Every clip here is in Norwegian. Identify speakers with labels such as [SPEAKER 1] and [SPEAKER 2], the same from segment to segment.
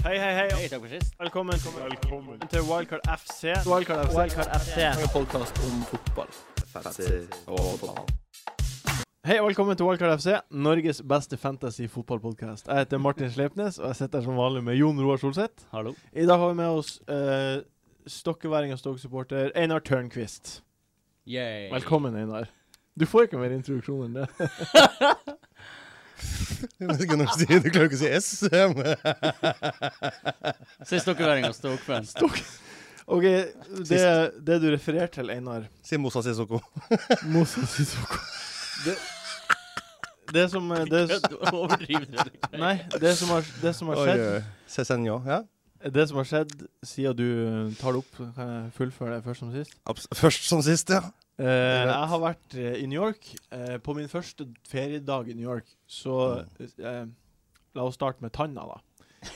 [SPEAKER 1] Hei, hei, hei.
[SPEAKER 2] takk for sist.
[SPEAKER 1] Velkommen, til Wildcard FC.
[SPEAKER 3] Wildcard FC.
[SPEAKER 1] Wildcard FC.
[SPEAKER 3] En podkast om fotball.
[SPEAKER 1] Hei og velkommen til Wildcard FC, Norges beste fantasy-fotballpodkast. Jeg heter Martin Sleipnes, og jeg sitter her som vanlig med Jon Roar Solseth.
[SPEAKER 2] Hallo.
[SPEAKER 1] I dag har vi med oss uh, stokkeværing og stokksupporter Einar Tørnquist.
[SPEAKER 2] Yay.
[SPEAKER 1] Velkommen, Einar. Du får ikke mer introduksjon enn det.
[SPEAKER 4] Jeg vet ikke når du sier- du klarer ikke å si S. Jeg må-
[SPEAKER 2] Sist dere væring og stokfan.
[SPEAKER 1] OK, det, det du refererer til, Einar
[SPEAKER 4] Si Mossa Sissoko.
[SPEAKER 1] Moses Sissoko Det, det som eh, det,
[SPEAKER 2] Overdriver du?
[SPEAKER 1] Nei, det som har, det som har
[SPEAKER 4] Oi,
[SPEAKER 1] skjedd
[SPEAKER 4] oi. Cezinio. Ja.
[SPEAKER 1] Det som har skjedd siden du eh, tar det opp, så kan jeg fullføre det først som sist.
[SPEAKER 4] Abs først som sist, ja.
[SPEAKER 1] Eh, jeg har vært eh, i New York. eh, på min første feriedag i New York, så
[SPEAKER 4] Mm.
[SPEAKER 1] eh, La oss starte med tanna, da.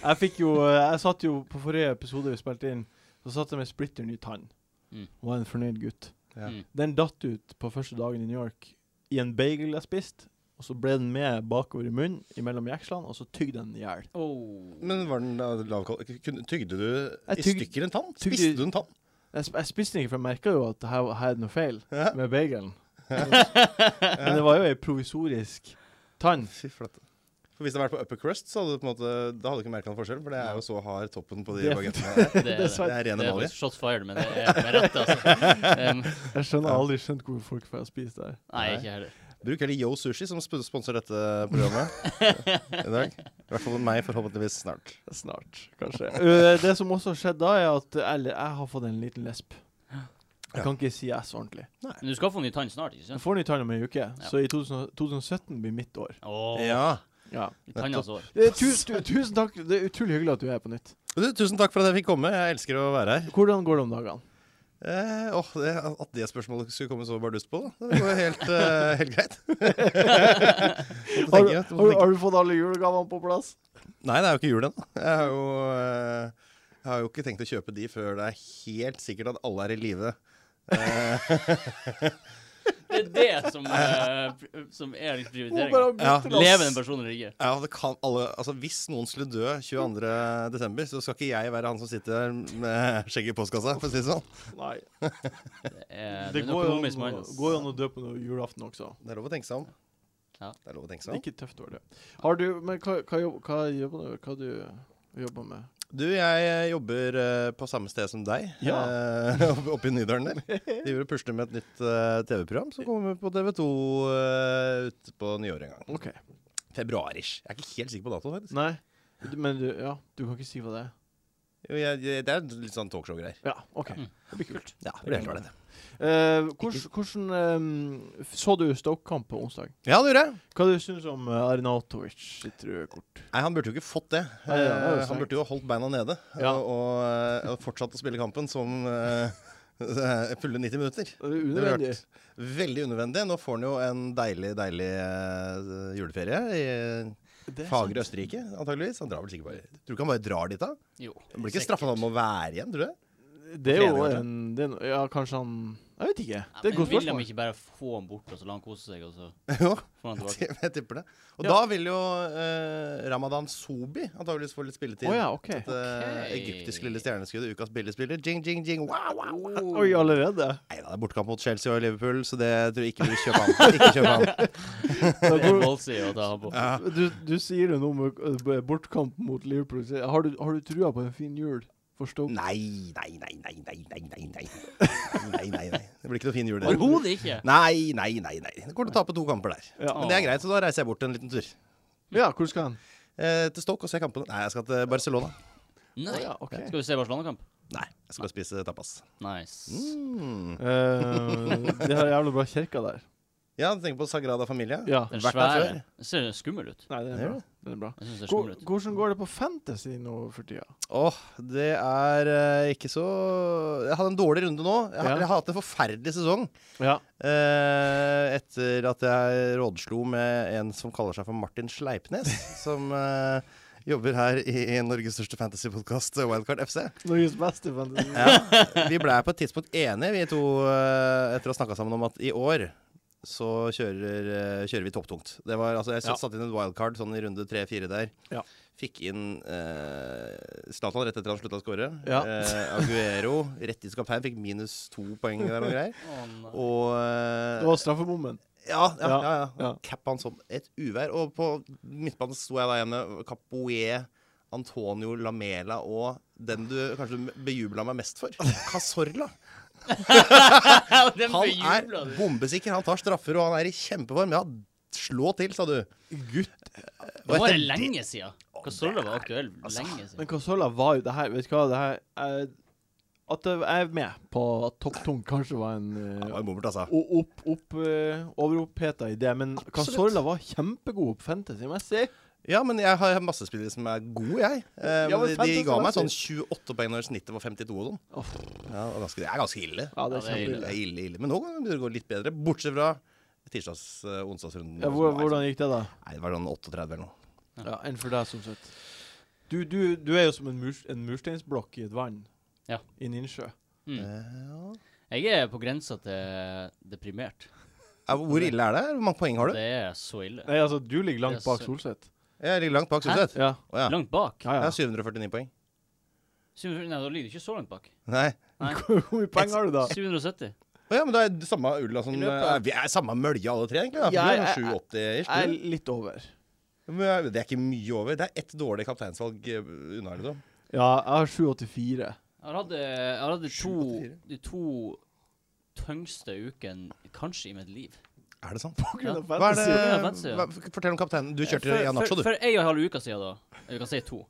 [SPEAKER 1] Jeg fikk jo eh, Jeg satt jo på forrige episode vi spilte inn, så satt jeg med splitter ny tann.
[SPEAKER 2] Mm.
[SPEAKER 1] Og var en fornøyd gutt.
[SPEAKER 4] Ja.
[SPEAKER 2] Mm.
[SPEAKER 1] Den datt ut på første dagen i New York i en bagel jeg spiste. Og så ble den med bakover i munnen, imellom jekslene, og så tygde den i hjel.
[SPEAKER 2] Oh.
[SPEAKER 4] Men var den da lav kal- kun- Tygde du
[SPEAKER 1] Jeg
[SPEAKER 4] i
[SPEAKER 1] tyg-
[SPEAKER 4] stykker en tann?
[SPEAKER 1] tygde-
[SPEAKER 4] Spiste du en tann?
[SPEAKER 1] Jeg, sp jeg spiste den ikke, for jeg merka jo at her, her er det noe feil
[SPEAKER 4] Ja.
[SPEAKER 1] med bagelen. Men det var jo ei provisorisk tann.
[SPEAKER 4] Fy flate. For Hvis det hadde vært på upper crust, så hadde du på en måte, da hadde du ikke merka noen forskjell. For det er jo så hard toppen på de
[SPEAKER 1] Det-
[SPEAKER 4] bagettene. der.
[SPEAKER 2] det er
[SPEAKER 4] Det er rene
[SPEAKER 2] Det er
[SPEAKER 4] malje.
[SPEAKER 2] shot fired, men det er med rett, altså. Um,
[SPEAKER 1] Jeg skjønner jeg har aldri skjønt hvor folk får spise det. her.
[SPEAKER 2] nei, ikke heller.
[SPEAKER 4] Bruk heller Yo Sushi, som sp- sponser dette programmet i dag. I hvert fall meg, forhåpentligvis snart.
[SPEAKER 1] Snart, kanskje. Uh, det som også har skjedd da, er at uh, eller, jeg har fått en liten lesp. Jeg kan ikke si S ordentlig.
[SPEAKER 2] Men du skal få ny tann snart, ikke
[SPEAKER 1] Jeg
[SPEAKER 2] sant?
[SPEAKER 1] får ny tann om ei uke, så i 2000, 2017 blir mitt år.
[SPEAKER 2] Åh,
[SPEAKER 4] Ja.
[SPEAKER 1] Ja.
[SPEAKER 2] Tannas år.
[SPEAKER 1] Eh, tusen, tusen takk. Det er utrolig hyggelig at du er her på nytt.
[SPEAKER 4] Du, tusen takk for at jeg fikk komme. Jeg elsker å være her.
[SPEAKER 1] Hvordan går det om dagene?
[SPEAKER 4] Eh, åh, det, at det spørsmålet skulle komme så bardust på, da. det går jo helt, eh, helt greit. Måtte
[SPEAKER 1] Har,
[SPEAKER 4] tenke, måtte
[SPEAKER 1] har,
[SPEAKER 4] tenke.
[SPEAKER 1] har du fått alle julegavene på plass?
[SPEAKER 4] Nei, det er jo ikke jul ennå. Jeg, har jo, eh, jeg har jo ikke tenkt å kjøpe de før det er helt sikkert at alle er i live. Eh,
[SPEAKER 2] Det er det som, eh, pr- som er liksom prioriteringa.
[SPEAKER 4] Ja.
[SPEAKER 1] bytte lass.
[SPEAKER 2] Levende personer ikke.
[SPEAKER 4] ja, det kan alle, altså, hvis noen skulle dø 22.12., så skal ikke jeg være han som sitter der med skjegget i postkassa, for å si det sånn.
[SPEAKER 1] Nei.
[SPEAKER 2] Det
[SPEAKER 1] Det
[SPEAKER 2] er, det er
[SPEAKER 1] går jo
[SPEAKER 2] økonomisk
[SPEAKER 1] an å-
[SPEAKER 2] minus.
[SPEAKER 1] går jo an å dø på noe julaften også.
[SPEAKER 4] Det er lov å tenke seg om.
[SPEAKER 2] Ja.
[SPEAKER 4] Det er lov å
[SPEAKER 1] Det
[SPEAKER 4] tenke seg
[SPEAKER 1] er
[SPEAKER 4] om.
[SPEAKER 1] ikke tøft år, det. Har du Men hva, hva, jobb, hva jobber du Hva du jobber med?
[SPEAKER 4] Du, jeg eh, jobber eh, på samme sted som deg,
[SPEAKER 1] Ja.
[SPEAKER 4] eh, opp- oppe i Nydalen der. Driver og pusler med et nytt eh, TV-program som kommer på TV2 eh, ute på nyåret en gang.
[SPEAKER 1] OK.
[SPEAKER 4] Februarish. Jeg er ikke helt sikker på datoen, faktisk.
[SPEAKER 1] Nei. Du- Men du, ja, du kan ikke si hva det er?
[SPEAKER 4] Jo, jeg, jeg, det er litt sånn talkshow-greier.
[SPEAKER 1] Ja, OK.
[SPEAKER 2] Mm.
[SPEAKER 1] Det blir kult.
[SPEAKER 4] Ja,
[SPEAKER 1] det blir helt ålreit. Eh, hvordan hvordan eh, f- så du Stoke-kamp på onsdag?
[SPEAKER 4] Ja, det gjorde jeg.
[SPEAKER 1] Hva du syns om eh, Arnautovic sitt røde kort?
[SPEAKER 4] Nei, Han burde jo ikke fått det.
[SPEAKER 1] Nei, det er jo
[SPEAKER 4] Eh,
[SPEAKER 1] sterkt.
[SPEAKER 4] han burde jo holdt beina nede
[SPEAKER 1] Ja.
[SPEAKER 4] og, og, eh, og fortsatt å spille kampen som eh, fulle 90 minutter.
[SPEAKER 1] Det er Unødvendig.
[SPEAKER 4] Det Veldig unødvendig. Nå får han jo en deilig, deilig eh, juleferie i
[SPEAKER 1] Det er
[SPEAKER 4] fagre
[SPEAKER 1] sant.
[SPEAKER 4] Østerrike, antageligvis. Han drar vel sikkert bare Tror du ikke han bare drar dit, da?
[SPEAKER 2] Jo.
[SPEAKER 4] Han blir ikke straffa om å være igjen, tror du?
[SPEAKER 1] Det er jo
[SPEAKER 4] Trener, kanskje?
[SPEAKER 1] en det er, no- Ja, kanskje han Jeg vet ikke. Det
[SPEAKER 2] Ja,
[SPEAKER 1] er et
[SPEAKER 2] men
[SPEAKER 1] godt
[SPEAKER 2] vil de
[SPEAKER 1] spørsmål.
[SPEAKER 2] ikke bare få han bort, og så la han kose seg, og så
[SPEAKER 4] Jo.
[SPEAKER 2] får han tilbake?
[SPEAKER 4] Jeg tipper det. Og
[SPEAKER 1] Ja.
[SPEAKER 4] da vil jo eh, Ramadan Sobi antageligvis få
[SPEAKER 1] Å
[SPEAKER 4] litt spilletid.
[SPEAKER 1] ja, OK.
[SPEAKER 4] Et eh,
[SPEAKER 2] Ok.
[SPEAKER 4] egyptisk lille stjerneskuddet, ukas billigspiller. Jing, jing, jing. Wow, wow, wow.
[SPEAKER 1] Oi, allerede?
[SPEAKER 4] Nei da, det er bortkamp mot Chelsea og Liverpool, så det tror jeg ikke du kjøper han. Ikke kjøp han.
[SPEAKER 1] Da
[SPEAKER 2] Det er
[SPEAKER 1] går,
[SPEAKER 2] ballsy å ta han på.
[SPEAKER 4] Ja.
[SPEAKER 1] Du, du sier det nå med eh, b- bortkamp mot Liverpool. Så Har du, har du trua på en fin jul for Stoke?
[SPEAKER 4] Nei, nei, nei, nei, nei, nei, nei, nei. Nei, nei, nei. Det blir ikke noe fin jul, det.
[SPEAKER 2] Overhodet ikke.
[SPEAKER 4] Nei, nei, nei, nei. Det går til å tape to kamper der.
[SPEAKER 1] Ja.
[SPEAKER 4] Men det er greit, så da reiser jeg bort en liten tur.
[SPEAKER 1] Ja, hvor skal han?
[SPEAKER 4] Eh, til Stoke og se kampene. Nei, jeg skal til Barcelona.
[SPEAKER 2] Nei.
[SPEAKER 1] Å ja, ok.
[SPEAKER 2] Skal vi se Barcelona-kamp?
[SPEAKER 4] Nei, jeg skal bare spise tapas.
[SPEAKER 2] Nice.
[SPEAKER 4] Mm.
[SPEAKER 1] Eh, de har jævla bra kirka der.
[SPEAKER 4] Ja, du tenker på Sagrada Familia?
[SPEAKER 1] Ja.
[SPEAKER 2] Den
[SPEAKER 4] Vært der
[SPEAKER 2] svære.
[SPEAKER 4] før?
[SPEAKER 2] Den ser skummel ut.
[SPEAKER 1] Nei, den er
[SPEAKER 4] Ja.
[SPEAKER 1] bra. Den er bra.
[SPEAKER 2] Jeg synes det er
[SPEAKER 1] Hvor,
[SPEAKER 2] skummel ut.
[SPEAKER 1] hvordan går det på fantasy nå for tida?
[SPEAKER 4] Åh, det er eh, ikke så Jeg hadde en dårlig runde nå. Jeg,
[SPEAKER 1] Ja.
[SPEAKER 4] har- jeg har hatt en forferdelig sesong.
[SPEAKER 1] Ja.
[SPEAKER 4] Eh, etter at jeg rådslo med en som kaller seg for Martin Sleipnes, som eh, jobber her i, i Norges største fantasypodkast, Wildcard FC.
[SPEAKER 1] Norges beste fantasy.
[SPEAKER 4] Ja, vi ble på et tidspunkt enige, vi to, eh, etter å ha snakka sammen om at i år så kjører, eh, kjører vi topptungt. Det var, altså, jeg
[SPEAKER 1] Ja.
[SPEAKER 4] satte inn et wildcard sånn i runde tre-fire der.
[SPEAKER 1] Ja.
[SPEAKER 4] Fikk inn eh, Zlatan rett etter han slutta å skåre.
[SPEAKER 1] Ja.
[SPEAKER 4] Eh, Aguero rett i skapheim fikk minus to poeng der og greier.
[SPEAKER 2] Å, nei.
[SPEAKER 4] Og eh,
[SPEAKER 1] Det var straffebommen.
[SPEAKER 4] ja,
[SPEAKER 1] Ja,
[SPEAKER 4] ja, ja, ja.
[SPEAKER 1] ja.
[SPEAKER 4] Kappa han som et uvær. Og på midtbanen sto jeg da igjen med Capoe, Antonio Lamela og den du kanskje bejubla meg mest for, Casorla.
[SPEAKER 2] Den
[SPEAKER 4] Han er
[SPEAKER 2] bejubla du.
[SPEAKER 4] bombesikker, han tar straffer, og han er i kjempeform. Ja, slå til, sa du.
[SPEAKER 1] Gutt.
[SPEAKER 2] Det var
[SPEAKER 4] etter
[SPEAKER 2] det lenge siden. Casola var aktuell
[SPEAKER 4] altså,
[SPEAKER 2] lenge siden.
[SPEAKER 1] Men Casola var jo det her Vet du hva, det her er, At jeg er med på at Topptung kanskje var en
[SPEAKER 4] Det
[SPEAKER 1] eh,
[SPEAKER 4] var en bommert, altså.
[SPEAKER 1] o- opp, opp, eh, overoppheta idé, men Casola var kjempegod på fantasy-messig.
[SPEAKER 4] Ja, men jeg har masse spillere som er gode, jeg. Eh,
[SPEAKER 1] Ja, men
[SPEAKER 4] de, de
[SPEAKER 1] fantastisk.
[SPEAKER 4] ga meg sånn 28 poeng når snittet var 52 og sånn.
[SPEAKER 1] Uff,
[SPEAKER 4] Ja, det var ganske- det er ganske ille.
[SPEAKER 1] ja, det er
[SPEAKER 2] Ja, det er
[SPEAKER 4] Det
[SPEAKER 1] kjempeille.
[SPEAKER 4] er ille, ille. Men nå begynner det å gå litt bedre, bortsett fra tirsdags- eh, onsdagsrunden.
[SPEAKER 1] Ja, hvor- hvordan gikk det, da?
[SPEAKER 4] Nei, det var sånn 38 eller noe.
[SPEAKER 1] Ja, Enn for deg, som sagt. Du, du, du er jo som en, mur, en mursteinsblokk i et vann.
[SPEAKER 2] Ja.
[SPEAKER 1] I en innsjø.
[SPEAKER 2] Mm.
[SPEAKER 4] Ja.
[SPEAKER 2] Jeg er på grensa til deprimert.
[SPEAKER 4] Hvor ille er det? Hvor mange poeng har du?
[SPEAKER 2] Det er så ille.
[SPEAKER 1] Nei, altså, du ligger langt
[SPEAKER 2] Det er
[SPEAKER 1] bak
[SPEAKER 2] så-
[SPEAKER 1] Solseth.
[SPEAKER 4] Jeg ligger langt bak
[SPEAKER 2] Hæ?
[SPEAKER 4] Sundset.
[SPEAKER 1] Ja.
[SPEAKER 4] Å ja.
[SPEAKER 2] Langt bak.
[SPEAKER 1] Ja,
[SPEAKER 4] Jeg
[SPEAKER 1] ja.
[SPEAKER 4] har 749 poeng.
[SPEAKER 2] Syv- Nei, da ligger du ikke så langt bak.
[SPEAKER 4] Nei.
[SPEAKER 2] Nei,
[SPEAKER 1] Hvor mye poeng har du, da?
[SPEAKER 2] 770.
[SPEAKER 4] Å ja, men da er det samme ulla som
[SPEAKER 1] I løpet av-
[SPEAKER 4] eh, Vi er samme mølje alle tre, egentlig. Da. sånn
[SPEAKER 1] Ja,
[SPEAKER 4] Ja,
[SPEAKER 1] jeg-
[SPEAKER 4] 780
[SPEAKER 1] Jeg er litt over.
[SPEAKER 4] Men Det er ikke mye over. Det er ett dårlig kapteinsvalg eh, unna, liksom.
[SPEAKER 1] Ja, jeg har 784.
[SPEAKER 2] Jeg har hatt, eh, jeg har hatt de, to,
[SPEAKER 4] 784.
[SPEAKER 2] de to tyngste ukene kanskje i mitt liv.
[SPEAKER 4] Er det sant?
[SPEAKER 2] Ja.
[SPEAKER 4] Hva er det,
[SPEAKER 2] Ja, fantasy, ja.
[SPEAKER 4] hva, fortell om kapteinen. Du kjørte
[SPEAKER 2] For-
[SPEAKER 4] en
[SPEAKER 2] for-
[SPEAKER 4] aksje, du.
[SPEAKER 2] For ei og en halv uke siden, da. Jeg kan si to.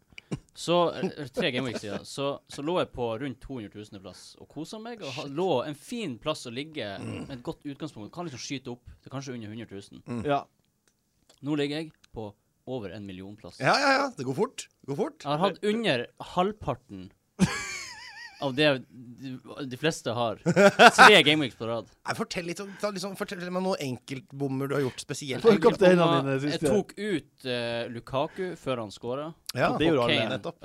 [SPEAKER 2] Så, eller tre gameweeks siden. Så, så lå jeg på rundt 200 000 plass og kosa meg. Og ha- lå en fin plass å ligge med et godt utgangspunkt. Kan liksom skyte opp til kanskje under 100 000.
[SPEAKER 1] Ja.
[SPEAKER 2] Nå ligger jeg på over en million plass.
[SPEAKER 4] Ja, ja, ja. Det går fort. Det går fort.
[SPEAKER 2] Jeg har hatt under halvparten av det de, de fleste har. Tre gameweeks på rad.
[SPEAKER 4] Nei, fortell litt om ta liksom, Fortell meg noen enkeltbommer du har gjort spesielt.
[SPEAKER 1] For kapteinene
[SPEAKER 2] Og
[SPEAKER 1] dine
[SPEAKER 2] Jeg
[SPEAKER 1] siste.
[SPEAKER 2] tok ut eh, Lukaku før han scora.
[SPEAKER 4] Ja,
[SPEAKER 1] Det gjorde alle.
[SPEAKER 2] Kane.
[SPEAKER 4] Nettopp.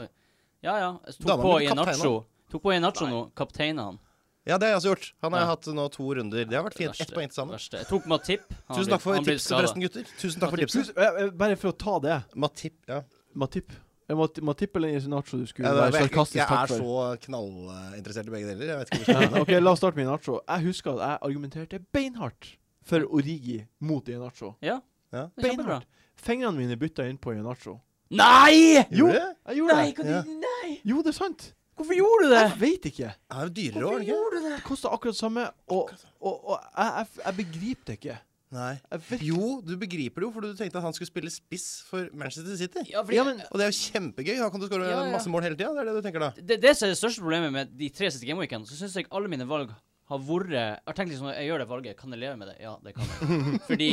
[SPEAKER 2] Ja, ja. Jeg
[SPEAKER 4] Da
[SPEAKER 2] tok
[SPEAKER 4] var
[SPEAKER 2] på
[SPEAKER 4] du kaptein,
[SPEAKER 2] Ianacho. Tok på Ianacho nå. Kapteinen han.
[SPEAKER 4] ja, det har jeg også gjort. Han har
[SPEAKER 2] Ja.
[SPEAKER 4] hatt nå to runder. Det har vært fint. Ett
[SPEAKER 2] Verste,
[SPEAKER 4] poeng til sammen.
[SPEAKER 2] verste. Jeg tok Matip. Han
[SPEAKER 4] Tusen
[SPEAKER 2] blir-
[SPEAKER 4] takk for
[SPEAKER 2] han blir
[SPEAKER 4] tipset,
[SPEAKER 2] skadet.
[SPEAKER 4] forresten, gutter. Tusen takk for
[SPEAKER 2] Matip.
[SPEAKER 4] tipset.
[SPEAKER 1] Husk- eh, eh, Bare for å ta det.
[SPEAKER 4] Matip, ja.
[SPEAKER 1] Matip. Eh, Mat- Matip eller Inacho du skulle
[SPEAKER 4] Jeg,
[SPEAKER 1] være
[SPEAKER 4] jeg, jeg,
[SPEAKER 1] sarkastisk
[SPEAKER 4] er
[SPEAKER 1] takk for.
[SPEAKER 4] så knallinteressert i begge deler. Jeg vet ikke
[SPEAKER 1] Ja,
[SPEAKER 4] hvordan
[SPEAKER 1] ok, La oss starte med Inacho. Jeg husker at jeg argumenterte beinhardt for Origi mot Inacho.
[SPEAKER 2] Ja.
[SPEAKER 4] Ja.
[SPEAKER 2] Det er Kjempebra.
[SPEAKER 1] Fingrene mine bytta inn på Inacho.
[SPEAKER 2] Nei!
[SPEAKER 1] Jo,
[SPEAKER 4] Gjorde det?
[SPEAKER 1] jeg gjorde
[SPEAKER 2] Nei,
[SPEAKER 1] det.
[SPEAKER 2] hva,
[SPEAKER 4] Ja.
[SPEAKER 2] nei!
[SPEAKER 1] Jo, det er sant.
[SPEAKER 2] Hvorfor gjorde du det?
[SPEAKER 1] Jeg vet ikke.
[SPEAKER 4] Det er jo dyrere år, ikke
[SPEAKER 2] gjorde du det?
[SPEAKER 1] Det koster akkurat samme, og, og, og jeg, jeg, jeg begriper det ikke.
[SPEAKER 4] Nei.
[SPEAKER 1] Jeg vet
[SPEAKER 4] Jo, du begriper det jo, for du tenkte at han skulle spille spiss for Manchester City.
[SPEAKER 2] Ja, fordi,
[SPEAKER 1] Ja, men-
[SPEAKER 4] Og det er jo kjempegøy. Da kan du skåre
[SPEAKER 2] Ja, ja.
[SPEAKER 4] masse mål hele tida. Det er det du tenker da.
[SPEAKER 2] det, det som er det største problemet med de tre siste gameweekene, så syns jeg alle mine valg har vært Jeg har tenkt liksom, jeg gjør det valget, kan jeg leve med det? Ja, det kan jeg. Fordi,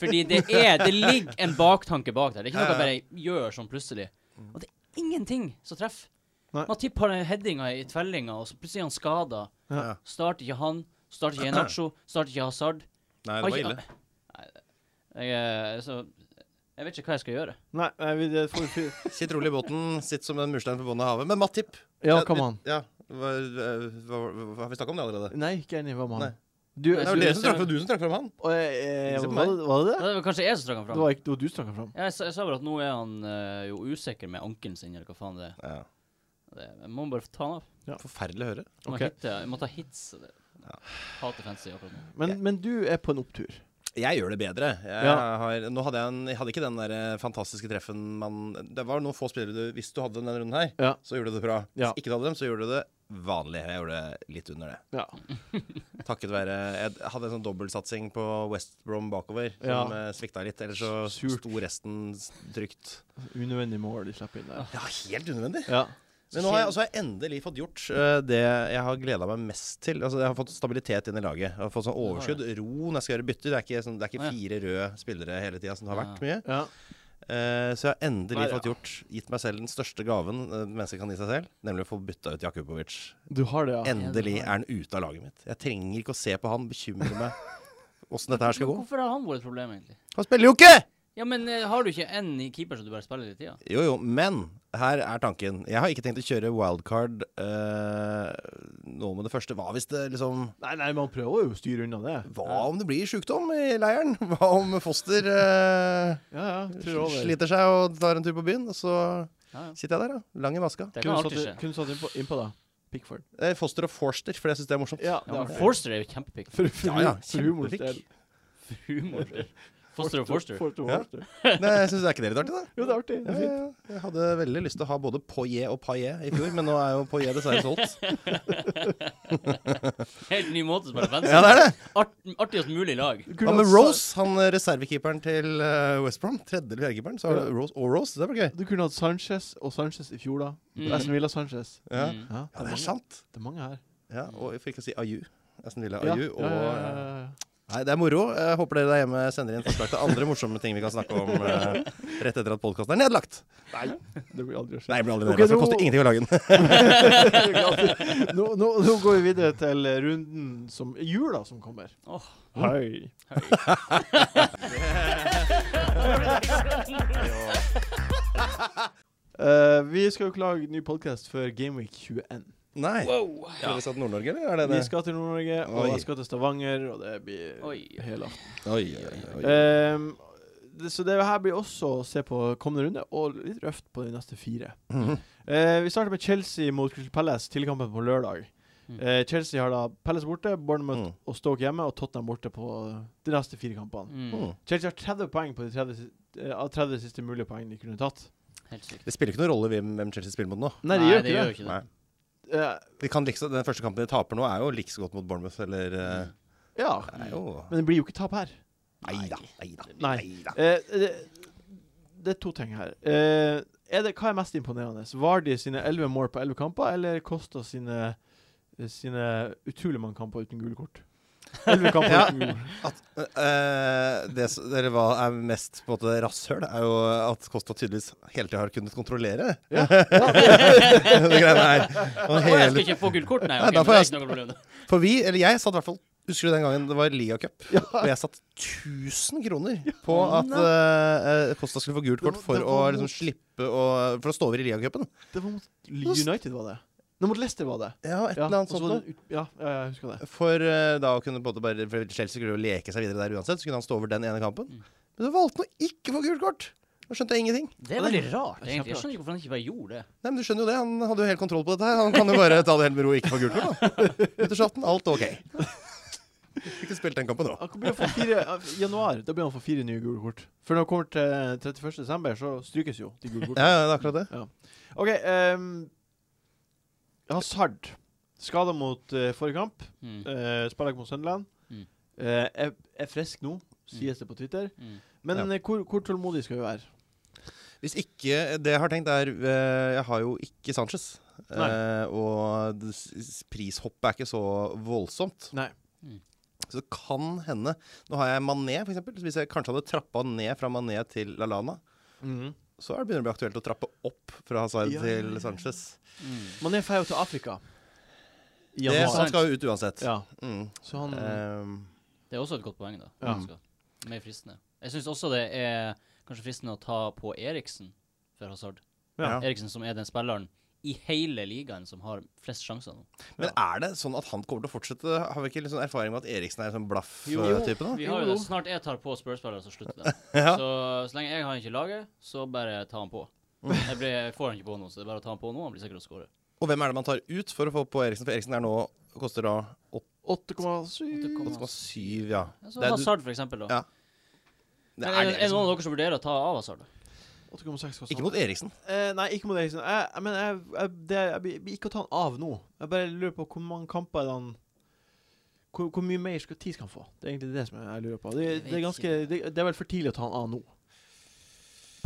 [SPEAKER 2] fordi det er Det ligger en baktanke bak der. Det er ikke noe jeg bare gjør sånn plutselig. Og det er ingenting som treffer.
[SPEAKER 1] Nei.
[SPEAKER 2] Matip har den headinga i tvellinga, og så plutselig er han skada.
[SPEAKER 1] Ja.
[SPEAKER 2] Starter ikke han. Starter ikke Enacho. Starter ikke Hazard.
[SPEAKER 4] Nei,
[SPEAKER 2] Har ikke- Nei, jeg, er- så, jeg vet ikke hva jeg skal gjøre.
[SPEAKER 1] Nei, nei vi- det får vi fi-
[SPEAKER 4] Sitt rolig i båten. Sitt som en murstein på bunnen av havet. Men Matip
[SPEAKER 1] Ja,
[SPEAKER 4] Ja,
[SPEAKER 1] kom
[SPEAKER 4] vi-
[SPEAKER 1] an.
[SPEAKER 4] Ja, hva, hva, hva, har vi snakka om det allerede?
[SPEAKER 1] Nei, ikke enig. Hva med
[SPEAKER 4] Nei.
[SPEAKER 1] han? Du,
[SPEAKER 4] Det
[SPEAKER 2] Jeg
[SPEAKER 4] er jo
[SPEAKER 2] skulle
[SPEAKER 4] dere som
[SPEAKER 2] se-
[SPEAKER 4] trakk fram, du som trakk fram han.
[SPEAKER 1] og, eh,
[SPEAKER 4] Se på
[SPEAKER 1] var, det, var det det?
[SPEAKER 2] Det var kanskje jeg som trakk han
[SPEAKER 1] Det
[SPEAKER 2] fram.
[SPEAKER 1] var, ikke, det var du som snakka fram.
[SPEAKER 2] Ja, jeg, sa- jeg sa bare at nå er han eh, jo usikker med ankelen sin, eller hva faen det er.
[SPEAKER 4] Ja.
[SPEAKER 2] Det, jeg må bare ta han av.
[SPEAKER 4] Forferdelig å høre.
[SPEAKER 2] Jeg må,
[SPEAKER 1] Ok.
[SPEAKER 2] hitte, jeg må ta hits. Det. Hater fancy akkurat nå.
[SPEAKER 1] Men, men du er på en opptur.
[SPEAKER 4] Jeg gjør det bedre. Jeg,
[SPEAKER 1] Ja.
[SPEAKER 4] har, nå hadde jeg, en, jeg hadde ikke den der eh, fantastiske treffen man Det var noen få spillere du Hvis du hadde denne runden her,
[SPEAKER 1] Ja.
[SPEAKER 4] så gjorde du det bra.
[SPEAKER 1] Ja.
[SPEAKER 4] Hvis ikke du hadde dem, så gjorde du det vanlig. Jeg gjorde det litt under det.
[SPEAKER 1] Ja.
[SPEAKER 4] Takket være Jeg hadde en sånn dobbeltsatsing på West Brom bakover
[SPEAKER 1] Ja.
[SPEAKER 4] som eh, svikta litt. Ellers så
[SPEAKER 1] Surt.
[SPEAKER 4] sto resten s- trygt.
[SPEAKER 1] Unødvendig mål de slipper inn der.
[SPEAKER 4] Ja, helt unødvendig.
[SPEAKER 1] Ja.
[SPEAKER 4] Men nå har jeg, altså, jeg endelig fått gjort eh, det jeg har gleda meg mest til. Altså, jeg har fått stabilitet inn i laget. Jeg har fått sånn overskudd, ro når jeg skal gjøre bytter. Det er ikke, sånn, det
[SPEAKER 2] Å,
[SPEAKER 4] er
[SPEAKER 2] ja.
[SPEAKER 4] ikke fire røde spillere hele tida som det har vært mye.
[SPEAKER 1] ja.
[SPEAKER 4] Eh, så jeg har endelig
[SPEAKER 1] Nei, ja.
[SPEAKER 4] fått gjort gitt meg selv den største gaven eh, mennesket kan gi seg selv, nemlig å få bytta ut Jakubovic.
[SPEAKER 1] Du har det, ja.
[SPEAKER 4] Endelig er han ute av laget mitt. Jeg trenger ikke å se på han, bekymre meg åssen dette her skal gå.
[SPEAKER 2] Hvorfor har han vært et problem, egentlig?
[SPEAKER 4] Han spiller jo ikke!
[SPEAKER 2] Ja, men eh, har du ikke én i keeper som du bare spiller i tida?
[SPEAKER 4] Jo, jo, men her er tanken. Jeg har ikke tenkt å kjøre wildcard eh, nå med det første. Hva hvis det liksom
[SPEAKER 1] Nei, nei, man prøver jo å styre unna det.
[SPEAKER 4] Hva om det blir sjukdom i leiren? Hva om foster eh,
[SPEAKER 1] Ja, ja. Tror over.
[SPEAKER 4] sliter seg og tar en tur på byen? Og så
[SPEAKER 2] Ja, ja.
[SPEAKER 4] sitter jeg der, da. Lang i maska.
[SPEAKER 2] Det kan
[SPEAKER 1] Kunne
[SPEAKER 2] alltid
[SPEAKER 1] satt,
[SPEAKER 2] skje.
[SPEAKER 1] kunne satt innpå, innpå da. Pickford.
[SPEAKER 4] Eh, Foster og Forster, for jeg syns det er morsomt.
[SPEAKER 1] Ja,
[SPEAKER 2] Ja, men
[SPEAKER 1] det er-
[SPEAKER 2] Forster er jo kjempepick.
[SPEAKER 1] For, for,
[SPEAKER 4] Ja, ja,
[SPEAKER 1] for humorens
[SPEAKER 4] kjempepick.
[SPEAKER 1] del.
[SPEAKER 2] Humor. Foster og Forster.
[SPEAKER 1] Forster og
[SPEAKER 4] Ja.
[SPEAKER 1] Forster.
[SPEAKER 4] Nei, jeg synes det er ikke det litt artig, da?
[SPEAKER 1] Jo, det er artig. Det
[SPEAKER 4] Ja,
[SPEAKER 1] er
[SPEAKER 4] ja,
[SPEAKER 1] fint.
[SPEAKER 4] ja. jeg hadde veldig lyst til å ha både Poyet og Paillet i fjor, men nå er jo Poyet dessverre solgt.
[SPEAKER 2] Helt ny måte å spille fancy
[SPEAKER 4] Ja, det er det.
[SPEAKER 2] Art, Artigst mulig lag.
[SPEAKER 1] Du
[SPEAKER 4] Hva
[SPEAKER 1] kunne
[SPEAKER 4] med
[SPEAKER 1] hatt
[SPEAKER 4] Rose? Han eh, reservekeeperen til eh, West Brom. Tredje eller fjerdekeeperen. Så har
[SPEAKER 1] Ja.
[SPEAKER 4] du Rose og Rose. Det blir gøy.
[SPEAKER 1] Sa- Du kunne hatt Sanchez og Sanchez i fjor, da.
[SPEAKER 2] Mm.
[SPEAKER 1] Aston Villa Sanchez.
[SPEAKER 4] Ja.
[SPEAKER 2] Mm.
[SPEAKER 1] Ja,
[SPEAKER 4] ja, det
[SPEAKER 1] mange-
[SPEAKER 4] er sant.
[SPEAKER 1] Det er mange her.
[SPEAKER 4] Ja, og for ikke å si Aju. Aston Villa
[SPEAKER 1] Ja,
[SPEAKER 4] Aju
[SPEAKER 1] ja,
[SPEAKER 4] og eh,
[SPEAKER 1] ja, ja, ja, ja.
[SPEAKER 4] Nei, det er moro. Jeg håper dere der hjemme sender inn forslag til andre morsomme ting vi kan snakke om eh, rett etter at podkasten er nedlagt.
[SPEAKER 1] Det blir aldri å skje.
[SPEAKER 4] Nei, det blir aldri
[SPEAKER 1] Ok,
[SPEAKER 4] nedlagt. for Det
[SPEAKER 1] nå-
[SPEAKER 4] koster ingenting å lage den.
[SPEAKER 1] nå, nå, nå går vi videre til eh, runden som jula som kommer.
[SPEAKER 2] Åh.
[SPEAKER 1] Hei. Eh, vi skal jo ikke lage ny podkast før Gameweek 21.
[SPEAKER 4] Nei.
[SPEAKER 2] Wow.
[SPEAKER 4] Har dere satt Nord-Norge, eller? Er det
[SPEAKER 1] Vi
[SPEAKER 4] det?
[SPEAKER 1] skal til Nord-Norge, og
[SPEAKER 4] Oi.
[SPEAKER 1] jeg skal til Stavanger, og det blir
[SPEAKER 2] Oi.
[SPEAKER 1] hele aften.
[SPEAKER 4] Oi, oi, oi.
[SPEAKER 1] Ehm, det, så det her blir også å se på kommende runde, og litt røft på de neste fire.
[SPEAKER 4] Mhm.
[SPEAKER 1] Eh, vi starter med Chelsea mot Crystal Palace, tilkampen på lørdag.
[SPEAKER 2] Mm.
[SPEAKER 1] Eh, Chelsea har da Palace borte, Bournemouth
[SPEAKER 4] Mm.
[SPEAKER 1] og Stoke hjemme, og Tottenham borte på de neste fire kampene.
[SPEAKER 2] Mm.
[SPEAKER 4] Mm.
[SPEAKER 1] Chelsea har 30 poeng på de 30, si- eh, av 30 siste mulige poeng de kunne tatt.
[SPEAKER 2] Helt sykt.
[SPEAKER 4] Det spiller ikke noen rolle hvem hvem Chelsea spiller mot nå.
[SPEAKER 1] Nei, de gjør ikke
[SPEAKER 2] jo
[SPEAKER 1] det.
[SPEAKER 2] ikke det.
[SPEAKER 4] Nei.
[SPEAKER 1] Eh,
[SPEAKER 4] De kan liksom, den første kampen de taper nå, er jo like så godt mot Bournemouth, eller eh,
[SPEAKER 1] ja,
[SPEAKER 4] det er jo-
[SPEAKER 1] men det blir jo ikke tap her.
[SPEAKER 4] Nei da, nei da.
[SPEAKER 1] Nei.
[SPEAKER 4] nei da.
[SPEAKER 1] Eh, det, det er to ting her. Eh, er det, hva er mest imponerende? Vardy sine 11 mål på 11 kamper, eller Costa sine, sine utrolig mange kamper uten gule kort? 11 kamper
[SPEAKER 4] Ja.
[SPEAKER 1] uten gule kort.
[SPEAKER 4] At, eh, det, s- eller hva er mest på en måte rasshøl, er jo at Kosta tydeligvis hele tida har kunnet kontrollere.
[SPEAKER 1] Ja.
[SPEAKER 4] det greiene her.
[SPEAKER 2] Å,
[SPEAKER 4] Og
[SPEAKER 2] jeg skal
[SPEAKER 4] hele,
[SPEAKER 2] ikke få gult kort? Nei,
[SPEAKER 4] Nei,
[SPEAKER 2] ok,
[SPEAKER 4] da
[SPEAKER 2] men det
[SPEAKER 4] får
[SPEAKER 2] er
[SPEAKER 4] jeg-
[SPEAKER 2] ikke noe problem.
[SPEAKER 4] for vi, eller jeg, satt i hvert fall Husker du den gangen det var ligacup? Og jeg satt 1000 kroner på at uh, Kosta skulle få gult
[SPEAKER 1] Det var-
[SPEAKER 4] kort for
[SPEAKER 1] det var
[SPEAKER 4] å liksom,
[SPEAKER 1] mot-
[SPEAKER 4] slippe å, For å stå over i ligacupen.
[SPEAKER 1] Det var mot United, var det. Nei, mot Leicester var det.
[SPEAKER 4] Ja, et
[SPEAKER 1] Ja,
[SPEAKER 4] eller annet
[SPEAKER 1] og så
[SPEAKER 4] sånt.
[SPEAKER 1] var
[SPEAKER 4] noe.
[SPEAKER 1] det ut- ja, ja, jeg husker det.
[SPEAKER 4] For eh, da å kunne på en måte bare for Chelsea skulle jo leke seg videre der uansett, så kunne han stå over den ene kampen.
[SPEAKER 2] Mm.
[SPEAKER 4] Men så valgte han å ikke få gult kort! Nå skjønte jeg ingenting.
[SPEAKER 2] Det er veldig rart, egentlig. Jeg
[SPEAKER 1] Kjemperart.
[SPEAKER 2] skjønner ikke hvorfor han ikke bare gjorde det.
[SPEAKER 4] Nei, men du skjønner jo det, Han hadde jo helt kontroll på dette her. Han kan jo bare ta det helt med ro og ikke få gult kort. da. Ut i chatten, alt ok. Fikk Ikke spilt den kampen nå.
[SPEAKER 1] Han blir å få fire, I januar da blir han å få fire nye gule kort. For når han kommer til 31. desember, så strykes jo de gule
[SPEAKER 4] Ja,
[SPEAKER 1] kortene.
[SPEAKER 4] ja, det er akkurat det.
[SPEAKER 1] OK. ehm, Hazard. Skada mot eh, forrige kamp.
[SPEAKER 2] Mm.
[SPEAKER 1] Uh, Spiller ikke mot Sunderland.
[SPEAKER 2] Mm.
[SPEAKER 1] Eh, er, er frisk nå, sies det på Twitter.
[SPEAKER 2] Mm.
[SPEAKER 1] Men
[SPEAKER 4] Ja.
[SPEAKER 1] eh, hvor, hvor tålmodig skal vi være?
[SPEAKER 4] Hvis ikke Det jeg har tenkt, er eh, Jeg har jo ikke Sanchez. Eh,
[SPEAKER 1] Nei.
[SPEAKER 4] og det s- prishoppet er ikke så voldsomt.
[SPEAKER 1] Nei.
[SPEAKER 2] Mm.
[SPEAKER 4] Så det kan hende Nå har jeg Mané, for eksempel. Så hvis jeg kanskje hadde trappa ned fra Mané til Lalana, så er det begynner det å bli aktuelt å trappe opp fra Hazard
[SPEAKER 1] Ja, ja, ja,
[SPEAKER 4] til
[SPEAKER 1] ja.
[SPEAKER 4] Sanchez.
[SPEAKER 2] Mm.
[SPEAKER 1] Man er ferdig til Afrika. I
[SPEAKER 4] Det,
[SPEAKER 1] januar.
[SPEAKER 4] så han skal jo ut uansett.
[SPEAKER 1] Ja, Eh,
[SPEAKER 4] Mm.
[SPEAKER 1] så han
[SPEAKER 4] Ehm,
[SPEAKER 2] Det er også et godt poeng, da.
[SPEAKER 1] Ja.
[SPEAKER 2] Skal- Mer fristende. Jeg syns også det er kanskje fristende å ta på Eriksen for Hazard.
[SPEAKER 1] ja.
[SPEAKER 4] ja.
[SPEAKER 2] Eriksen som er den spilleren i hele ligaen som har flest sjanser nå.
[SPEAKER 4] Men er det sånn at han kommer til å fortsette? Har vi ikke litt sånn erfaring med at Eriksen er en sånn
[SPEAKER 1] Jo.
[SPEAKER 4] blaff-type nå?
[SPEAKER 2] Vi har jo
[SPEAKER 1] Jo,
[SPEAKER 2] det.
[SPEAKER 1] jo.
[SPEAKER 2] Snart jeg tar på Spurs-spillere, så slutter det.
[SPEAKER 4] Ja.
[SPEAKER 2] Så så lenge jeg har han ikke i laget, så bare ta han på. Jeg, blir, jeg får han ikke på nå, så det er bare å ta han på nå. Han blir sikkert å skåre.
[SPEAKER 4] Og hvem er det man tar ut for å få på Eriksen? For Eriksen er nå koster da
[SPEAKER 1] 8,7
[SPEAKER 4] 8,7, ja.
[SPEAKER 2] Så
[SPEAKER 4] Det er du-
[SPEAKER 2] Hazard, for eksempel. da.
[SPEAKER 4] Ja.
[SPEAKER 2] Men
[SPEAKER 4] Det
[SPEAKER 2] er,
[SPEAKER 4] er
[SPEAKER 2] det, er det
[SPEAKER 4] det.
[SPEAKER 2] noen av dere som vurderer å ta av Hazard? da?
[SPEAKER 1] 8,6
[SPEAKER 4] Ikke mot Eriksen.
[SPEAKER 1] Eh, nei, ikke mot Eriksen. Jeg, jeg, mener, jeg, jeg, det, jeg, blir- blir ikke å ta han av nå. Jeg bare lurer på hvor mange kamper er det han hvor, hvor mye mer skal, tid skal han få? Det er egentlig det som jeg, jeg lurer på. Det,
[SPEAKER 2] Jeg
[SPEAKER 1] det, er
[SPEAKER 2] vet
[SPEAKER 1] ganske, det, det er vel for tidlig å ta han av nå.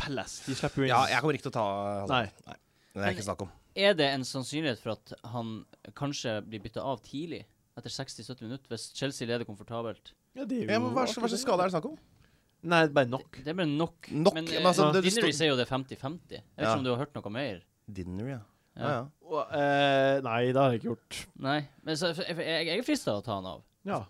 [SPEAKER 1] Palace, de slipper jo inn.
[SPEAKER 4] Ja, jeg kommer ikke til å ta
[SPEAKER 1] Nei.
[SPEAKER 4] Hazard. Det er ikke snakk om.
[SPEAKER 2] Er det en sannsynlighet for at han kanskje blir bytta av tidlig? Etter 60-70 minutter, hvis Chelsea leder komfortabelt?
[SPEAKER 1] Ja, det er jo
[SPEAKER 4] Ja, men hva
[SPEAKER 1] artig,
[SPEAKER 4] slags hva slags
[SPEAKER 1] det.
[SPEAKER 4] skade er det snakk om?
[SPEAKER 1] Nei, det er bare nok.
[SPEAKER 2] Det er bare nok.
[SPEAKER 4] Nok,
[SPEAKER 2] Men, eh,
[SPEAKER 4] men altså,
[SPEAKER 1] ja.
[SPEAKER 4] det- det
[SPEAKER 2] Dinnery
[SPEAKER 4] står-
[SPEAKER 2] sier jo det er 50-50. Jeg vet ikke
[SPEAKER 4] Ja.
[SPEAKER 2] om du har hørt noe mer?
[SPEAKER 4] Dinner, ja.
[SPEAKER 2] Ja.
[SPEAKER 4] Ja, ja.
[SPEAKER 1] Og, eh, nei, det har jeg ikke gjort.
[SPEAKER 2] Nei. Men så, jeg, jeg, jeg er frista å ta han av.
[SPEAKER 1] Ja.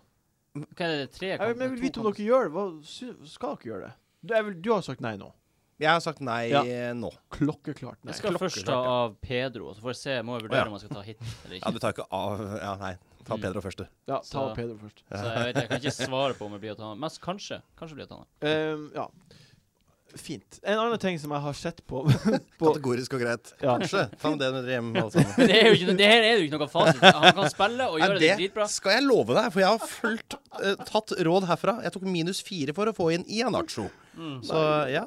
[SPEAKER 2] Hva er det, tre
[SPEAKER 1] Jeg, vil- men jeg vil vite om dere gjør det. Hva, sy- skal dere gjøre det? Du, jeg vil, du har sagt nei nå.
[SPEAKER 4] Jeg har sagt nei eh,
[SPEAKER 1] Ja.
[SPEAKER 4] nå.
[SPEAKER 1] Klokkeklart nei.
[SPEAKER 2] Jeg skal
[SPEAKER 4] Klokkeklart,
[SPEAKER 2] først ta
[SPEAKER 4] ja.
[SPEAKER 2] av Pedro, og så får jeg se, må jeg
[SPEAKER 4] Å,
[SPEAKER 2] vurdere
[SPEAKER 4] ja.
[SPEAKER 2] om jeg skal ta hit eller
[SPEAKER 4] Ja,
[SPEAKER 2] ikke.
[SPEAKER 4] du tar ikke av Ja, nei. Ta
[SPEAKER 2] Mm.
[SPEAKER 4] Pedro først, du.
[SPEAKER 1] Ja, ta
[SPEAKER 2] Så-
[SPEAKER 1] Pedro først.
[SPEAKER 2] Så jeg vet, jeg kan ikke svare på om jeg blir å ta han av. Mest kanskje. Kanskje blir jeg å ta han av.
[SPEAKER 1] Ehm, ja. fint. En annen ting som jeg har sett på, på
[SPEAKER 4] Kategorisk og greit.
[SPEAKER 1] ja.
[SPEAKER 4] Kanskje. Ta med det når dere er hjemme. alle sammen.
[SPEAKER 2] Det, er jo ikke, noe- det her er jo ikke noe fasit. Han kan spille og
[SPEAKER 4] Nei,
[SPEAKER 2] gjøre det dritbra.
[SPEAKER 4] skal jeg love deg, for jeg har fulgt, eh, tatt råd herfra. Jeg tok minus fire for å få inn Ianacho. Så ja.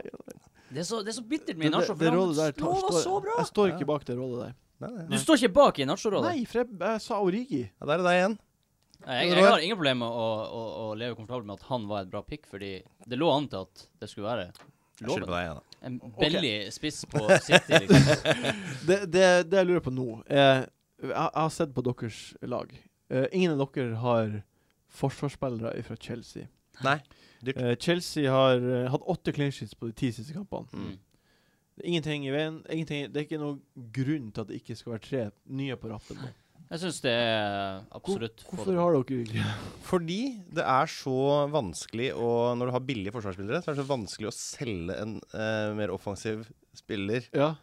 [SPEAKER 2] Det er så, det er så bittert
[SPEAKER 1] Det, det,
[SPEAKER 2] med Inacho, for
[SPEAKER 1] det
[SPEAKER 2] han
[SPEAKER 1] rådet der tar,
[SPEAKER 2] slår så
[SPEAKER 1] står,
[SPEAKER 2] bra.
[SPEAKER 1] Jeg står ikke bak det rådet der.
[SPEAKER 4] Nei, nei.
[SPEAKER 2] Du står ikke bak Inacho-rådet?
[SPEAKER 1] Nei, for jeg, jeg sa Origi.
[SPEAKER 4] Ja, Der er det deg igjen.
[SPEAKER 2] Nei, Jeg, jeg har ingen problemer med å, å, å leve komfortabel med at han var et bra pick, fordi det lå an til at det skulle være
[SPEAKER 4] Jeg skylder på
[SPEAKER 2] loven.
[SPEAKER 4] deg igjen. da.
[SPEAKER 2] En billig spiss på City. Liksom.
[SPEAKER 1] Det, det, det jeg lurer på nå er Jeg, jeg har sett på deres lag. Eh, ingen av dere har forsvarsspillere fra Chelsea.
[SPEAKER 4] Nei.
[SPEAKER 1] Eh, Chelsea har eh, hatt åtte clean sheets på de ti siste kampene.
[SPEAKER 2] Mm.
[SPEAKER 1] Det er Ingenting i veien. Ingenting, det er ikke noen grunn til at det ikke skal være tre nye på rappen. nå.
[SPEAKER 2] Jeg syns det er absolutt
[SPEAKER 1] Hvor, hvorfor har dere ikke
[SPEAKER 4] Fordi det er så vanskelig å Når du har billige forsvarsspillere, så er det så vanskelig å selge en eh, mer offensiv spiller
[SPEAKER 1] Ja,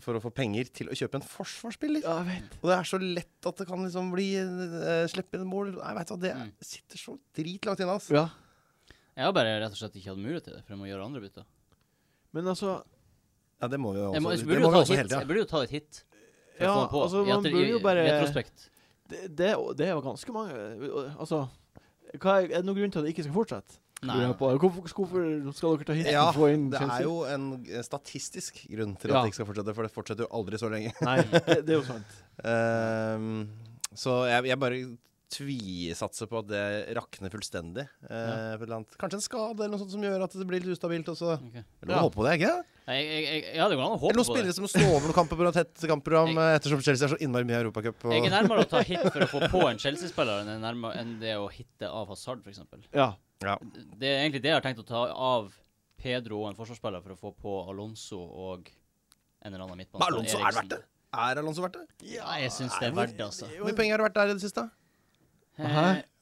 [SPEAKER 4] for å få penger til å kjøpe en forsvarsspiller.
[SPEAKER 1] ja jeg vet.
[SPEAKER 4] Og det er så lett at det kan liksom bli uh, Slippe en mål Nei, vet du hva, det
[SPEAKER 2] Mm.
[SPEAKER 4] sitter så dritlangt inne, altså.
[SPEAKER 1] Ja.
[SPEAKER 2] Jeg har bare rett og slett ikke hatt mulighet til det, for jeg må gjøre andre bytter.
[SPEAKER 1] Men altså
[SPEAKER 4] Ja, det må vi også,
[SPEAKER 2] Jeg, må, jeg,
[SPEAKER 4] det
[SPEAKER 2] burde,
[SPEAKER 4] må
[SPEAKER 2] jo ta
[SPEAKER 4] vi
[SPEAKER 2] et
[SPEAKER 4] også
[SPEAKER 2] hit.
[SPEAKER 4] hele tida.
[SPEAKER 2] jeg burde jo ta et hit. for å
[SPEAKER 1] Ja,
[SPEAKER 2] få han på.
[SPEAKER 1] altså,
[SPEAKER 2] I
[SPEAKER 1] man
[SPEAKER 2] etter-
[SPEAKER 1] burde
[SPEAKER 2] i-
[SPEAKER 1] jo bare-
[SPEAKER 2] i retrospekt.
[SPEAKER 1] Det, det, det er jo ganske mange eh, Altså hva er, er det noen grunn til at det ikke skal fortsette?
[SPEAKER 2] Nei.
[SPEAKER 1] Lurer jeg på. Hvorfor, hvorfor skal dere ta hit
[SPEAKER 4] Ja,
[SPEAKER 1] og få inn
[SPEAKER 4] det
[SPEAKER 1] Chelsea?
[SPEAKER 4] er jo en eh, statistisk grunn til at
[SPEAKER 1] Ja.
[SPEAKER 4] det ikke skal fortsette, for det fortsetter jo aldri så lenge.
[SPEAKER 1] Nei, det, det er jo sant.
[SPEAKER 4] Ehm, så jeg, jeg bare tvisatser på at det rakner fullstendig. Eh, på et eller annet- Kanskje en skade eller noe sånt som gjør at det blir litt ustabilt også.
[SPEAKER 2] Ok.
[SPEAKER 4] Eller ja.
[SPEAKER 1] Ja.
[SPEAKER 4] håpe på det, ikke det?
[SPEAKER 2] Nei, jeg, jeg, jeg, jeg hadde gått an å
[SPEAKER 4] Eller
[SPEAKER 2] håpe
[SPEAKER 4] noen
[SPEAKER 2] på det.
[SPEAKER 4] spillere som står over noen kamper på et tett kampprogram eh, ettersom Chelsea er så innmari mye i Europacup.
[SPEAKER 2] Jeg er
[SPEAKER 4] Og...
[SPEAKER 2] nærmere å ta hit for å få på en Chelsea-spiller enn jeg er nærmere- enn det å hitte av Hazard, for eksempel
[SPEAKER 1] Ja.
[SPEAKER 4] Ja.
[SPEAKER 2] Det er egentlig det jeg har tenkt å ta av Pedro og en forsvarsspiller for å få på Alonso og en eller annen midtbane.
[SPEAKER 4] Men Alonso, er det verdt det? Er Alonso verdt det?
[SPEAKER 2] Ja, jeg syns det er verdt det, altså. Eh,
[SPEAKER 4] Hvor mye penger har det vært der i det siste?
[SPEAKER 1] Hæ?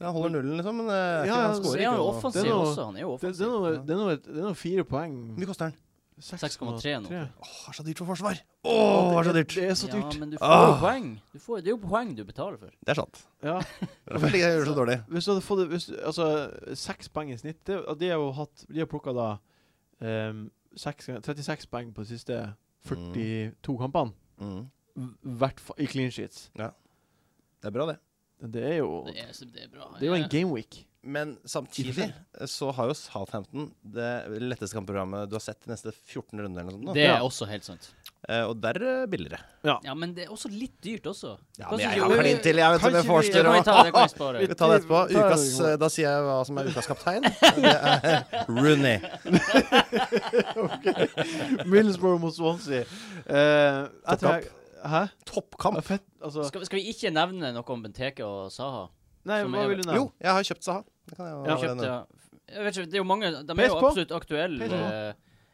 [SPEAKER 4] Han holder nullen, liksom, men eh,
[SPEAKER 1] Ja,
[SPEAKER 4] ikke-
[SPEAKER 1] ja, så
[SPEAKER 4] han
[SPEAKER 2] Så
[SPEAKER 4] skårer
[SPEAKER 2] er
[SPEAKER 4] ikke.
[SPEAKER 2] han jo
[SPEAKER 4] og-
[SPEAKER 1] Det
[SPEAKER 2] offensiv
[SPEAKER 1] er noe-
[SPEAKER 2] også. Han er jo
[SPEAKER 1] Det, det, er
[SPEAKER 2] offensiv.
[SPEAKER 1] noe, det, er noe, det er noe fire poeng.
[SPEAKER 4] Hvor mye koster han?
[SPEAKER 2] 6,3 nå.
[SPEAKER 4] Åh, er så dyrt for forsvar! Åh, det er så dyrt!
[SPEAKER 1] Det er så
[SPEAKER 2] Ja,
[SPEAKER 1] dyrt.
[SPEAKER 2] men du får jo
[SPEAKER 4] Ah.
[SPEAKER 2] poeng. Du får, det er jo poeng du betaler for.
[SPEAKER 4] Det er sant.
[SPEAKER 1] Ja.
[SPEAKER 4] Hvorfor ligger jeg og gjør så dårlig?
[SPEAKER 1] Hvis du hadde fått hvis, altså, seks poeng i snitt det, og De har jo hatt De har plukka da ehm, seks, ganger- 36 poeng på de siste 42 kampene.
[SPEAKER 4] Mm.
[SPEAKER 1] I hvert fall i clean sheets.
[SPEAKER 4] Det er bra, det.
[SPEAKER 1] Det er jo
[SPEAKER 2] Det er, det er bra.
[SPEAKER 1] Det er jo en gameweek.
[SPEAKER 4] Men samtidig så har jo Southampton det letteste kampprogrammet du har sett de neste 14 rundene. eller noe sånt. nå.
[SPEAKER 2] Det
[SPEAKER 1] Ja.
[SPEAKER 2] er også helt sant.
[SPEAKER 4] Eh, og der er det billigere.
[SPEAKER 2] Ja, men det er også litt dyrt også.
[SPEAKER 4] Ja,
[SPEAKER 2] Hva
[SPEAKER 4] men
[SPEAKER 2] synes
[SPEAKER 4] jeg
[SPEAKER 2] du-
[SPEAKER 4] har klin til, jeg, vet du,
[SPEAKER 1] Kanskje
[SPEAKER 4] med
[SPEAKER 1] vi-
[SPEAKER 2] Det kan
[SPEAKER 4] Forster
[SPEAKER 2] vi
[SPEAKER 4] og
[SPEAKER 2] ta, det kan vi spare.
[SPEAKER 4] Vi tar det etterpå.
[SPEAKER 1] Vi tar det
[SPEAKER 4] Ukas,
[SPEAKER 1] etterpå.
[SPEAKER 4] eh, da sier jeg hva som er ukas kaptein. Det er Rooney.
[SPEAKER 1] Middlesbrough mot Swansea. Eh, jeg tror jeg Hæ? Ja,
[SPEAKER 4] Toppkamp.
[SPEAKER 1] Fett, altså
[SPEAKER 2] Skal, vi- skal vi ikke nevne noe om Benteke og Saha?
[SPEAKER 1] Nei,
[SPEAKER 2] som
[SPEAKER 1] hva
[SPEAKER 2] er-
[SPEAKER 1] vil du nevne?
[SPEAKER 4] Jo, jeg har kjøpt Saha. Det kan jeg jo
[SPEAKER 2] Ja,
[SPEAKER 4] ha det
[SPEAKER 2] kjøpt,
[SPEAKER 4] nå.
[SPEAKER 2] ja. Jeg vet ikke, det er jo mange De er
[SPEAKER 1] Pes
[SPEAKER 2] jo
[SPEAKER 1] på.
[SPEAKER 2] absolutt aktuelle.
[SPEAKER 1] Pes på.
[SPEAKER 2] eh,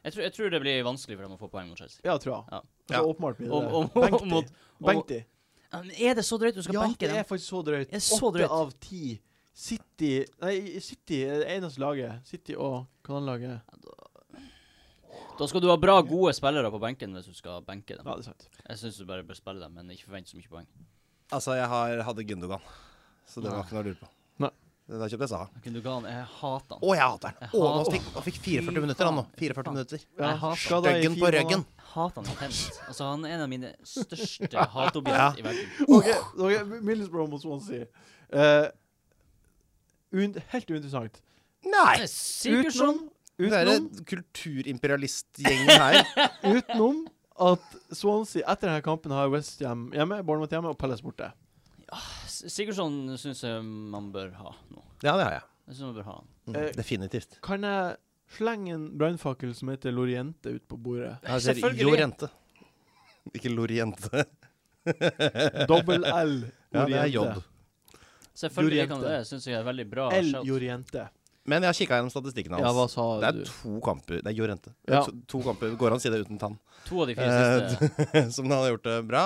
[SPEAKER 2] Jeg tror, jeg tror det blir vanskelig for dem å få poeng mot Chelsea.
[SPEAKER 1] Ja, tror jeg.
[SPEAKER 2] Ja.
[SPEAKER 1] Altså, åpenbart blir
[SPEAKER 2] Om- om-
[SPEAKER 1] det Benk de.
[SPEAKER 2] mot-
[SPEAKER 1] Benk de.
[SPEAKER 2] Ja, Men er det så drøyt du skal
[SPEAKER 1] Ja,
[SPEAKER 2] benke
[SPEAKER 1] det er
[SPEAKER 2] dem?
[SPEAKER 1] faktisk så drøyt.
[SPEAKER 2] Det er så
[SPEAKER 1] Åtte
[SPEAKER 2] drøyt.
[SPEAKER 1] av ti. City Nei, City er det eneste laget. City og kanalalaget.
[SPEAKER 2] Da skal du ha bra, gode spillere på benken hvis du skal benke dem.
[SPEAKER 1] Ja, det er sant.
[SPEAKER 2] Jeg syns du bare bør spille dem, men ikke forvent så mye poeng.
[SPEAKER 4] Altså, jeg har, hadde Gundogan, så det var ikke noe å lure på.
[SPEAKER 1] Nei.
[SPEAKER 4] Da kjøpte jeg Saha.
[SPEAKER 2] Gundogan, jeg hater han.
[SPEAKER 4] Å, jeg hater han.
[SPEAKER 2] Jeg
[SPEAKER 4] Å, nå
[SPEAKER 2] hater-
[SPEAKER 4] fikk, han fikk 44 minutter, han nå. 44 minutter.
[SPEAKER 1] Ja,
[SPEAKER 2] Jeg hater
[SPEAKER 1] skadet i
[SPEAKER 4] Ryggen
[SPEAKER 1] fire
[SPEAKER 4] på ryggen.
[SPEAKER 1] måneder.
[SPEAKER 2] Hater han intenst. Altså, han er en av mine største hatobjekter
[SPEAKER 4] Ja.
[SPEAKER 2] i verden.
[SPEAKER 1] OK, okay
[SPEAKER 2] Uh.
[SPEAKER 1] Middlesbrough mot Swansea. Eh, un helt uinteressant.
[SPEAKER 4] Nei!
[SPEAKER 2] Sigurdsson
[SPEAKER 4] Det er
[SPEAKER 1] utenom,
[SPEAKER 4] en kulturimperialistgjeng her.
[SPEAKER 1] utenom at Swansea etter denne kampen har West Ham hjemme, Bournemouth hjemme og Palace borte.
[SPEAKER 2] Sigurdsson syns jeg man bør ha nå.
[SPEAKER 4] Ja, det har jeg.
[SPEAKER 2] Jeg synes man bør ha han.
[SPEAKER 4] Mm,
[SPEAKER 1] Eh,
[SPEAKER 4] definitivt.
[SPEAKER 1] Kan jeg slenge en brannfakkel som heter Loriente, ut på bordet?
[SPEAKER 4] Jeg ser
[SPEAKER 2] Selvfølgelig.
[SPEAKER 4] Jorente. Ikke Loriente.
[SPEAKER 1] Dobbel L
[SPEAKER 4] Ja, det er J.
[SPEAKER 1] Loriente.
[SPEAKER 2] Selvfølgelig
[SPEAKER 1] Juriente.
[SPEAKER 2] kan det. Syns jeg er veldig bra.
[SPEAKER 1] L
[SPEAKER 2] shout.
[SPEAKER 1] Joriente.
[SPEAKER 4] Men jeg har kikka gjennom statistikken hans.
[SPEAKER 1] Ja, hva sa
[SPEAKER 4] det er
[SPEAKER 1] du?
[SPEAKER 4] to kamper Det er Jorente.
[SPEAKER 1] Ja.
[SPEAKER 4] To, to kamper, Går an å si det uten tann?
[SPEAKER 2] To av de fire
[SPEAKER 4] Eh,
[SPEAKER 2] siste.
[SPEAKER 4] Som han har gjort det bra.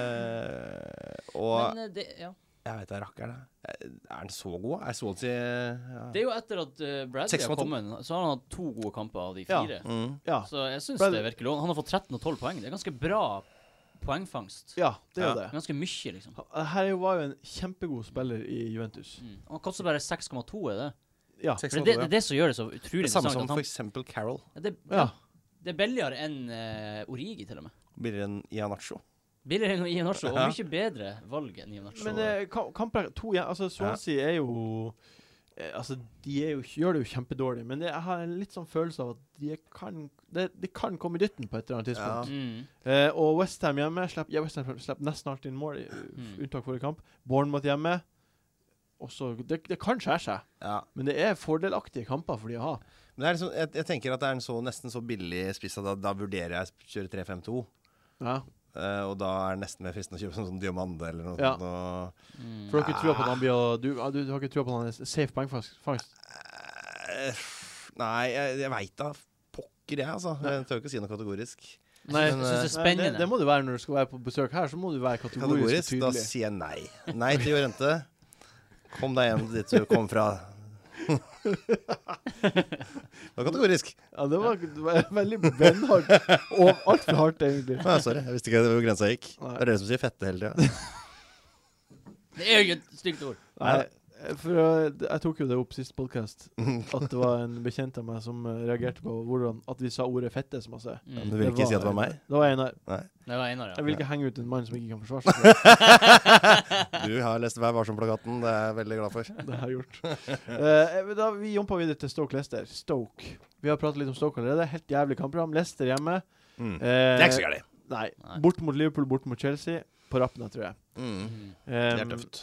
[SPEAKER 4] Eh, og
[SPEAKER 2] Men eh, det, ja.
[SPEAKER 4] jeg veit da rakker det. Er han så god? Er Swansea ja.
[SPEAKER 2] det er jo etter at eh, Bradley
[SPEAKER 4] 6,2.
[SPEAKER 2] har kommet, så har han hatt to gode kamper av de
[SPEAKER 1] Ja.
[SPEAKER 2] fire.
[SPEAKER 4] mm.
[SPEAKER 1] Ja.
[SPEAKER 2] Så jeg syns
[SPEAKER 1] Bradley-
[SPEAKER 2] det virker lovende. Han har fått 13 og 12 poeng. Det er ganske bra poengfangst.
[SPEAKER 1] ja, det er jo
[SPEAKER 4] Ja.
[SPEAKER 1] det.
[SPEAKER 2] Ganske mye, liksom.
[SPEAKER 1] Han- Her er jo- var jo en kjempegod spiller i Juventus.
[SPEAKER 2] Mm. Han koster bare 6,2, er det?
[SPEAKER 1] Ja.
[SPEAKER 4] Seks
[SPEAKER 2] For
[SPEAKER 4] og
[SPEAKER 2] det, det
[SPEAKER 4] åtte,
[SPEAKER 2] er det som gjør det så
[SPEAKER 4] ja.
[SPEAKER 2] utrolig
[SPEAKER 4] Det samme
[SPEAKER 2] interessant.
[SPEAKER 4] som
[SPEAKER 2] at han-
[SPEAKER 4] for eksempel Carol.
[SPEAKER 2] Ja, det,
[SPEAKER 1] ja.
[SPEAKER 2] det er billigere enn eh, Origi, til og med.
[SPEAKER 4] Billigere enn Ianacho.
[SPEAKER 2] Billigere enn Ianacho, og
[SPEAKER 4] Ja.
[SPEAKER 2] mye bedre valg enn Ianacho.
[SPEAKER 1] Men eh, ka- kamper to ja, Altså, Swansea er jo eh, Altså, de er jo, gjør det jo kjempedårlig, men det, jeg har en litt sånn følelse av at de kan, det, de kan komme i dytten på et eller annet
[SPEAKER 4] Ja.
[SPEAKER 1] tidspunkt.
[SPEAKER 2] mm.
[SPEAKER 1] Eh, og Westham hjemme slipper ja, West Ham slipper nesten alltid inn mål, i-
[SPEAKER 2] Mm.
[SPEAKER 1] unntak forrige kamp. Bournemouth hjemme. Også, det, det kan skjære seg,
[SPEAKER 4] Ja.
[SPEAKER 1] men det er fordelaktige kamper for de å ha.
[SPEAKER 4] Men det er liksom, jeg, jeg tenker at det er en så, nesten så billig spiss at da, da vurderer jeg å kjøre 3-5-2.
[SPEAKER 1] Ja.
[SPEAKER 4] eh, og da er det nesten mer fristende å kjøpe sånn som Diomande eller noe
[SPEAKER 1] Ja.
[SPEAKER 4] sånt. og-
[SPEAKER 2] Mm.
[SPEAKER 1] For dere tror på at han blir å- du, ah, du, du har ikke trua på at han er s- safe poengfangst?
[SPEAKER 4] Eh, Nei, jeg, jeg veit da pokker, jeg, altså. Jeg tør ikke å si noe kategorisk. eh,
[SPEAKER 2] Jeg synes det er
[SPEAKER 1] Nei, det,
[SPEAKER 2] spennende.
[SPEAKER 1] det må du være når du skal være på besøk her. Så må du være kategorisk,
[SPEAKER 4] Kategorisk,
[SPEAKER 1] og
[SPEAKER 4] da
[SPEAKER 1] tydelig.
[SPEAKER 4] sier jeg nei. Nei til Jorente. Kom deg hjem dit du kom fra. Det var kategorisk.
[SPEAKER 1] Ja, det var, det var veldig brennhardt. Og altfor hardt, egentlig.
[SPEAKER 4] Ah, sorry, jeg visste ikke hvor grensa gikk.
[SPEAKER 1] Nei.
[SPEAKER 4] Det er dere som sier fette hele tida.
[SPEAKER 2] Det er jo ikke et stygt ord.
[SPEAKER 1] Nei, for jeg, jeg tok jo det opp sist podkast, at det var en bekjent av meg som eh, reagerte på hvordan, at vi sa ordet 'fette' så masse.
[SPEAKER 4] Du
[SPEAKER 2] Mm.
[SPEAKER 4] vil ikke si at det var meg?
[SPEAKER 1] Det var Einar.
[SPEAKER 2] Det var Einar,
[SPEAKER 1] Jeg
[SPEAKER 2] ja.
[SPEAKER 1] vil ikke henge ut en mann som ikke kan forsvare seg.
[SPEAKER 4] Du har lest Vær varsom-plakaten, det er jeg veldig glad for.
[SPEAKER 1] Det har jeg gjort. Eh, men da, vi jumpa videre til Stoke Lester. Stoke. Vi har pratet litt om Stoke allerede. Helt jævlig kampprogram. Lester hjemme. Eh,
[SPEAKER 4] Mm. Det er ikke så gærent.
[SPEAKER 1] Nei.
[SPEAKER 2] Nei.
[SPEAKER 1] Bort mot Liverpool, bort mot Chelsea. På rappen, tror jeg.
[SPEAKER 4] Mm.
[SPEAKER 2] Mm.
[SPEAKER 4] Det
[SPEAKER 1] Eh,
[SPEAKER 4] er tøft.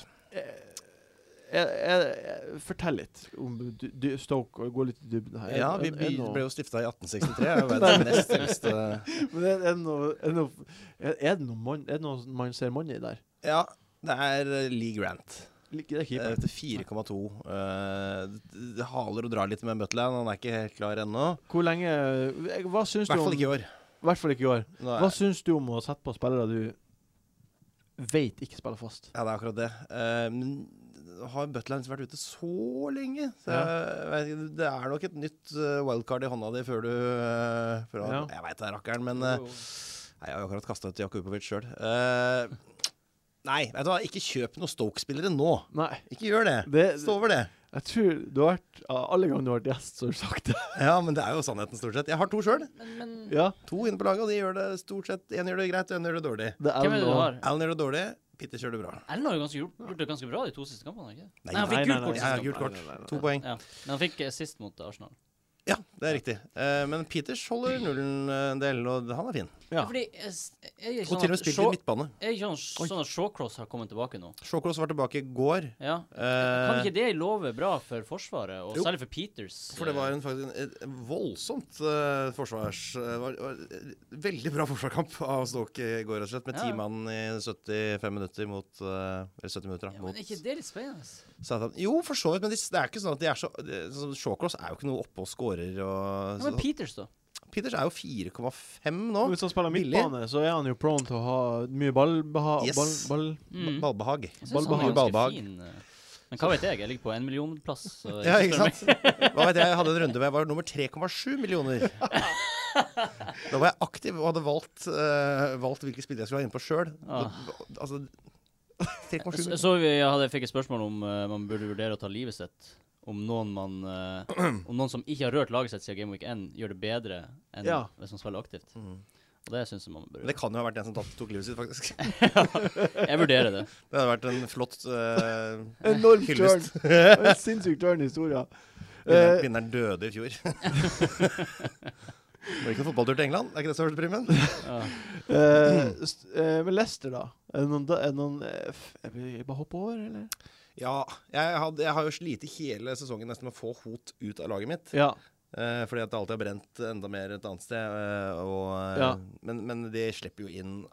[SPEAKER 1] Jeg, jeg, jeg, fortell litt om du, du, Stoke, og gå litt i dybden her.
[SPEAKER 4] Ja,
[SPEAKER 1] Er-
[SPEAKER 4] vi
[SPEAKER 1] er-
[SPEAKER 4] be-
[SPEAKER 1] er noe-
[SPEAKER 4] ble jo stifta i 1863. Jeg er jo verdens nest eldste
[SPEAKER 1] Men er, er, det noe, er, det noe, er, er det noe man, er det noe man ser money i der?
[SPEAKER 4] Ja, det er eh, Lee Grant.
[SPEAKER 1] Lik- Det er
[SPEAKER 4] Eh,
[SPEAKER 1] keeper.
[SPEAKER 4] Til 4,2. Eh, det- Det haler og drar litt med Butland. Han er ikke helt klar ennå.
[SPEAKER 1] Hvor lenge jeg- Hva
[SPEAKER 4] I
[SPEAKER 1] syns du
[SPEAKER 4] hvert fall
[SPEAKER 1] om
[SPEAKER 4] ikke i år.
[SPEAKER 1] I hvert fall ikke i år.
[SPEAKER 4] Nå
[SPEAKER 1] Hva
[SPEAKER 4] er,
[SPEAKER 1] syns du om å sette på spillere du veit ikke spiller fast?
[SPEAKER 4] ja, det er akkurat det. Eh, Men har Butland vært ute så lenge? Så jeg, vet ikke, det er nok et nytt eh, wildcard i hånda di før du eh, før du-
[SPEAKER 1] Ja.
[SPEAKER 4] Jeg veit det er rakkeren, men eh,
[SPEAKER 2] Jo.
[SPEAKER 4] Nei, Jeg har jo akkurat kasta ut Jakubovic sjøl. Eh, nei, vet du hva, ikke kjøp noen Stoke-spillere nå.
[SPEAKER 1] Nei.
[SPEAKER 4] Ikke gjør det.
[SPEAKER 1] Det,
[SPEAKER 4] Stå over det.
[SPEAKER 1] jeg tror du har vært ja, Alle ganger du har vært gjest, så har du sagt det.
[SPEAKER 4] Ja, men det er jo sannheten, stort sett. Jeg har to sjøl.
[SPEAKER 2] Men, men
[SPEAKER 1] Ja,
[SPEAKER 4] To inne på laget, og de gjør det stort sett Én gjør det greit, og én gjør det dårlig.
[SPEAKER 1] det er
[SPEAKER 2] hvem er det du
[SPEAKER 1] noe-
[SPEAKER 2] har?
[SPEAKER 4] Allen gjør det dårlig, Pitter gjør det bra.
[SPEAKER 2] Erlend har jo ganske, gjort, gjort det ganske bra de to siste kampene. ikke?
[SPEAKER 4] Nei,
[SPEAKER 2] han
[SPEAKER 1] nei,
[SPEAKER 2] fikk
[SPEAKER 1] nei,
[SPEAKER 2] gult
[SPEAKER 1] nei,
[SPEAKER 2] kort.
[SPEAKER 4] Ja,
[SPEAKER 2] sist
[SPEAKER 4] gult
[SPEAKER 2] kamp.
[SPEAKER 4] kort. To poeng.
[SPEAKER 2] Ja, men han fikk eh, sist mot Arsenal.
[SPEAKER 4] Ja, det er riktig. Eh, men Peters holder nullen eh, en del, og han er fin.
[SPEAKER 1] Ja.
[SPEAKER 2] Ja. Fordi jeg, s- jeg, er ikke
[SPEAKER 4] Og til og
[SPEAKER 2] sånn
[SPEAKER 4] med
[SPEAKER 2] at
[SPEAKER 4] spilt i
[SPEAKER 2] Shaw-
[SPEAKER 4] midtbane.
[SPEAKER 2] jeg er ikke sånn, sånn at Shawcross har kommet tilbake nå.
[SPEAKER 4] Shawcross var tilbake i går.
[SPEAKER 2] Ja. Kan
[SPEAKER 4] Eh,
[SPEAKER 2] ikke det love bra for Forsvaret, og
[SPEAKER 4] Jo.
[SPEAKER 2] særlig for Peters?
[SPEAKER 4] for det var
[SPEAKER 2] eh,
[SPEAKER 4] en, faktisk en, et voldsomt eh, forsvars... eh, var, var, eh, veldig bra forsvarskamp av Stoke i går, rett og slett. Med
[SPEAKER 2] Ja.
[SPEAKER 4] ti mann i 75 minutter mot eh, Eller 70 minutter, da.
[SPEAKER 2] ja, men
[SPEAKER 4] Mot
[SPEAKER 2] er ikke det litt spennende?
[SPEAKER 4] Southampton. Jo, for så vidt, men de, det er ikke sånn at de er så det- sånn, Shawcross er jo ikke noe oppe og scorer og
[SPEAKER 2] Ja, men
[SPEAKER 4] sånn.
[SPEAKER 2] Peters, da?
[SPEAKER 4] Peters er jo 4,5 nå.
[SPEAKER 1] Hvis han spiller
[SPEAKER 4] Billig.
[SPEAKER 1] midtbane, så er han jo prone til å ha mye ballbeha...
[SPEAKER 4] Yes.
[SPEAKER 1] Ball, ball.
[SPEAKER 2] Mm.
[SPEAKER 4] Ballbehag.
[SPEAKER 2] Jeg synes han
[SPEAKER 1] Ballbehag.
[SPEAKER 2] er ganske
[SPEAKER 4] Ballbehag.
[SPEAKER 2] fin. eh. Men hva vet jeg? Jeg ligger på en millionplass. så
[SPEAKER 4] Ja,
[SPEAKER 2] jeg
[SPEAKER 4] ikke sant? Hva vet jeg, jeg hadde en runde hvor jeg var nummer 3,7 millioner. Da var jeg aktiv og hadde valgt, eh, valgt hvilke spillere jeg skulle ha inne på sjøl.
[SPEAKER 2] Ah.
[SPEAKER 4] Altså 3,7
[SPEAKER 2] Så,
[SPEAKER 4] millioner.
[SPEAKER 2] så vi hadde, fikk et spørsmål om eh, man burde vurdere å ta livet sitt. Om noen, man, eh, om noen som ikke har rørt laget sitt siden Game Week 1, gjør det bedre enn
[SPEAKER 1] Ja.
[SPEAKER 2] hvis man spiller aktivt.
[SPEAKER 4] Mhm.
[SPEAKER 2] Og det syns jeg man bør
[SPEAKER 4] Men Det kan jo ha vært en som tatt, tok livet sitt, faktisk. Det
[SPEAKER 2] Jeg vurderer det.
[SPEAKER 4] hadde vært en flott eh,
[SPEAKER 1] Enorm turn.
[SPEAKER 4] hyllest.
[SPEAKER 1] En sinnssyk turn i historia.
[SPEAKER 2] Eh.
[SPEAKER 4] Vinneren vinneren døde i fjor. Det var ikke noen fotballtur til England? Er ikke det som har vært primen?
[SPEAKER 2] Ja.
[SPEAKER 1] Eh, st- eh, Men Leicester, da? Er det noen, da- er det noen eh, f- Jeg vil bare hoppe over, eller?
[SPEAKER 4] Ja, jeg, hadde, jeg har jo slitt hele sesongen nesten med å få Hot ut av laget mitt.
[SPEAKER 1] Ja.
[SPEAKER 4] Eh, fordi at det alltid har brent enda mer et annet sted. eh, og, eh,
[SPEAKER 1] Ja.
[SPEAKER 4] men, men de slipper jo inn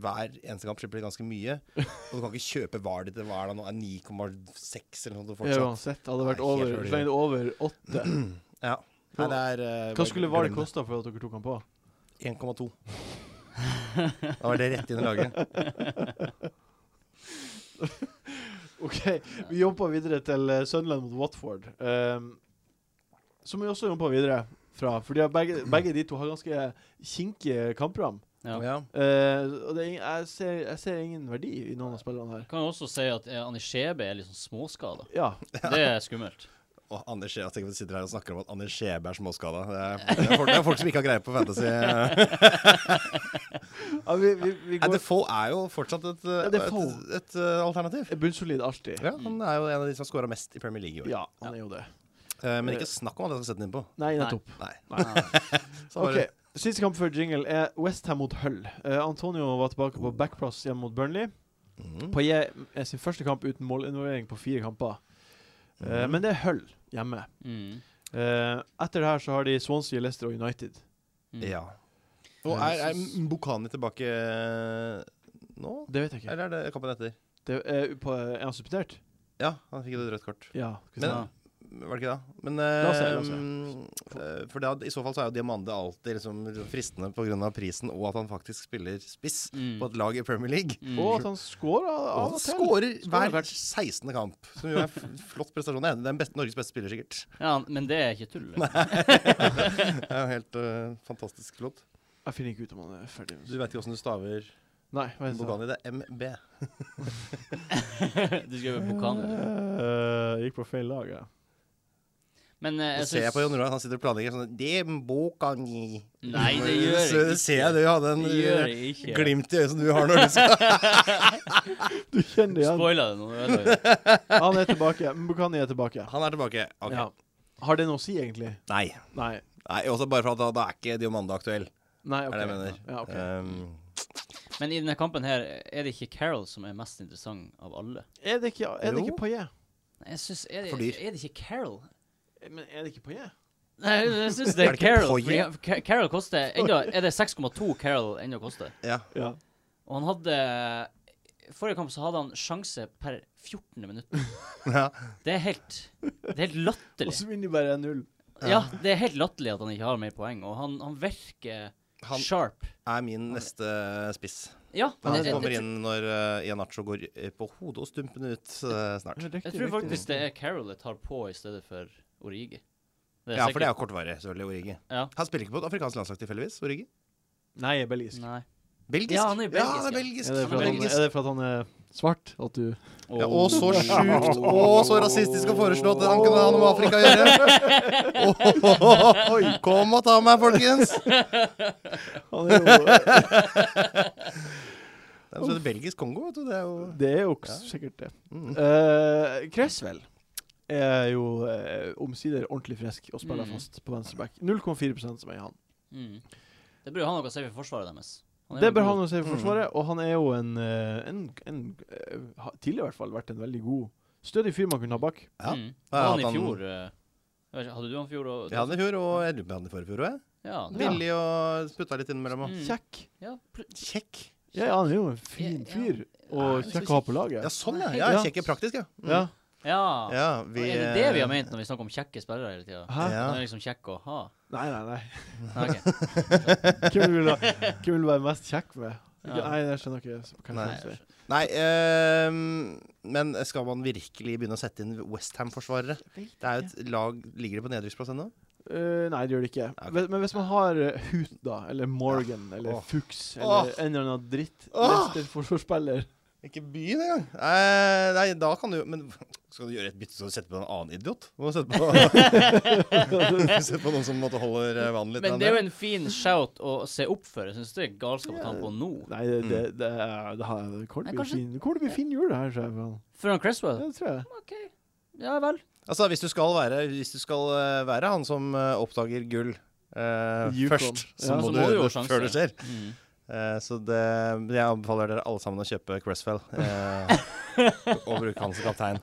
[SPEAKER 4] hver eneste kamp slipper de ganske mye. Og du kan ikke kjøpe var ditt hva er det nå, er 9,6 eller noe sånt fortsatt.
[SPEAKER 1] Uansett. Hadde det vært
[SPEAKER 4] Nei, helt
[SPEAKER 1] over,
[SPEAKER 4] ærlig.
[SPEAKER 1] så lenge det er over åtte.
[SPEAKER 4] Ja. Nei, det er, eh,
[SPEAKER 1] Hva skulle VAR
[SPEAKER 4] glem
[SPEAKER 1] kosta for at dere tok han på?
[SPEAKER 4] 1,2. Da var det rett inn i laget.
[SPEAKER 1] OK, vi jumpa videre til eh, Sunderland mot Watford. Um, som vi også jumpa videre fra, for de har begge, begge de to har ganske kinkige kampprogram.
[SPEAKER 2] Ja.
[SPEAKER 4] Ja.
[SPEAKER 1] Eh, og det er, ing- jeg, ser, jeg ser ingen verdi i noen av spillerne her.
[SPEAKER 2] Kan jo også si at eh, Annie Skjebe er litt sånn småskada.
[SPEAKER 1] Ja.
[SPEAKER 2] Det er skummelt.
[SPEAKER 4] Å, Anders, jeg tenker at vi sitter her og snakker om at Anders Skjebe er småskada. Det, er- det, er folk- det er folk som ikke har greie på fantasy.
[SPEAKER 1] Ja, vi, vi, vi
[SPEAKER 4] Nei,
[SPEAKER 1] går
[SPEAKER 4] Defoe er jo fortsatt et, eh,
[SPEAKER 1] Ja, Defoe.
[SPEAKER 4] et, et, eh, alternativ.
[SPEAKER 1] bunnsolid alltid.
[SPEAKER 4] Ja, Han er jo en av de som har skåra mest i Premier League i år.
[SPEAKER 1] Ja, han er jo det.
[SPEAKER 4] Eh, men ikke snakk om at jeg skal sette den innpå.
[SPEAKER 1] Nei, nettopp.
[SPEAKER 4] Nei. Så
[SPEAKER 1] Ok,
[SPEAKER 4] bare-
[SPEAKER 1] Siste kamp før jingle er Westham mot Hull. Eh, Antonio var tilbake på backplass hjemme mot Burnley.
[SPEAKER 4] Mhm.
[SPEAKER 1] Payet er sin første kamp uten målinvolvering på fire kamper. Eh,
[SPEAKER 4] Mhm.
[SPEAKER 1] Men det er Hull hjemme.
[SPEAKER 2] Mm.
[SPEAKER 1] Eh, etter det her så har de Swansea, Leicester og United.
[SPEAKER 2] Mm.
[SPEAKER 4] Ja. Og
[SPEAKER 1] Eh,
[SPEAKER 4] er, er Bukhani tilbake eh, nå?
[SPEAKER 1] Det vet jeg ikke.
[SPEAKER 4] Eller er det kampen etter?
[SPEAKER 1] Det er, på, eh, er han suspendert?
[SPEAKER 4] Ja, han fikk et rødt kort.
[SPEAKER 1] Ja. skal vi
[SPEAKER 4] Men-
[SPEAKER 1] se.
[SPEAKER 2] Ja.
[SPEAKER 4] Var det ikke det? Men
[SPEAKER 1] La oss se, la oss se.
[SPEAKER 4] eh, eh, For da, i så fall så er jo Diamande alltid liksom fristende pga. prisen, og at han faktisk spiller spiss
[SPEAKER 2] Mm.
[SPEAKER 4] på et lag i Premier League.
[SPEAKER 2] Mm.
[SPEAKER 1] Og at han scorer
[SPEAKER 4] Og
[SPEAKER 1] av
[SPEAKER 4] han
[SPEAKER 1] og til.
[SPEAKER 4] skårer
[SPEAKER 2] Skårer
[SPEAKER 4] hver
[SPEAKER 2] hvert.
[SPEAKER 4] 16. kamp. Som jo er en flott prestasjon. Det er den beste, Norges beste spiller, sikkert.
[SPEAKER 2] ja, men det er ikke tull.
[SPEAKER 4] Det er jo helt eh, fantastisk flott.
[SPEAKER 1] Jeg finner ikke ut om han er ferdig.
[SPEAKER 4] Du veit ikke åssen du staver
[SPEAKER 1] Nei, hva heter han?
[SPEAKER 4] Bogani. Det er MB.
[SPEAKER 2] du skriver Bukaner.
[SPEAKER 1] Eh, gikk på feil lag, ja.
[SPEAKER 2] Men eh,
[SPEAKER 4] Det
[SPEAKER 2] jeg
[SPEAKER 4] ser jeg på Jon
[SPEAKER 2] syns
[SPEAKER 4] Roar, han sitter og planlegger sånn Det er Bogani.
[SPEAKER 2] Nei, det gjør
[SPEAKER 4] Så
[SPEAKER 2] jeg ikke.
[SPEAKER 4] ser jeg du hadde en
[SPEAKER 2] Det gjør jeg ikke.
[SPEAKER 4] eh, glimt i øyet som du har når du skal
[SPEAKER 1] Du kjenner igjen.
[SPEAKER 2] Spoila det nå. ødela jeg.
[SPEAKER 1] Han er tilbake. Mbukani er tilbake.
[SPEAKER 4] Han er tilbake. Ok.
[SPEAKER 1] Ja. Har det noe å si, egentlig?
[SPEAKER 4] Nei.
[SPEAKER 1] Nei.
[SPEAKER 4] Nei, også bare for at da, da er ikke Diomande aktuell.
[SPEAKER 1] Nei, ok.
[SPEAKER 4] Er det jeg mener.
[SPEAKER 1] Ja, ok.
[SPEAKER 4] Um,
[SPEAKER 2] Men i denne kampen her er det ikke Carol som er mest interessant av alle.
[SPEAKER 1] Er det ikke, er det
[SPEAKER 4] Jo.
[SPEAKER 1] ikke Payet?
[SPEAKER 2] Nei, Jeg synes, er,
[SPEAKER 4] For
[SPEAKER 2] det,
[SPEAKER 4] dyr.
[SPEAKER 2] er det ikke Carol?
[SPEAKER 1] Men er det ikke Payet?
[SPEAKER 2] Nei, jeg syns det er
[SPEAKER 4] Er det ikke
[SPEAKER 2] Carol.
[SPEAKER 4] Poye?
[SPEAKER 2] fordi han- Ca- Carol koster enda, Er det 6,2 Carol ennå koster?
[SPEAKER 4] ja.
[SPEAKER 1] Ja.
[SPEAKER 2] Og han hadde Forrige kamp så hadde han sjanse per 14. minutt.
[SPEAKER 4] ja.
[SPEAKER 2] Det er helt Det er helt
[SPEAKER 1] Og
[SPEAKER 2] latterlig.
[SPEAKER 1] så vinner de bare 1-0.
[SPEAKER 2] Ja, det er helt latterlig at han ikke har mer poeng, og han, han virker
[SPEAKER 4] Han
[SPEAKER 2] sharp.
[SPEAKER 4] er min neste spiss.
[SPEAKER 2] Ja,
[SPEAKER 4] Han
[SPEAKER 2] jeg,
[SPEAKER 4] kommer
[SPEAKER 2] jeg, jeg,
[SPEAKER 4] inn når uh, Ianacho går eh, på hodet og stumpen ut eh, snart.
[SPEAKER 1] Riktig,
[SPEAKER 2] tror
[SPEAKER 1] riktig.
[SPEAKER 2] faktisk det er Carol jeg tar på i stedet for Origi. Det
[SPEAKER 4] Ja, for
[SPEAKER 2] sikkert-
[SPEAKER 4] det er jo kortvarig, selvfølgelig. Origi.
[SPEAKER 2] Ja.
[SPEAKER 4] Han spiller ikke på et afrikansk landslag tilfeldigvis? Origi?
[SPEAKER 1] Nei, jeg er belgisk.
[SPEAKER 2] Nei.
[SPEAKER 4] Belgisk?
[SPEAKER 2] Ja, han er belgisk,
[SPEAKER 4] Ja, han er
[SPEAKER 2] ja.
[SPEAKER 4] belgisk.
[SPEAKER 1] Er det,
[SPEAKER 4] Han
[SPEAKER 1] for
[SPEAKER 4] er
[SPEAKER 1] at han,
[SPEAKER 4] belgisk.
[SPEAKER 1] er det for at han er svart? At du
[SPEAKER 4] Ja, og så
[SPEAKER 2] Åh.
[SPEAKER 4] sjukt og så rasistisk å foreslå at han kunne ha noe med Afrika å gjøre. Oi, Kom og ta meg, folkens!
[SPEAKER 1] han er jo,
[SPEAKER 4] Det er jo sånn belgisk Kongo, vet du. Det er jo mm.
[SPEAKER 1] Det er jo k- sikkert det. Uh, Cresswell er jo eh, omsider ordentlig frisk og spiller
[SPEAKER 2] Mm.
[SPEAKER 1] fast på venstreback. 0,4 som er han.
[SPEAKER 2] Mm. Det bør jo ha noe å si for forsvaret deres. Han er
[SPEAKER 1] Det
[SPEAKER 2] jo
[SPEAKER 1] bør
[SPEAKER 2] god.
[SPEAKER 1] han jo se for Forsvaret, og han er jo en, eh, en, en eh, ha- Tidligere i hvert fall vært en veldig god, stødig fyr man kunne ha bak.
[SPEAKER 4] Ja.
[SPEAKER 2] Mm.
[SPEAKER 4] Ja,
[SPEAKER 2] Og han
[SPEAKER 4] at
[SPEAKER 2] i
[SPEAKER 4] han-
[SPEAKER 2] fjor eh, jeg vet ikke, Hadde du han i fjor? Og,
[SPEAKER 4] Vi hadde den i fjor, og jeg lurer på om vi hadde den i forfjor òg.
[SPEAKER 2] Ja, det-
[SPEAKER 4] Billig og sputta litt innimellom. og-
[SPEAKER 2] Mm.
[SPEAKER 1] Kjekk.
[SPEAKER 2] ja, pl-
[SPEAKER 4] Kjekk.
[SPEAKER 1] Ja, ja, han er jo en fin
[SPEAKER 2] Ja, ja.
[SPEAKER 1] fyr,
[SPEAKER 4] Ja,
[SPEAKER 1] og
[SPEAKER 4] så
[SPEAKER 1] kjekk å ha på laget.
[SPEAKER 4] Ja, sånn, ja.
[SPEAKER 1] Ja.
[SPEAKER 4] ja kjekk er praktisk, ja. Mm.
[SPEAKER 1] Ja.
[SPEAKER 2] ja.
[SPEAKER 4] Ja,
[SPEAKER 2] Og
[SPEAKER 4] vi, eh,
[SPEAKER 2] Er det det vi har ment når vi snakker om kjekke spillere hele tida?
[SPEAKER 1] Hæ?
[SPEAKER 4] Ja.
[SPEAKER 2] Han er liksom kjekk å ha?
[SPEAKER 1] Nei, nei, nei.
[SPEAKER 2] Nei, ok.
[SPEAKER 1] Hvem vil, hvem vil være mest kjekk med?
[SPEAKER 2] Ja.
[SPEAKER 1] Nei, jeg skjønner ikke så- hva
[SPEAKER 4] Nei.
[SPEAKER 1] jeg sier.
[SPEAKER 4] Nei, ehm, men skal man virkelig begynne å sette inn Westham-forsvarere? Det er jo et lag Ligger de på nedrykksplass ennå?
[SPEAKER 1] Eh, nei, det gjør det ikke.
[SPEAKER 4] ok.
[SPEAKER 1] Men- Men hvis man har eh, Hut, da, eller Morgan, eller
[SPEAKER 4] Åh.
[SPEAKER 1] Fuchs,
[SPEAKER 4] Åh.
[SPEAKER 1] eller en eller annen dritt
[SPEAKER 4] Åh.
[SPEAKER 1] Leicester-forsvarsspiller
[SPEAKER 4] Ikke byen engang. Eh, nei, da kan du Men skal du gjøre et bytte så du setter på en annen idiot? Du må sette på, sette på noen som måtte holder eh, vann litt.
[SPEAKER 2] Men det er jo en fin shout å se opp for. Jeg syns det er galskap å ta han på nå.
[SPEAKER 1] Nei, det,
[SPEAKER 4] Mm.
[SPEAKER 1] det, det, er- det, har- det kommer
[SPEAKER 2] Nei,
[SPEAKER 1] til å bli
[SPEAKER 2] kanskje-
[SPEAKER 1] fin- det kommer til å bli fin jul, det her, sjef.
[SPEAKER 2] For han Cresswell?
[SPEAKER 1] Det tror jeg.
[SPEAKER 2] OK. Ja vel.
[SPEAKER 4] Altså, hvis du skal være, hvis du skal eh, være han som eh, oppdager gull eh,
[SPEAKER 1] Yukon.
[SPEAKER 4] først, så
[SPEAKER 1] Ja.
[SPEAKER 4] må
[SPEAKER 2] Så må
[SPEAKER 4] du
[SPEAKER 2] du jo
[SPEAKER 4] gjøre
[SPEAKER 2] ha
[SPEAKER 4] det
[SPEAKER 2] sjanse.
[SPEAKER 4] før det skjer.
[SPEAKER 2] Mm.
[SPEAKER 4] Eh, så det, jeg anbefaler dere alle sammen å kjøpe Cressfell eh, og bruke han som kaptein.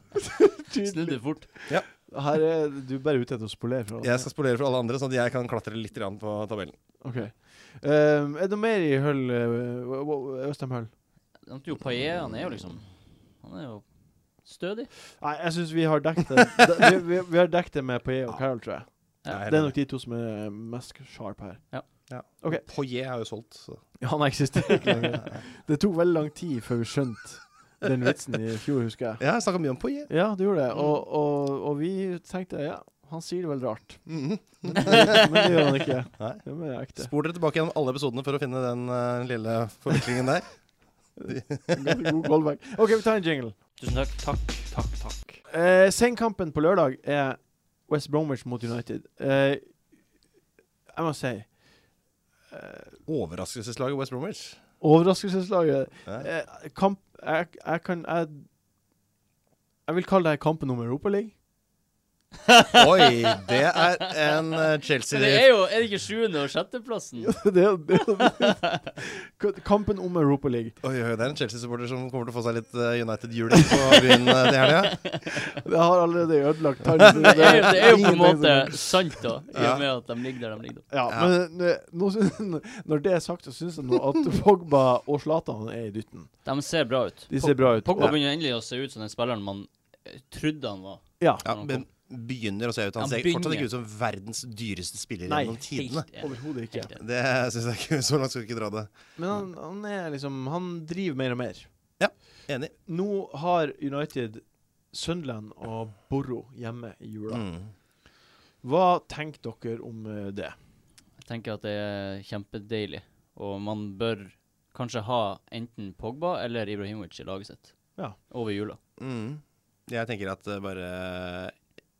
[SPEAKER 2] Snudde fort.
[SPEAKER 1] Her er du bare ute etter å spolere fra oss.
[SPEAKER 4] Jeg skal spolere for alle andre, sånn at jeg kan klatre litt grann på tabellen.
[SPEAKER 1] Ok. Um, er det noe mer i Høll eh, uh, Østheim Høll?
[SPEAKER 2] Han tok jo Paillet, han er jo liksom Han er jo stødig.
[SPEAKER 1] Nei, jeg syns vi har dekket det. Da- vi, vi, vi har dekket det med Payet og Carol, tror jeg.
[SPEAKER 2] Ja,
[SPEAKER 1] Det er nok de to som er mest sharp her. ok.
[SPEAKER 4] Poyet er jo solgt. Så.
[SPEAKER 1] Ja, han eksisterer ikke lenger. Det tok veldig lang tid før vi skjønte den vitsen i fjor, husker jeg. Mm.
[SPEAKER 4] Jeg har snakka mye om Poyet.
[SPEAKER 1] Ja, det gjorde det. Og, og, og vi tenkte ja, han sier det vel rart.
[SPEAKER 4] Mhm.
[SPEAKER 1] Men det, men det gjør han ikke.
[SPEAKER 4] Nei.
[SPEAKER 1] Det er mer ekte.
[SPEAKER 4] Spol dere tilbake gjennom alle episodene for å finne den eh, lille forviklingen der.
[SPEAKER 1] God, god callback. OK, vi tar en jingle.
[SPEAKER 2] Tusen takk. Takk, takk, takk.
[SPEAKER 1] Eh, Sengkampen på lørdag er West Bromwich mot United eh, Jeg må si eh,
[SPEAKER 4] Overraskelseslaget West Bromwich.
[SPEAKER 1] Overraskelseslaget
[SPEAKER 4] Ja.
[SPEAKER 1] eh, Kamp jeg, jeg kan jeg, jeg vil kalle det her kampen om Europaligaen.
[SPEAKER 4] Oi, det er
[SPEAKER 2] Men
[SPEAKER 4] en eh,
[SPEAKER 2] det er
[SPEAKER 4] Chelsea
[SPEAKER 2] jo Er det ikke sjuende- og sjetteplassen?
[SPEAKER 1] det, er- det, er- kampen om Europaligaen.
[SPEAKER 4] Oi, oi, det er en Chelsea-supporter som kommer til å få seg litt eh, United-juling på byen eh, til helga.
[SPEAKER 1] Det har allerede ødelagt tarmen.
[SPEAKER 2] Det er, jo- det er jo på en
[SPEAKER 1] ingenting
[SPEAKER 2] måte
[SPEAKER 1] som-
[SPEAKER 2] sant, da, i
[SPEAKER 4] Ja.
[SPEAKER 2] og med at de ligger der de ligger. da.
[SPEAKER 1] Ja,
[SPEAKER 4] Ja.
[SPEAKER 1] men eh, nå, syn- når det er sagt, så syns jeg nå at Fogba og Zlatan er i dytten.
[SPEAKER 2] De ser bra ut.
[SPEAKER 1] De ser bra ut.
[SPEAKER 2] Pogba
[SPEAKER 1] Ja.
[SPEAKER 2] begynner endelig å se ut som den spilleren man eh, trodde han var.
[SPEAKER 1] Ja,
[SPEAKER 4] Ja, men begynner å se ut. Han
[SPEAKER 2] Han
[SPEAKER 4] ser
[SPEAKER 2] begynner.
[SPEAKER 4] fortsatt ikke ut som verdens dyreste spiller
[SPEAKER 1] Nei,
[SPEAKER 4] gjennom tidene.
[SPEAKER 2] Helt enig.
[SPEAKER 1] overhodet ikke.
[SPEAKER 2] Helt enig.
[SPEAKER 4] Det syns jeg ikke. Så langt skal vi ikke dra det.
[SPEAKER 1] Men han, han er liksom Han driver mer og mer.
[SPEAKER 4] Enig.
[SPEAKER 1] Nå har United Sunderland og Borro hjemme i jula.
[SPEAKER 4] Mm.
[SPEAKER 1] Hva tenker dere om eh, det?
[SPEAKER 2] Jeg tenker at det er kjempedeilig, og man bør kanskje ha enten Pogba eller Ibrahimovic i laget sitt
[SPEAKER 1] Ja.
[SPEAKER 2] over jula.
[SPEAKER 4] Mm. Jeg tenker at eh, bare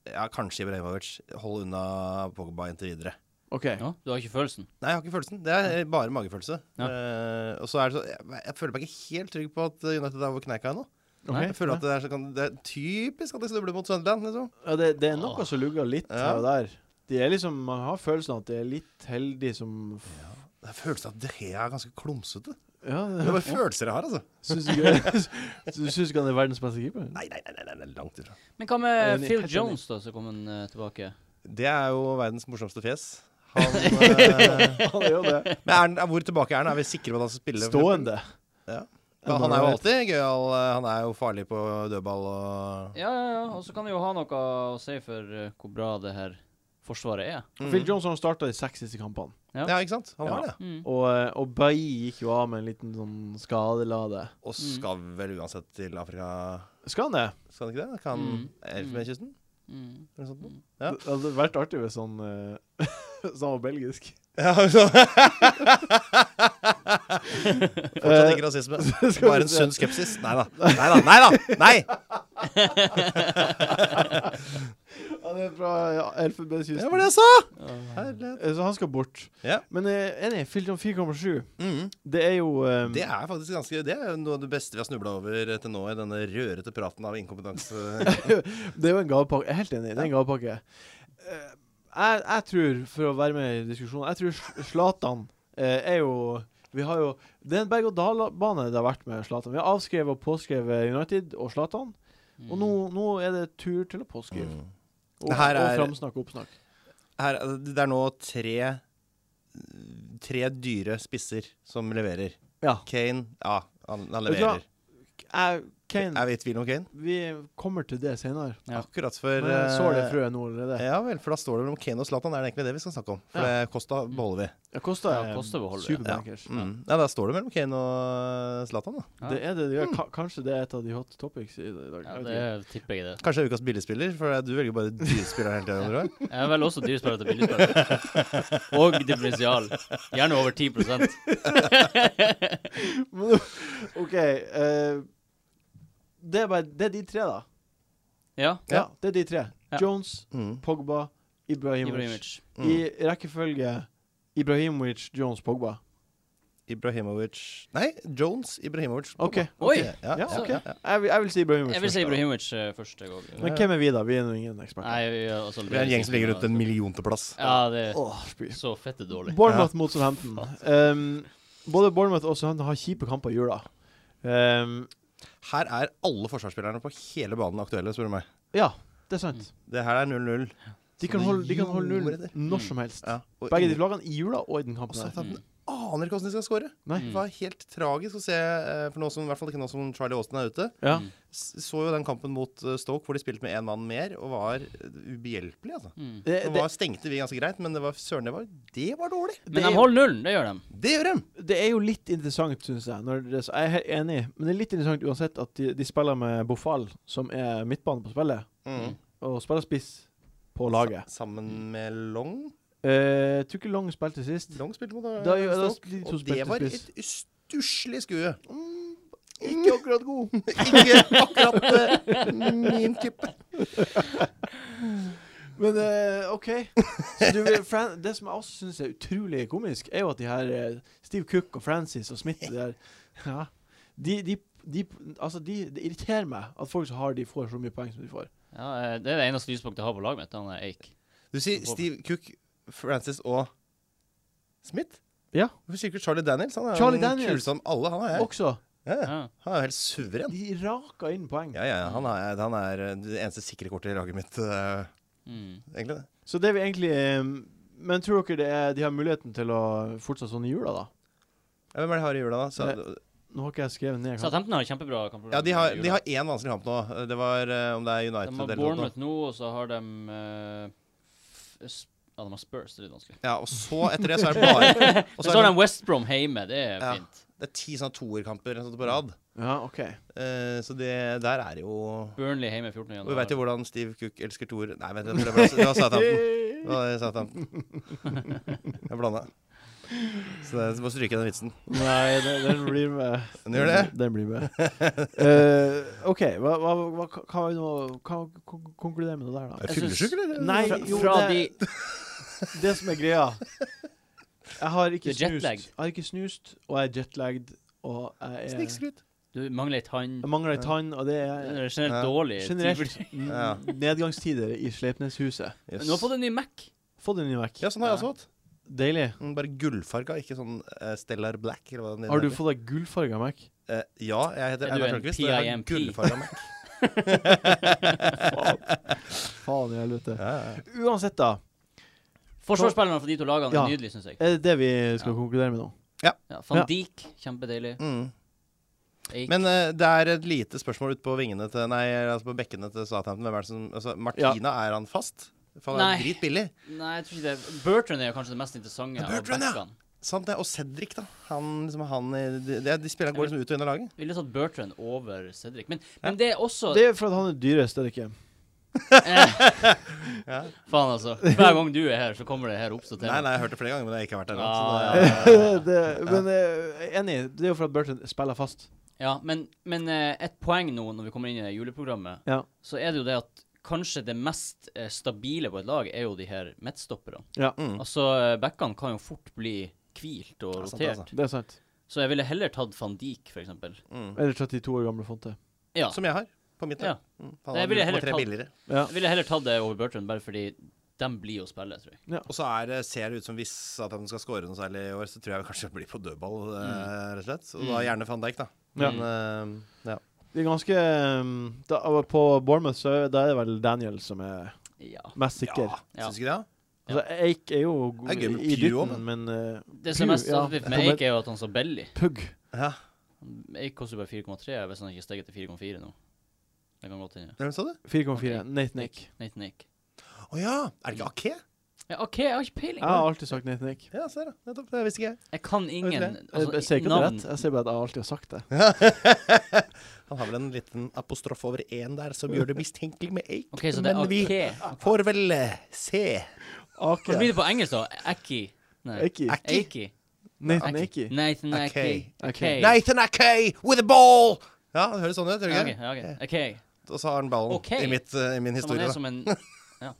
[SPEAKER 4] Ja, kanskje Ibrahimovic. Hold unna Pogba inntil videre.
[SPEAKER 1] OK.
[SPEAKER 2] Ja, du har ikke følelsen?
[SPEAKER 4] Nei, jeg har ikke følelsen. Det er bare magefølelse.
[SPEAKER 2] Ja.
[SPEAKER 4] Eh, og så er det så, jeg, jeg føler meg ikke helt trygg på at United er over kneika ennå.
[SPEAKER 1] ok.
[SPEAKER 4] Jeg føler at det er, så kan, det er typisk at de snubler mot Sunderland, liksom.
[SPEAKER 1] ja, det, det er
[SPEAKER 2] Ah.
[SPEAKER 1] noe som lugger litt
[SPEAKER 4] Ja.
[SPEAKER 1] her og der. De er liksom, man har følelsen av at det er litt heldig som
[SPEAKER 4] Det er følelsen av at det her er ganske klumsete.
[SPEAKER 1] Ja,
[SPEAKER 4] Det er bare følelser jeg har, altså.
[SPEAKER 1] syns du ikke Syns du ikke han er verdens beste keeper?
[SPEAKER 4] Nei, nei, nei, nei, nei langt ifra.
[SPEAKER 2] Men hva
[SPEAKER 1] Jeg er
[SPEAKER 2] med
[SPEAKER 1] enig,
[SPEAKER 2] Phil
[SPEAKER 1] helt enig.
[SPEAKER 2] Jones, da, som kom han, eh, tilbake?
[SPEAKER 4] Det er jo verdens morsomste fjes. Han, eh,
[SPEAKER 1] Han er jo det.
[SPEAKER 4] men er, den- hvor tilbake er han? Er vi sikre på at han skal spille?
[SPEAKER 1] Stående.
[SPEAKER 4] Ja. Ja, han er jo alltid gøyal. eh, Han er jo farlig på dødball og
[SPEAKER 2] Ja, ja, ja. Og så kan det jo ha noe å si for eh, hvor bra det her forsvaret er.
[SPEAKER 4] Mm.
[SPEAKER 1] Phil Johnson starta de seks siste kampene.
[SPEAKER 4] Ja, ikke sant? Han
[SPEAKER 1] Ja.
[SPEAKER 4] har det.
[SPEAKER 2] Mm.
[SPEAKER 1] Og, eh, og Bailly gikk jo av med en liten sånn skadelade.
[SPEAKER 4] Og skal vel uansett til Afrika
[SPEAKER 1] Skal han det?
[SPEAKER 4] Skal han ikke det? Kan
[SPEAKER 2] Mm.
[SPEAKER 4] Elfenbenskysten?
[SPEAKER 2] Mm.
[SPEAKER 4] Eller noe sånt noe? Ja.
[SPEAKER 1] Det hadde vært artig hvis han eh, hvis han var belgisk.
[SPEAKER 4] Ja, så- Fortsatt ikke rasisme. Bare en sunn skepsis. Nei da. Nei da. Nei! da. Nei.
[SPEAKER 1] Han er fra ja, Elfenbenskysten.
[SPEAKER 4] Det var det jeg sa!
[SPEAKER 2] Ja.
[SPEAKER 4] Herlighet.
[SPEAKER 1] Eh, Så han skal bort.
[SPEAKER 4] Ja.
[SPEAKER 1] Men eh, enig, Phil Johnson 4,7.
[SPEAKER 4] Mm.
[SPEAKER 1] Det er jo eh,
[SPEAKER 4] Det er faktisk ganske Det er jo noe av det beste vi har snubla over til nå i denne rørete praten av inkompetanse.
[SPEAKER 1] Det er jo en gavepakke. Jeg er helt enig. Det er en gavepakke. Eh, Jeg, jeg tror, for å være med i diskusjonen Jeg tror Sl- Zlatan eh, er jo Vi har jo Det er en berg-og-dal-bane det har vært med Zlatan. Vi har avskrevet og påskrevet United og Zlatan. Og nå, nå er det tur til å påskrive.
[SPEAKER 4] Mm.
[SPEAKER 1] Og,
[SPEAKER 4] Det her
[SPEAKER 1] og
[SPEAKER 4] er-
[SPEAKER 1] framsnakke og oppsnakke.
[SPEAKER 4] Her, det er nå tre Tre dyre spisser som leverer.
[SPEAKER 1] Ja.
[SPEAKER 4] Kane Ja, han, han
[SPEAKER 1] Vet du hva?
[SPEAKER 4] leverer.
[SPEAKER 1] Jeg, Kane,
[SPEAKER 4] Er vi i tvil om Kane?
[SPEAKER 1] vi kommer til det senere.
[SPEAKER 2] Ja.
[SPEAKER 4] Akkurat før
[SPEAKER 1] Men jeg sår det
[SPEAKER 4] eh,
[SPEAKER 1] frøet nå allerede.
[SPEAKER 4] Ja vel, for da står det mellom Kane og Zlatan. Er det egentlig det vi skal snakke om? For
[SPEAKER 1] Ja.
[SPEAKER 4] det Kosta beholder vi.
[SPEAKER 1] Ja, Kosta
[SPEAKER 2] Ja,
[SPEAKER 1] er
[SPEAKER 2] Costa beholder, ja.
[SPEAKER 1] superbankers.
[SPEAKER 4] Mm. Ja, da står det mellom Kane og Zlatan, da.
[SPEAKER 2] Ja.
[SPEAKER 1] Det er det, det er, ka- kanskje det er et av de hot topics i dag.
[SPEAKER 2] Mm. Ja,
[SPEAKER 1] Jeg vet
[SPEAKER 2] det
[SPEAKER 1] ikke.
[SPEAKER 2] tipper jeg det.
[SPEAKER 4] Kanskje det er ukas billigspiller, for du velger bare dyrespillere hele tida.
[SPEAKER 2] Jeg er vel også dyrespiller til billigspiller. Og differensial. Gjerne over 10
[SPEAKER 1] Men, OK eh, det, er bare, det er de tre, da.
[SPEAKER 2] Ja.
[SPEAKER 1] Ja, det er de tre.
[SPEAKER 2] Ja.
[SPEAKER 1] Jones,
[SPEAKER 4] Mm.
[SPEAKER 1] Pogba, Ibrahimovic.
[SPEAKER 2] Ibrahimovic.
[SPEAKER 4] Mm.
[SPEAKER 1] I rekkefølge Ibrahimovic, Jones, Pogba.
[SPEAKER 4] Ibrahimovic Nei, Jones Ibrahimovic.
[SPEAKER 1] OK.
[SPEAKER 2] Oi!
[SPEAKER 4] Ja,
[SPEAKER 1] Ja,
[SPEAKER 4] ja,
[SPEAKER 1] ok.
[SPEAKER 4] ja, ja.
[SPEAKER 1] Jeg, vil- jeg vil si Ibrahimovic.
[SPEAKER 2] Jeg vil si
[SPEAKER 1] først, da.
[SPEAKER 2] Ibrahimovic eh, først. Jeg òg.
[SPEAKER 1] Men hvem er vi, da? Vi er nå ingen eksperter.
[SPEAKER 2] Nei, vi er også- sånn,
[SPEAKER 4] Vi er en gjeng som ligger rundt en million til plass.
[SPEAKER 2] Ja, det er
[SPEAKER 1] Åh, spy.
[SPEAKER 2] så fette dårlig.
[SPEAKER 1] Bournemouth mot Southampton. Um, både Bournemouth og Southampton har kjipe kamper i jula. Um,
[SPEAKER 4] Her er alle forsvarsspillerne på hele banen aktuelle, spør du meg.
[SPEAKER 1] ja, det er sant.
[SPEAKER 2] Mm.
[SPEAKER 4] Det her er 0-0.
[SPEAKER 1] De kan
[SPEAKER 4] Så
[SPEAKER 1] holde, de kan holde
[SPEAKER 4] jorder.
[SPEAKER 1] null når som helst. Begge de lagene i jula og i den kampen.
[SPEAKER 4] Også
[SPEAKER 1] her.
[SPEAKER 4] at han aner ikke hvordan de skal score.
[SPEAKER 1] Nei.
[SPEAKER 4] Det var helt tragisk å se, eh, for nå som, i hvert fall ikke nå som Charlie Austin er ute.
[SPEAKER 1] Ja.
[SPEAKER 2] Mm.
[SPEAKER 4] S- Så jo den kampen mot eh, Stoke hvor de spilte med én mann mer, og var eh, ubehjelpelig, altså.
[SPEAKER 2] Mm.
[SPEAKER 1] Det,
[SPEAKER 4] Nå
[SPEAKER 1] det,
[SPEAKER 4] var, stengte vi ganske greit, men det var, søren, det var, det var dårlig.
[SPEAKER 1] Det
[SPEAKER 2] Men
[SPEAKER 1] er
[SPEAKER 2] de
[SPEAKER 1] jo-
[SPEAKER 2] holder nullen, det gjør de.
[SPEAKER 4] Det gjør de!
[SPEAKER 1] det er jo litt interessant, syns jeg. Når det, så jeg er helt enig, men det er litt interessant uansett at de, de spiller med Bofal, som er midtbane på spillet,
[SPEAKER 4] Mm.
[SPEAKER 1] og spiller spiss på laget.
[SPEAKER 4] Sammen med Long.
[SPEAKER 1] Eh, Jeg tror ikke Long spilte sist.
[SPEAKER 4] Long spilte mot eh,
[SPEAKER 1] Da gjør- da
[SPEAKER 4] Stoke,
[SPEAKER 1] spilte de to
[SPEAKER 4] og det
[SPEAKER 1] spilte
[SPEAKER 4] var
[SPEAKER 1] spiss.
[SPEAKER 4] et ustusslig skue.
[SPEAKER 1] Ikke akkurat god.
[SPEAKER 4] Ikke akkurat eh, min type.
[SPEAKER 1] Men eh, OK. Så du, vil- Fran det som jeg også syns er utrolig komisk, er jo at de her eh, Steve Cook og Francis og Smith de der ja, de, de, de, altså de, Det irriterer meg at folk som har de, får så mye poeng som de får.
[SPEAKER 2] Ja, eh, det er det eneste lyspunktet jeg har på laget mitt. Han er Eik.
[SPEAKER 4] Du sier Steve Cook, Francis og Smith?
[SPEAKER 1] Ja.
[SPEAKER 4] Hvorfor sier du ikke Charlie Daniels? Han er
[SPEAKER 1] Charlie
[SPEAKER 4] jo den
[SPEAKER 1] Daniels.
[SPEAKER 4] kuleste av alle. Han er, jeg.
[SPEAKER 1] Også.
[SPEAKER 4] ja, ja.
[SPEAKER 2] Ja.
[SPEAKER 4] han er jo helt suveren.
[SPEAKER 1] De raker inn poeng.
[SPEAKER 4] Ja, ja, han er, han er eh, det eneste sikre kortet i laget mitt, eh,
[SPEAKER 2] Mm.
[SPEAKER 4] egentlig. det.
[SPEAKER 1] Så det er vi egentlig eh, Men tror dere det er, de har muligheten til å fortsette sånn i jula, da?
[SPEAKER 4] Ja, hvem er det de har i jula, da? Så,
[SPEAKER 1] Nå har ikke jeg skrevet ned. kampen.
[SPEAKER 2] Southampton har kjempebra kampprogram.
[SPEAKER 4] ja, de har,
[SPEAKER 2] i jula.
[SPEAKER 4] de har én vanskelig kamp nå. Det var eh, om det er
[SPEAKER 2] De
[SPEAKER 4] United
[SPEAKER 2] har
[SPEAKER 4] eller noe.
[SPEAKER 2] Bournemouth nå, og så har de eh, f- s- Ja, de har Spurs. Det er litt vanskelig.
[SPEAKER 4] Ja, og så etter det så er det bare Og
[SPEAKER 2] Men
[SPEAKER 4] så
[SPEAKER 2] så har
[SPEAKER 4] er
[SPEAKER 2] de West Brom hjemme. Det er
[SPEAKER 4] Ja.
[SPEAKER 2] fint.
[SPEAKER 4] det, det er ti sånne toerkamper eller noe sånt på rad.
[SPEAKER 1] Ja, OK.
[SPEAKER 4] Eh, så det der er jo Og
[SPEAKER 2] Burnley hjemme 14. januar.
[SPEAKER 4] vi veit jo hvordan Steve Cook elsker toer Nei, vent, det var det var Southampton. Det
[SPEAKER 1] Yay.
[SPEAKER 4] var Southampton. Jeg blanda. Så det er bare å stryke den vitsen.
[SPEAKER 1] Nei, den, den blir med.
[SPEAKER 4] Men gjør det.
[SPEAKER 1] Den blir med. Eh, OK, hva, hva, hva kan vi nå kan vi kon- konkludere med det der, da?
[SPEAKER 2] Jeg synes-
[SPEAKER 4] Fyllesyk, eller?
[SPEAKER 1] Nei,
[SPEAKER 2] Fra,
[SPEAKER 1] jo,
[SPEAKER 2] fra de
[SPEAKER 1] det, det som er greia Jeg har ikke
[SPEAKER 2] Du er
[SPEAKER 1] snust.
[SPEAKER 2] jetlagged.
[SPEAKER 1] Jeg har ikke snust, og jeg er jetlagged, og jeg, er,
[SPEAKER 4] Snikskryt.
[SPEAKER 2] Du mangler ei tann.
[SPEAKER 1] jeg mangler ei tann, og det
[SPEAKER 2] Det
[SPEAKER 1] er
[SPEAKER 2] er generelt
[SPEAKER 4] eh, Ja.
[SPEAKER 2] dårlig.
[SPEAKER 1] generelt n-
[SPEAKER 4] Ja.
[SPEAKER 1] nedgangstider i Sleipneshuset.
[SPEAKER 2] Men Nå har fått en ny Mac.
[SPEAKER 1] Få den i vekk.
[SPEAKER 4] Ja, sånn har jeg også fått.
[SPEAKER 1] Deilig.
[SPEAKER 4] Mm, Bare gullfarga, ikke sånn eh, Stellar Black. Eller hva den
[SPEAKER 1] Har du
[SPEAKER 4] heter.
[SPEAKER 1] fått deg gullfarga Mac?
[SPEAKER 4] Eh, ja, jeg heter
[SPEAKER 2] Er du
[SPEAKER 4] Einar
[SPEAKER 2] en
[SPEAKER 4] Tørnquist, og jeg har
[SPEAKER 2] PIMP?
[SPEAKER 4] gullfarga Mac.
[SPEAKER 1] Faen i helvete.
[SPEAKER 4] Ja, ja.
[SPEAKER 1] Uansett, da.
[SPEAKER 2] Forsvarsspillerne fra de to lagene
[SPEAKER 1] Ja.
[SPEAKER 2] er nydelige, syns jeg.
[SPEAKER 1] Er det det vi skal
[SPEAKER 2] Ja.
[SPEAKER 1] konkludere med nå?
[SPEAKER 2] Ja, Van
[SPEAKER 1] Ja.
[SPEAKER 2] Dijk, kjempedeilig.
[SPEAKER 4] Mm.
[SPEAKER 2] Eik.
[SPEAKER 4] Men eh, det er et lite spørsmål ute på vingene til Nei, altså på bekkene til Southampton. Hvem er det som altså, Martina, er han fast? For han
[SPEAKER 2] Nei.
[SPEAKER 4] er dritbillig.
[SPEAKER 2] Nei, jeg tror ikke det. Bertrand er jo kanskje det mest interessante.
[SPEAKER 4] Ja,
[SPEAKER 2] av
[SPEAKER 4] Bertrand, ja.
[SPEAKER 2] backene.
[SPEAKER 4] Sant det. Og Cedric, da. Han, liksom, han i- de, de, de spillerne går liksom ut og inn av laget.
[SPEAKER 2] Jeg Ville tatt Bertrand over Cedric. Men, men det er også
[SPEAKER 1] Det er for at han er dyrest, er det ikke?
[SPEAKER 4] Ja.
[SPEAKER 2] eh, Faen, altså. Hver gang du er her, så kommer det her opp så til.
[SPEAKER 4] Nei, nei, jeg har hørt det sånn, flere ganger, men jeg har ikke vært der. nå,
[SPEAKER 2] Ah,
[SPEAKER 4] så det-
[SPEAKER 2] ja.
[SPEAKER 1] det, men eh, jeg er enig, det er jo for at Burton spiller fast.
[SPEAKER 2] Ja, men, men eh, et poeng nå når vi kommer inn i juleprogrammet,
[SPEAKER 1] Ja.
[SPEAKER 2] så er det jo det at kanskje det mest eh, stabile på et lag er jo de her midtstopperne.
[SPEAKER 1] Ja,
[SPEAKER 4] Mm.
[SPEAKER 2] Altså, eh, backene kan jo fort bli hvilt og
[SPEAKER 4] Ja, sant det,
[SPEAKER 2] rotert.
[SPEAKER 4] altså.
[SPEAKER 1] det er sant.
[SPEAKER 2] Så jeg ville heller tatt van Dijk, for eksempel.
[SPEAKER 4] Mm.
[SPEAKER 1] Eller 32 år gamle Fonte.
[SPEAKER 2] Ja.
[SPEAKER 4] Som jeg har. På mitt.
[SPEAKER 2] ja.
[SPEAKER 4] lag. Mm. Han
[SPEAKER 2] Det
[SPEAKER 4] har
[SPEAKER 2] ville jeg heller
[SPEAKER 4] 0,3
[SPEAKER 2] tatt.
[SPEAKER 4] billigere.
[SPEAKER 1] Ja.
[SPEAKER 2] Jeg ville heller tatt det over Bertrand, bare fordi de blir å spille, tror jeg.
[SPEAKER 4] Og så er, det- ser det ut som hvis at han skal score noe særlig i år, så tror jeg kanskje det blir på dødball,
[SPEAKER 2] Mm.
[SPEAKER 4] eh, rett og slett. Og da gjerne van Dijk, da.
[SPEAKER 1] Ja.
[SPEAKER 4] Men eh, ja.
[SPEAKER 1] Det er ganske um, da, og På Bournemouth så er- da er det vel Daniel som er
[SPEAKER 2] Ja.
[SPEAKER 1] mest sikker.
[SPEAKER 2] Ja.
[SPEAKER 4] Syns ikke det?
[SPEAKER 1] Altså, Eik er jo god
[SPEAKER 4] Det er gøy med
[SPEAKER 1] i
[SPEAKER 4] Pew
[SPEAKER 1] dytten,
[SPEAKER 4] også,
[SPEAKER 1] men eh,
[SPEAKER 2] Det som er mest
[SPEAKER 1] ja.
[SPEAKER 2] attraktivt med Eik, er jo at han så billig.
[SPEAKER 1] Pugg
[SPEAKER 4] Ja. ja.
[SPEAKER 2] Eik koster bare 4,3 hvis han ikke steget til 4,4 nå. Det kan godt hende.
[SPEAKER 4] Hvem sa du?
[SPEAKER 1] 4,4. Nathan Eik.
[SPEAKER 2] Nathan Eik.
[SPEAKER 4] Å ja! Er det ikke Ake?
[SPEAKER 2] Ja, OK, jeg har ikke peiling.
[SPEAKER 1] Jeg har alltid sagt Nathan Eik.
[SPEAKER 4] Ja, ser du. Nettopp. Det visste ikke jeg.
[SPEAKER 2] Jeg kan ingen altså,
[SPEAKER 4] Jeg-
[SPEAKER 1] Jeg, jeg ser ikke at det er rett, jeg ser bare at jeg alltid har sagt det.
[SPEAKER 4] Han har vel en liten apostrof over én der som gjør det mistenkelig med Eik.
[SPEAKER 2] OK, så det er
[SPEAKER 4] Men vi
[SPEAKER 2] OK.
[SPEAKER 4] får vel eh, se.
[SPEAKER 1] Ake.
[SPEAKER 2] Hva blir det på engelsk, da? Aki? Nei.
[SPEAKER 1] Eiki.
[SPEAKER 2] Aki.
[SPEAKER 1] Nathan Eiki.
[SPEAKER 2] Nathan Aki.
[SPEAKER 4] Aki.
[SPEAKER 1] Aki.
[SPEAKER 4] Nathan Ake with a ball! Ja, det høres sånn ut, gjør
[SPEAKER 2] OK.
[SPEAKER 4] det ikke?
[SPEAKER 2] ok, ok.
[SPEAKER 4] Og så har han ballen
[SPEAKER 2] Ok.
[SPEAKER 4] i, mitt, eh, i
[SPEAKER 2] Så
[SPEAKER 4] min
[SPEAKER 2] man
[SPEAKER 4] historie.
[SPEAKER 2] er
[SPEAKER 4] Da.
[SPEAKER 2] som en Ja.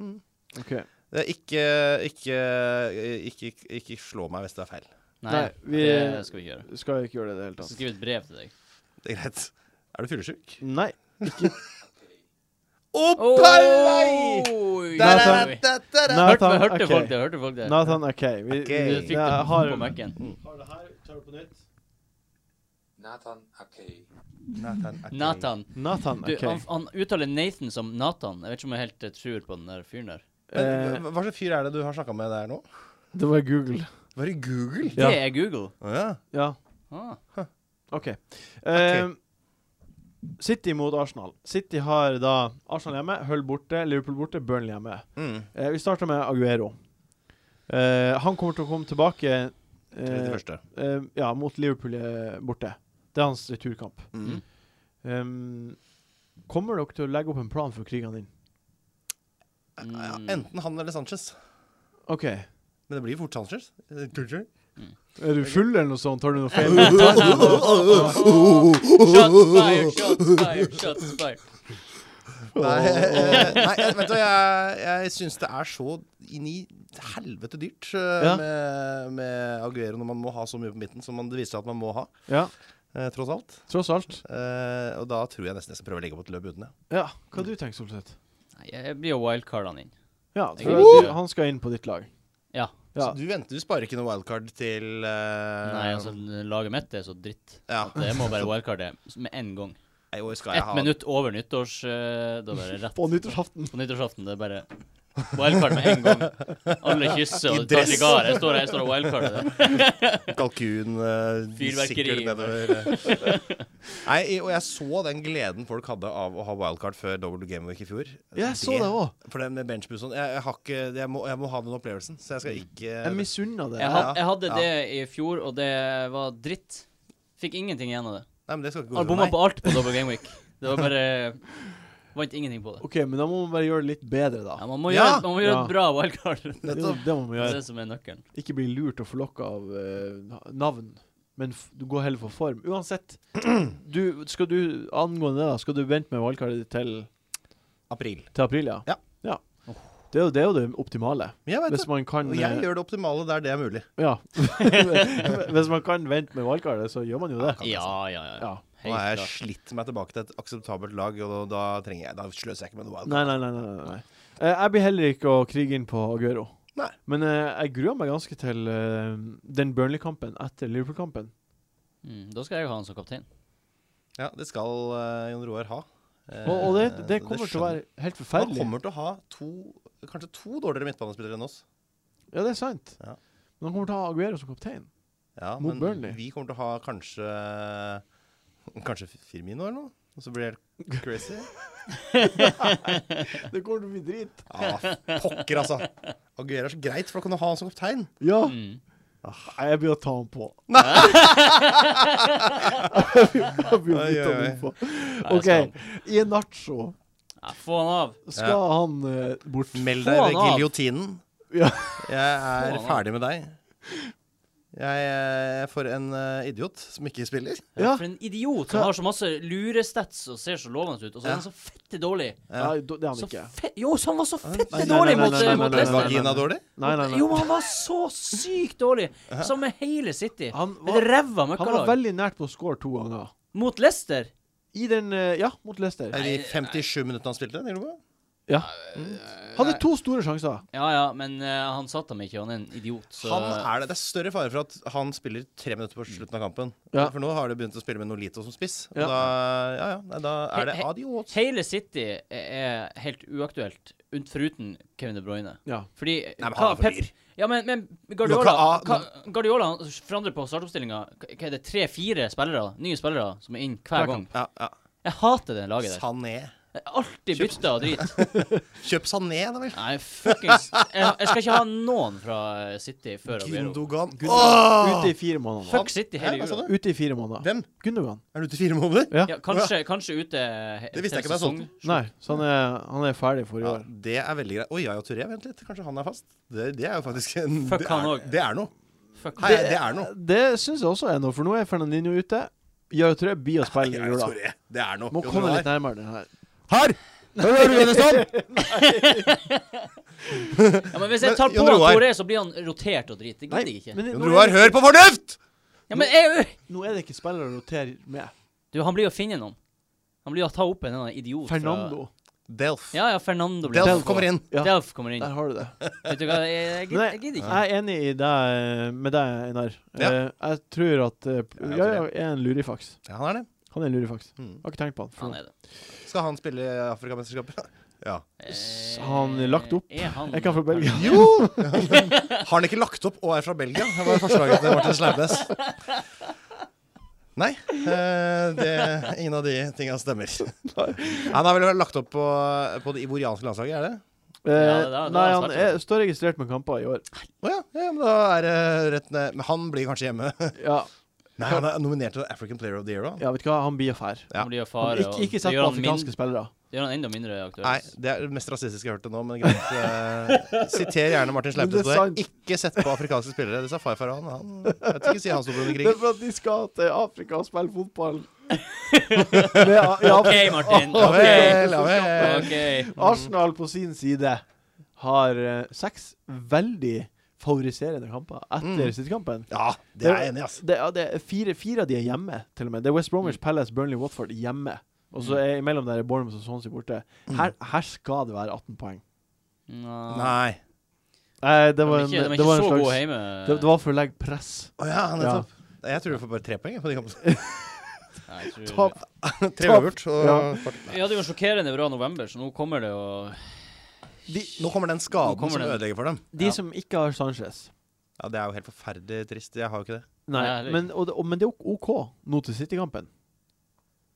[SPEAKER 2] Mm.
[SPEAKER 1] Ok.
[SPEAKER 4] Det er Ikke, ikke, ikke, ikke, ikke slå meg hvis det er feil.
[SPEAKER 2] Nei,
[SPEAKER 1] Nei, vi-
[SPEAKER 2] det skal vi ikke gjøre.
[SPEAKER 1] Skal jeg ikke gjøre det i det hele
[SPEAKER 2] Jeg skal
[SPEAKER 1] tatt?
[SPEAKER 2] skrive et brev til deg.
[SPEAKER 4] Det er greit. Er du fyllesyk?
[SPEAKER 1] Nei.
[SPEAKER 4] Oppalei!
[SPEAKER 2] Oi!
[SPEAKER 4] Der
[SPEAKER 1] Nathan-
[SPEAKER 4] er det, der er
[SPEAKER 2] Hørte,
[SPEAKER 4] det.
[SPEAKER 1] Nathan,
[SPEAKER 2] hørte
[SPEAKER 1] ok.
[SPEAKER 2] folk det? Hørte folk det?
[SPEAKER 1] Nathan, OK. Vi,
[SPEAKER 2] Du
[SPEAKER 4] Ok.
[SPEAKER 1] vi-
[SPEAKER 2] fikk det
[SPEAKER 1] jeg har,
[SPEAKER 2] på Mac-en.
[SPEAKER 1] har det her. Tar det på nytt.
[SPEAKER 3] Nathan Akei.
[SPEAKER 4] Nathan Ake.
[SPEAKER 2] Nathan.
[SPEAKER 1] Nathan,
[SPEAKER 2] Du,
[SPEAKER 1] OK.
[SPEAKER 2] han, han uttaler Nathan som Nathan. Jeg vet ikke om jeg helt eh, tror på den der fyren der.
[SPEAKER 1] Eh,
[SPEAKER 4] Men Hva hva slags fyr er det du har snakka med der nå?
[SPEAKER 1] det var Google.
[SPEAKER 4] Var det Google?
[SPEAKER 1] Ja.
[SPEAKER 2] Det er Google.
[SPEAKER 4] Å ja.
[SPEAKER 1] Ja,
[SPEAKER 2] Ah.
[SPEAKER 1] OK. Eh, City mot Arsenal. City har da Arsenal hjemme, Hull borte, Liverpool borte, Burnley hjemme.
[SPEAKER 4] Mm.
[SPEAKER 1] Eh, vi starter med Aguero. Eh, han kommer til å komme tilbake eh,
[SPEAKER 4] 31.
[SPEAKER 1] eh, ja, mot Liverpool eh, borte. Det er hans returkamp.
[SPEAKER 4] Mm.
[SPEAKER 1] Um, kommer dere til å legge opp en plan for krigene dine?
[SPEAKER 4] Ja,
[SPEAKER 2] Mm.
[SPEAKER 4] enten han eller Sanchez.
[SPEAKER 1] OK.
[SPEAKER 4] Men det blir fort Sanchez. Eh, Kultur.
[SPEAKER 1] Er du full eller noe sånt? Har du noe feil?
[SPEAKER 2] Ah. Shots fired, shots fired, shots fired.
[SPEAKER 4] Nei, eh, nei vet du, hva, jeg, jeg syns det er så inn i helvete dyrt eh,
[SPEAKER 1] Ja.
[SPEAKER 4] med, med Aguero når man må ha så mye på midten som man, det viser seg at man må ha,
[SPEAKER 1] Ja,
[SPEAKER 4] eh, tross alt.
[SPEAKER 1] tross alt.
[SPEAKER 4] Eh, og da tror jeg nesten jeg skal prøve å legge opp et løp uten det.
[SPEAKER 1] Ja, hva du tenker Solseth?
[SPEAKER 2] Nei, jeg blir jo wildcardene inn.
[SPEAKER 1] Ja,
[SPEAKER 2] Jeg
[SPEAKER 1] tror
[SPEAKER 2] vil
[SPEAKER 1] jeg
[SPEAKER 2] ikke-
[SPEAKER 1] han skal inn på ditt lag.
[SPEAKER 2] Ja.
[SPEAKER 1] Ja.
[SPEAKER 4] Så du venter, du sparer ikke noe wildcard til eh,
[SPEAKER 2] Nei, altså, laget mitt er så dritt
[SPEAKER 4] Ja.
[SPEAKER 2] at jeg må bare wildcarde med en gang.
[SPEAKER 4] Nei, hvor skal jeg
[SPEAKER 2] Ett
[SPEAKER 4] ha-
[SPEAKER 2] minutt over nyttårs... eh, Da bare rett
[SPEAKER 1] På nyttårsaften.
[SPEAKER 2] på nyttårsaften. Det er bare wildcard med en gang. Alle kysser
[SPEAKER 4] I
[SPEAKER 2] og tar
[SPEAKER 4] dress.
[SPEAKER 2] sigar. Jeg står her jeg står og wildcarder.
[SPEAKER 4] kalkun eh,
[SPEAKER 2] Fyrverkeri.
[SPEAKER 4] sikkert nedover. eh. Nei, i- og jeg så den gleden folk hadde av å ha wildcard før Double Game Week i fjor.
[SPEAKER 1] Jeg så det òg.
[SPEAKER 4] For den benchboosten sånn. jeg, jeg, har ikke, jeg, må, jeg må ha den opplevelsen, så jeg skal ikke
[SPEAKER 1] Mm. Jeg misunna det.
[SPEAKER 2] Jeg, had, jeg hadde
[SPEAKER 4] Ja.
[SPEAKER 2] det i fjor, og det var dritt. Fikk ingenting igjen av det.
[SPEAKER 4] Nei, men det skal ikke gå
[SPEAKER 2] Han
[SPEAKER 4] utover
[SPEAKER 2] bomma
[SPEAKER 4] meg.
[SPEAKER 2] på alt på Double Game Week. Det var bare Vant ingenting på det.
[SPEAKER 1] OK, men da må man bare gjøre det litt bedre,
[SPEAKER 2] Ja,
[SPEAKER 1] da.
[SPEAKER 2] man må
[SPEAKER 4] Ja!
[SPEAKER 2] gjøre, man må gjøre
[SPEAKER 1] Ja.
[SPEAKER 2] et bra wildcard. Det
[SPEAKER 1] Det, det må man
[SPEAKER 2] er
[SPEAKER 1] gjøre.
[SPEAKER 2] det som er nøkkelen.
[SPEAKER 1] Ikke bli lurt og forlokka av eh, navn, men f du går heller for form. Uansett, du, skal du angående det, da, skal du vente med valgkartet ditt til,
[SPEAKER 4] April.
[SPEAKER 1] til april, ja?
[SPEAKER 4] Ja.
[SPEAKER 1] Det, er jo, det er jo det optimale.
[SPEAKER 4] Jeg vet
[SPEAKER 1] Hvis
[SPEAKER 4] det.
[SPEAKER 1] man kan
[SPEAKER 4] Og
[SPEAKER 1] eh,
[SPEAKER 4] jeg gjør det optimale der det er mulig.
[SPEAKER 1] Ja. Hvis man kan vente med valgkartet, så gjør man jo det.
[SPEAKER 2] Ja, ja, ja.
[SPEAKER 1] Ja.
[SPEAKER 4] Nå har
[SPEAKER 2] Helt
[SPEAKER 4] jeg
[SPEAKER 2] klart.
[SPEAKER 4] slitt meg tilbake til et akseptabelt lag, og da, trenger jeg Da sløser jeg ikke med noe wildcard.
[SPEAKER 1] Nei, nei, nei. nei, nei, nei. Eh, jeg blir heller ikke å krige inn på Aguero.
[SPEAKER 4] Nei.
[SPEAKER 1] Men eh, jeg gruer meg ganske til eh, den Burnley-kampen etter Liverpool-kampen.
[SPEAKER 2] Mm, da skal jeg ha han som kaptein.
[SPEAKER 4] Ja, det skal eh, Jon Roar ha. Eh,
[SPEAKER 1] Og, og det, det
[SPEAKER 4] det
[SPEAKER 1] kommer til å
[SPEAKER 4] skjønner-
[SPEAKER 1] være helt
[SPEAKER 4] Han
[SPEAKER 1] forferdelig.
[SPEAKER 4] kommer til å ha to, kanskje to dårligere midtbanespillere enn oss.
[SPEAKER 1] Ja, det er sant.
[SPEAKER 4] Ja.
[SPEAKER 1] Men han kommer til å ha Aguero som kaptein.
[SPEAKER 4] Ja,
[SPEAKER 1] Mot
[SPEAKER 4] men
[SPEAKER 1] Burnley.
[SPEAKER 4] vi kommer til å ha kanskje Kanskje Firmino eller noe? Og så blir det helt crazy.
[SPEAKER 1] Det kommer til å bli drit.
[SPEAKER 4] Ja, pokker, altså. Aguero er så greit, for da kan du ha han som kaptein.
[SPEAKER 1] Ja.
[SPEAKER 2] Mm.
[SPEAKER 4] Ah.
[SPEAKER 1] Nei, jeg begynner å ta han på. Nei! jeg begynner jeg begynner å
[SPEAKER 4] Oi,
[SPEAKER 1] bytte han
[SPEAKER 4] oi,
[SPEAKER 1] inn på.
[SPEAKER 2] Nei,
[SPEAKER 1] OK,
[SPEAKER 2] jeg
[SPEAKER 1] i en nacho
[SPEAKER 2] skal- Ja, få han av.
[SPEAKER 1] skal han eh, bort.
[SPEAKER 2] Få
[SPEAKER 4] Meld deg
[SPEAKER 2] han
[SPEAKER 4] ved
[SPEAKER 2] av.
[SPEAKER 4] giljotinen.
[SPEAKER 1] Ja.
[SPEAKER 4] Jeg er
[SPEAKER 2] Få han av.
[SPEAKER 4] ferdig med deg. Jeg er for en eh, idiot som ikke spiller.
[SPEAKER 1] Ja.
[SPEAKER 2] For en idiot som har så masse lurestats og ser så lovende ut, og så er han så fette dårlig.
[SPEAKER 1] Nei, da- det er han
[SPEAKER 2] Så
[SPEAKER 1] ikke.
[SPEAKER 2] fe jo, så han var så
[SPEAKER 1] nei,
[SPEAKER 2] fette
[SPEAKER 1] nei,
[SPEAKER 2] dårlig
[SPEAKER 1] nei,
[SPEAKER 2] mot
[SPEAKER 1] nei, nei, nei,
[SPEAKER 2] mot
[SPEAKER 1] nei, nei,
[SPEAKER 2] Leicester.
[SPEAKER 1] nei,
[SPEAKER 4] Vagina dårlig?
[SPEAKER 1] Nei, nei, nei.
[SPEAKER 2] Jo, men han var så sykt dårlig! Som med hele City.
[SPEAKER 1] Han
[SPEAKER 2] Et
[SPEAKER 1] var,
[SPEAKER 2] ræva
[SPEAKER 1] han var
[SPEAKER 2] møkkalag.
[SPEAKER 1] veldig nært på å score to ganger.
[SPEAKER 2] Mot Leicester?
[SPEAKER 1] I den eh, Ja, mot Leicester.
[SPEAKER 4] Er de 57 minuttene han spilte? tenker du på?
[SPEAKER 1] Ja. Hadde to store sjanser.
[SPEAKER 2] Ja ja, men eh, han satt ham ikke, han er en idiot, så eh,
[SPEAKER 4] Han er det. det er større fare for at han spiller tre minutter på slutten av kampen.
[SPEAKER 1] Ja.
[SPEAKER 4] For nå har de begynt å spille med Nolito som spiss. Og
[SPEAKER 1] Ja.
[SPEAKER 4] da, ja, ja, nei, da er det
[SPEAKER 2] He- he-
[SPEAKER 4] adios.
[SPEAKER 2] Hele City er- er helt uaktuelt, unt- foruten Kevin De Bruyne.
[SPEAKER 1] Ja.
[SPEAKER 2] Fordi
[SPEAKER 4] men
[SPEAKER 2] hva,
[SPEAKER 4] han er for dyr. ah,
[SPEAKER 2] Ja, men, men
[SPEAKER 4] Du må
[SPEAKER 2] Guardiola,
[SPEAKER 4] ikke ha-
[SPEAKER 2] hva, Guardiola han forandrer på startoppstillinga. Hva er det, tre-fire spillere, nye spillere, som er inn hver
[SPEAKER 1] Hver
[SPEAKER 2] gang?
[SPEAKER 1] kamp.
[SPEAKER 4] Ja, ja.
[SPEAKER 2] Jeg hater det laget der.
[SPEAKER 4] Sané.
[SPEAKER 2] Jeg er Alltid bytta og drit.
[SPEAKER 4] Kjøp Sané, da vel.
[SPEAKER 2] Nei, fuckings jeg, jeg skal ikke ha noen fra eh, City før Aguero.
[SPEAKER 4] Gundogan.
[SPEAKER 1] Ute i fire måneder.
[SPEAKER 2] Fuck City
[SPEAKER 4] Ja,
[SPEAKER 2] hele
[SPEAKER 4] hva sa
[SPEAKER 2] jula.
[SPEAKER 4] du?
[SPEAKER 1] Ute i fire måneder.
[SPEAKER 4] Hvem?
[SPEAKER 1] Gundogan.
[SPEAKER 4] Er du ute i fire måneder?
[SPEAKER 1] Ja.
[SPEAKER 2] Ja, kanskje, kanskje ute he-
[SPEAKER 4] Det visste
[SPEAKER 2] hele
[SPEAKER 4] jeg ikke at jeg
[SPEAKER 2] sesong.
[SPEAKER 4] solgte.
[SPEAKER 1] Nei, så han er, han er ferdig for i
[SPEAKER 4] Ja,
[SPEAKER 1] år.
[SPEAKER 4] det er veldig greit. Oi, Yaya Touré, vent litt. Kanskje han er fast? Det, det er jo faktisk en
[SPEAKER 2] Fuck
[SPEAKER 4] det,
[SPEAKER 2] han
[SPEAKER 4] er,
[SPEAKER 2] også.
[SPEAKER 4] det er noe.
[SPEAKER 2] Fuck.
[SPEAKER 4] Hei, det er noe.
[SPEAKER 1] Det syns jeg også er noe, for nå er Fernandinho ute. Jeg tror jeg blir å spille i
[SPEAKER 4] Yaya
[SPEAKER 1] jula.
[SPEAKER 4] Touré, det er noe.
[SPEAKER 1] Må
[SPEAKER 4] Jo,
[SPEAKER 1] komme
[SPEAKER 4] det
[SPEAKER 1] litt
[SPEAKER 4] er.
[SPEAKER 1] nærmere den her.
[SPEAKER 4] Her! Hører du henne sånn?
[SPEAKER 2] Ja, men hvis jeg
[SPEAKER 4] Men,
[SPEAKER 2] tar på
[SPEAKER 4] Jon
[SPEAKER 2] han
[SPEAKER 4] Roar.
[SPEAKER 2] Toré, så blir han rotert og drit. Det gidder jeg ikke.
[SPEAKER 1] men
[SPEAKER 4] Jon
[SPEAKER 1] nå,
[SPEAKER 4] Roar,
[SPEAKER 1] er det,
[SPEAKER 4] hør på fornuft!
[SPEAKER 2] Ja, men jeg,
[SPEAKER 1] nå er det ikke spillere å rotere med.
[SPEAKER 2] du, han blir jo å finne noen. Han blir jo å ta opp en eller annen idiot fra-
[SPEAKER 1] Fernando.
[SPEAKER 4] Delf.
[SPEAKER 2] Ja, ja, Fernando blir
[SPEAKER 4] Delf kommer inn.
[SPEAKER 1] Ja.
[SPEAKER 2] Delf kommer inn.
[SPEAKER 1] Der har du det.
[SPEAKER 2] Vet du hva, jeg,
[SPEAKER 1] Men
[SPEAKER 2] jeg, gid-
[SPEAKER 1] jeg-
[SPEAKER 2] jeg gidder ikke.
[SPEAKER 1] Jeg er enig i deg, eh, med deg, Einar.
[SPEAKER 4] Ja.
[SPEAKER 1] Eh, Jeg tror at eh,
[SPEAKER 4] Ja, jeg tror
[SPEAKER 1] Jaja er en lurifaks.
[SPEAKER 4] Ja, han er det.
[SPEAKER 1] Han er en lurifaks.
[SPEAKER 4] Mm.
[SPEAKER 1] Har ikke tenkt på
[SPEAKER 2] Han
[SPEAKER 1] han.
[SPEAKER 2] er det.
[SPEAKER 4] Skal han spille i Afrikamesterskapet? Ja.
[SPEAKER 1] S-
[SPEAKER 2] Eh,
[SPEAKER 1] han er lagt opp.
[SPEAKER 2] Er han
[SPEAKER 1] Jeg kan fra Belgia.
[SPEAKER 4] Jo! Har han ikke lagt opp og er fra Belgia? Det var forslaget til Martin Sleipnes. Nei, eh, det, ingen av de tinga stemmer. Han har vel lagt opp på, på det ivorianske landslaget, er det?
[SPEAKER 1] Eh,
[SPEAKER 2] Ja, det er- det er
[SPEAKER 1] Nei, han
[SPEAKER 2] snart,
[SPEAKER 1] er, står registrert med kamper i år.
[SPEAKER 4] Å ja, ja, men da er det rett ned. Men han blir kanskje hjemme.
[SPEAKER 1] Ja,
[SPEAKER 4] Nei, han er nominert til African Player of the Year òg.
[SPEAKER 1] ja vet du hva, han blir fær.
[SPEAKER 4] Ja.
[SPEAKER 2] Han blir jo
[SPEAKER 1] Han-
[SPEAKER 2] fare. og
[SPEAKER 1] Ikke, ikke
[SPEAKER 2] det
[SPEAKER 1] sett
[SPEAKER 2] gjør
[SPEAKER 1] på
[SPEAKER 2] han min-
[SPEAKER 1] afrikanske spillere.
[SPEAKER 2] Det gjør han enda mindre aktuell.
[SPEAKER 4] Nei, det er det mest rasistiske jeg har hørt til nå, men greit. Eh, siter gjerne Martin
[SPEAKER 1] Men det er
[SPEAKER 4] Sleipnes på det.
[SPEAKER 1] sant.
[SPEAKER 4] Ikke sett på afrikanske spillere. Det sa farfar han. han jeg vet ikke si han sto på under
[SPEAKER 1] Det er
[SPEAKER 4] krigen.
[SPEAKER 1] for at de skal til Afrika og spille fotball. Med, A- i
[SPEAKER 2] OK,
[SPEAKER 1] Afrika.
[SPEAKER 2] Martin.
[SPEAKER 4] Ja
[SPEAKER 2] OK.
[SPEAKER 4] vel, ja vel.
[SPEAKER 2] ok.
[SPEAKER 1] Arsenal på sin side har eh, seks veldig favoriserende kamper etter
[SPEAKER 4] Mm.
[SPEAKER 1] City-kampen.
[SPEAKER 4] Ja, det er jeg enig i, ass.
[SPEAKER 1] Det, ja, det er fire, fire av de er hjemme, til og med. Det er West Bromwich, Palace, Burnley, Watford hjemme. Og
[SPEAKER 2] Mm.
[SPEAKER 1] så er imellom der er Bournemouth og Swansea borte.
[SPEAKER 4] Mm.
[SPEAKER 1] Her, her skal det være 18 poeng.
[SPEAKER 2] Nei.
[SPEAKER 4] Nei.
[SPEAKER 1] Eh, det
[SPEAKER 2] De
[SPEAKER 1] var
[SPEAKER 2] er
[SPEAKER 1] en,
[SPEAKER 2] ikke, de er
[SPEAKER 1] det
[SPEAKER 2] ikke
[SPEAKER 1] var
[SPEAKER 2] så
[SPEAKER 1] en
[SPEAKER 2] gode
[SPEAKER 1] slags
[SPEAKER 2] hjemme.
[SPEAKER 1] det, det var for å legge press.
[SPEAKER 4] Å ja, nettopp. Jeg tror du får bare tre poeng jeg, på de kampene.
[SPEAKER 2] Nei, jeg tror-
[SPEAKER 1] Tap.
[SPEAKER 4] Tre øvert. Og
[SPEAKER 1] Ja.
[SPEAKER 2] Vi hadde jo en sjokkerende bra november, så nå kommer det å
[SPEAKER 1] De,
[SPEAKER 4] Nå kommer den skaden
[SPEAKER 2] Nå kommer
[SPEAKER 4] som
[SPEAKER 2] den.
[SPEAKER 4] ødelegger for dem.
[SPEAKER 1] de
[SPEAKER 4] ja.
[SPEAKER 1] som ikke har Sanchez
[SPEAKER 4] ja, Det er jo helt forferdelig trist. Jeg har jo ikke det.
[SPEAKER 1] Nei,
[SPEAKER 2] Nei, det er
[SPEAKER 1] men, og, det- og, men det er jo OK nå til City-kampen.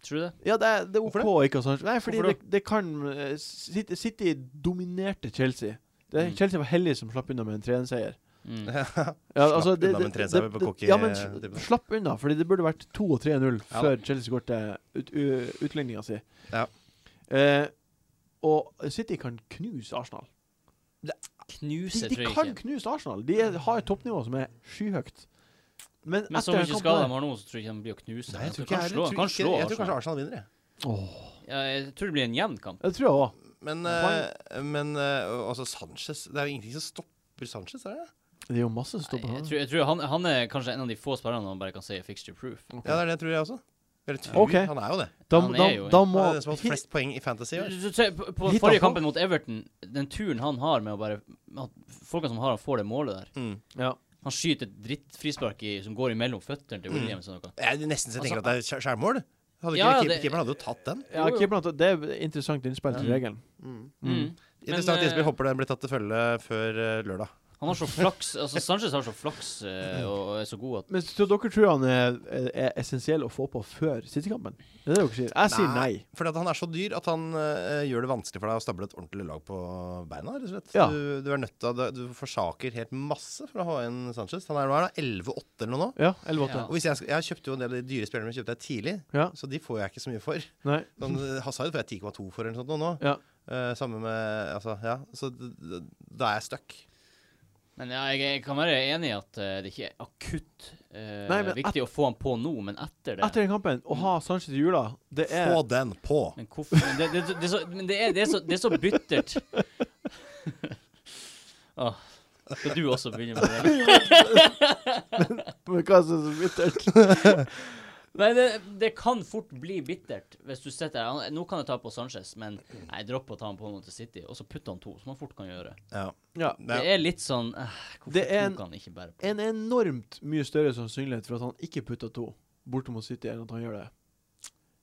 [SPEAKER 2] Tror du det?
[SPEAKER 1] Ja, det er, det er OK
[SPEAKER 4] Hvorfor det?
[SPEAKER 1] å ikke ha Sanchez. Nei, fordi
[SPEAKER 2] Hvorfor
[SPEAKER 1] det, det kan eh, City, City dominerte Chelsea. Det,
[SPEAKER 2] Mm.
[SPEAKER 1] Chelsea var heldige som slapp unna med en 3-1-seier.
[SPEAKER 2] Mm.
[SPEAKER 1] Ja,
[SPEAKER 4] Slapp
[SPEAKER 1] altså,
[SPEAKER 4] unna med en 3-seier på Kokke-
[SPEAKER 1] ja, men
[SPEAKER 4] typen.
[SPEAKER 1] s- slapp unna, fordi det burde vært 2 og 3-0
[SPEAKER 4] Ja da.
[SPEAKER 1] før Chelsea går til ut, u- utligninga si.
[SPEAKER 4] Ja.
[SPEAKER 1] Eh, og City kan knuse Arsenal.
[SPEAKER 2] Knuse,
[SPEAKER 1] De, de
[SPEAKER 2] tror jeg
[SPEAKER 1] kan
[SPEAKER 2] ikke.
[SPEAKER 1] knuse Arsenal! De er, har et toppnivå som er skyhøyt. Men,
[SPEAKER 2] Men så
[SPEAKER 1] etter den
[SPEAKER 2] mye
[SPEAKER 1] kampen
[SPEAKER 2] skader
[SPEAKER 1] her-
[SPEAKER 2] de har nå, så tror jeg ikke de blir å knuse.
[SPEAKER 4] Nei, jeg tror
[SPEAKER 2] de
[SPEAKER 4] ikke
[SPEAKER 2] kan
[SPEAKER 4] jeg
[SPEAKER 2] slå,
[SPEAKER 4] heller.
[SPEAKER 2] de
[SPEAKER 4] Tror
[SPEAKER 2] kan slå altså.
[SPEAKER 4] ikke- Jeg tror
[SPEAKER 2] Arsenal.
[SPEAKER 4] kanskje Arsenal vinner, jeg.
[SPEAKER 2] Ja, jeg tror det blir en jevn kamp.
[SPEAKER 1] Det tror jeg òg.
[SPEAKER 4] Men,
[SPEAKER 1] Poeng.
[SPEAKER 4] eh, men eh, altså Sanchez Det er jo ingenting som stopper Sanchez, er det?
[SPEAKER 1] Det er jo masse som står
[SPEAKER 2] Nei,
[SPEAKER 1] på
[SPEAKER 2] Jeg
[SPEAKER 1] her.
[SPEAKER 2] tror, jeg tror han, han er kanskje en av de få spillerne man bare kan si er fixture proof.
[SPEAKER 4] Ja, det er det tror jeg også. Eller tror,
[SPEAKER 1] Ok.
[SPEAKER 4] Han er jo det.
[SPEAKER 1] Da,
[SPEAKER 2] Han er
[SPEAKER 1] da,
[SPEAKER 2] jo en-
[SPEAKER 1] da
[SPEAKER 4] Han
[SPEAKER 1] må
[SPEAKER 4] er den som har hatt flest poeng i Fantasy i år.
[SPEAKER 2] Så- så- På, på
[SPEAKER 1] Hit han
[SPEAKER 2] forrige
[SPEAKER 1] på.
[SPEAKER 2] kampen mot Everton, den turen han har med å bare at Folkene som har han får det målet der.
[SPEAKER 4] Mm.
[SPEAKER 1] ja.
[SPEAKER 2] Han skyter et drittfrispark i, som går imellom føttene
[SPEAKER 4] Mm.
[SPEAKER 2] til Williams og noe.
[SPEAKER 4] Jeg er nesten så jeg tenker at det er skjær- skjærmål. Hadde ikke
[SPEAKER 2] Ja,
[SPEAKER 4] keep-
[SPEAKER 2] det-
[SPEAKER 4] Keeperen hadde jo tatt den.
[SPEAKER 1] Ja,
[SPEAKER 2] Jo, jo.
[SPEAKER 1] keeperen har tatt- det er et interessant innspill til
[SPEAKER 2] Ja.
[SPEAKER 1] regelen.
[SPEAKER 2] Mm.
[SPEAKER 4] Interessant
[SPEAKER 2] eh,
[SPEAKER 4] innspill. Håper den blir tatt til følge før eh, lørdag.
[SPEAKER 2] Han har så flaks Altså Sanchez har så flaks
[SPEAKER 4] Mm.
[SPEAKER 2] eh, og er så god at
[SPEAKER 1] Men så dere tror han er, er, er essensiell å få på før City-kampen? Det er det dere sier? Jeg sier nei.
[SPEAKER 4] Fordi at han er så dyr at han eh, gjør det vanskelig for deg å stable et ordentlig lag på beina. rett og slett.
[SPEAKER 1] Ja.
[SPEAKER 4] Du, du er nødt til å, du forsaker helt masse for å ha inn Sanchez. Han er nå er han 11-8 eller noe nå.
[SPEAKER 1] Ja, 11-8.
[SPEAKER 2] Ja.
[SPEAKER 4] Og hvis jeg, skal- jeg kjøpte jo en del av de dyre spillerne kjøpte jeg tidlig,
[SPEAKER 1] Ja.
[SPEAKER 4] så de får jeg ikke så mye for.
[SPEAKER 1] Nei.
[SPEAKER 4] Sånn, eh, Hazard får jeg 10,2 for eller noe sånt nå. nå.
[SPEAKER 1] Ja.
[SPEAKER 4] Eh, samme med Altså, ja. Så d- d- da er jeg stuck.
[SPEAKER 2] Men ja, jeg, jeg kan være enig i at eh, det ikke er akutt eh,
[SPEAKER 1] Nei, men
[SPEAKER 2] viktig å få han på nå, men etter det
[SPEAKER 1] Etter den kampen, å ha Sanchez i jula, det er
[SPEAKER 4] Få den på!
[SPEAKER 2] Men hvorfor men det, det, det, er så, men det, er, det, er så, det er så bittert. Åh, skal du også begynne med det?
[SPEAKER 1] Men hva er det som er så bittert?
[SPEAKER 2] Nei, det, det kan fort bli bittert hvis du sitter her. Han- Nå kan jeg ta på Sanchez, men nei, dropp å ta han på nå til City, og så putte han to, som han fort kan gjøre.
[SPEAKER 4] Ja.
[SPEAKER 1] Ja.
[SPEAKER 2] Det
[SPEAKER 4] Men,
[SPEAKER 2] er litt sånn eh, Hvorfor
[SPEAKER 1] Det er en-
[SPEAKER 2] tok han ikke bare på?
[SPEAKER 1] En enormt mye større sannsynlighet for at han ikke putter to borte mot City, enn at han gjør det.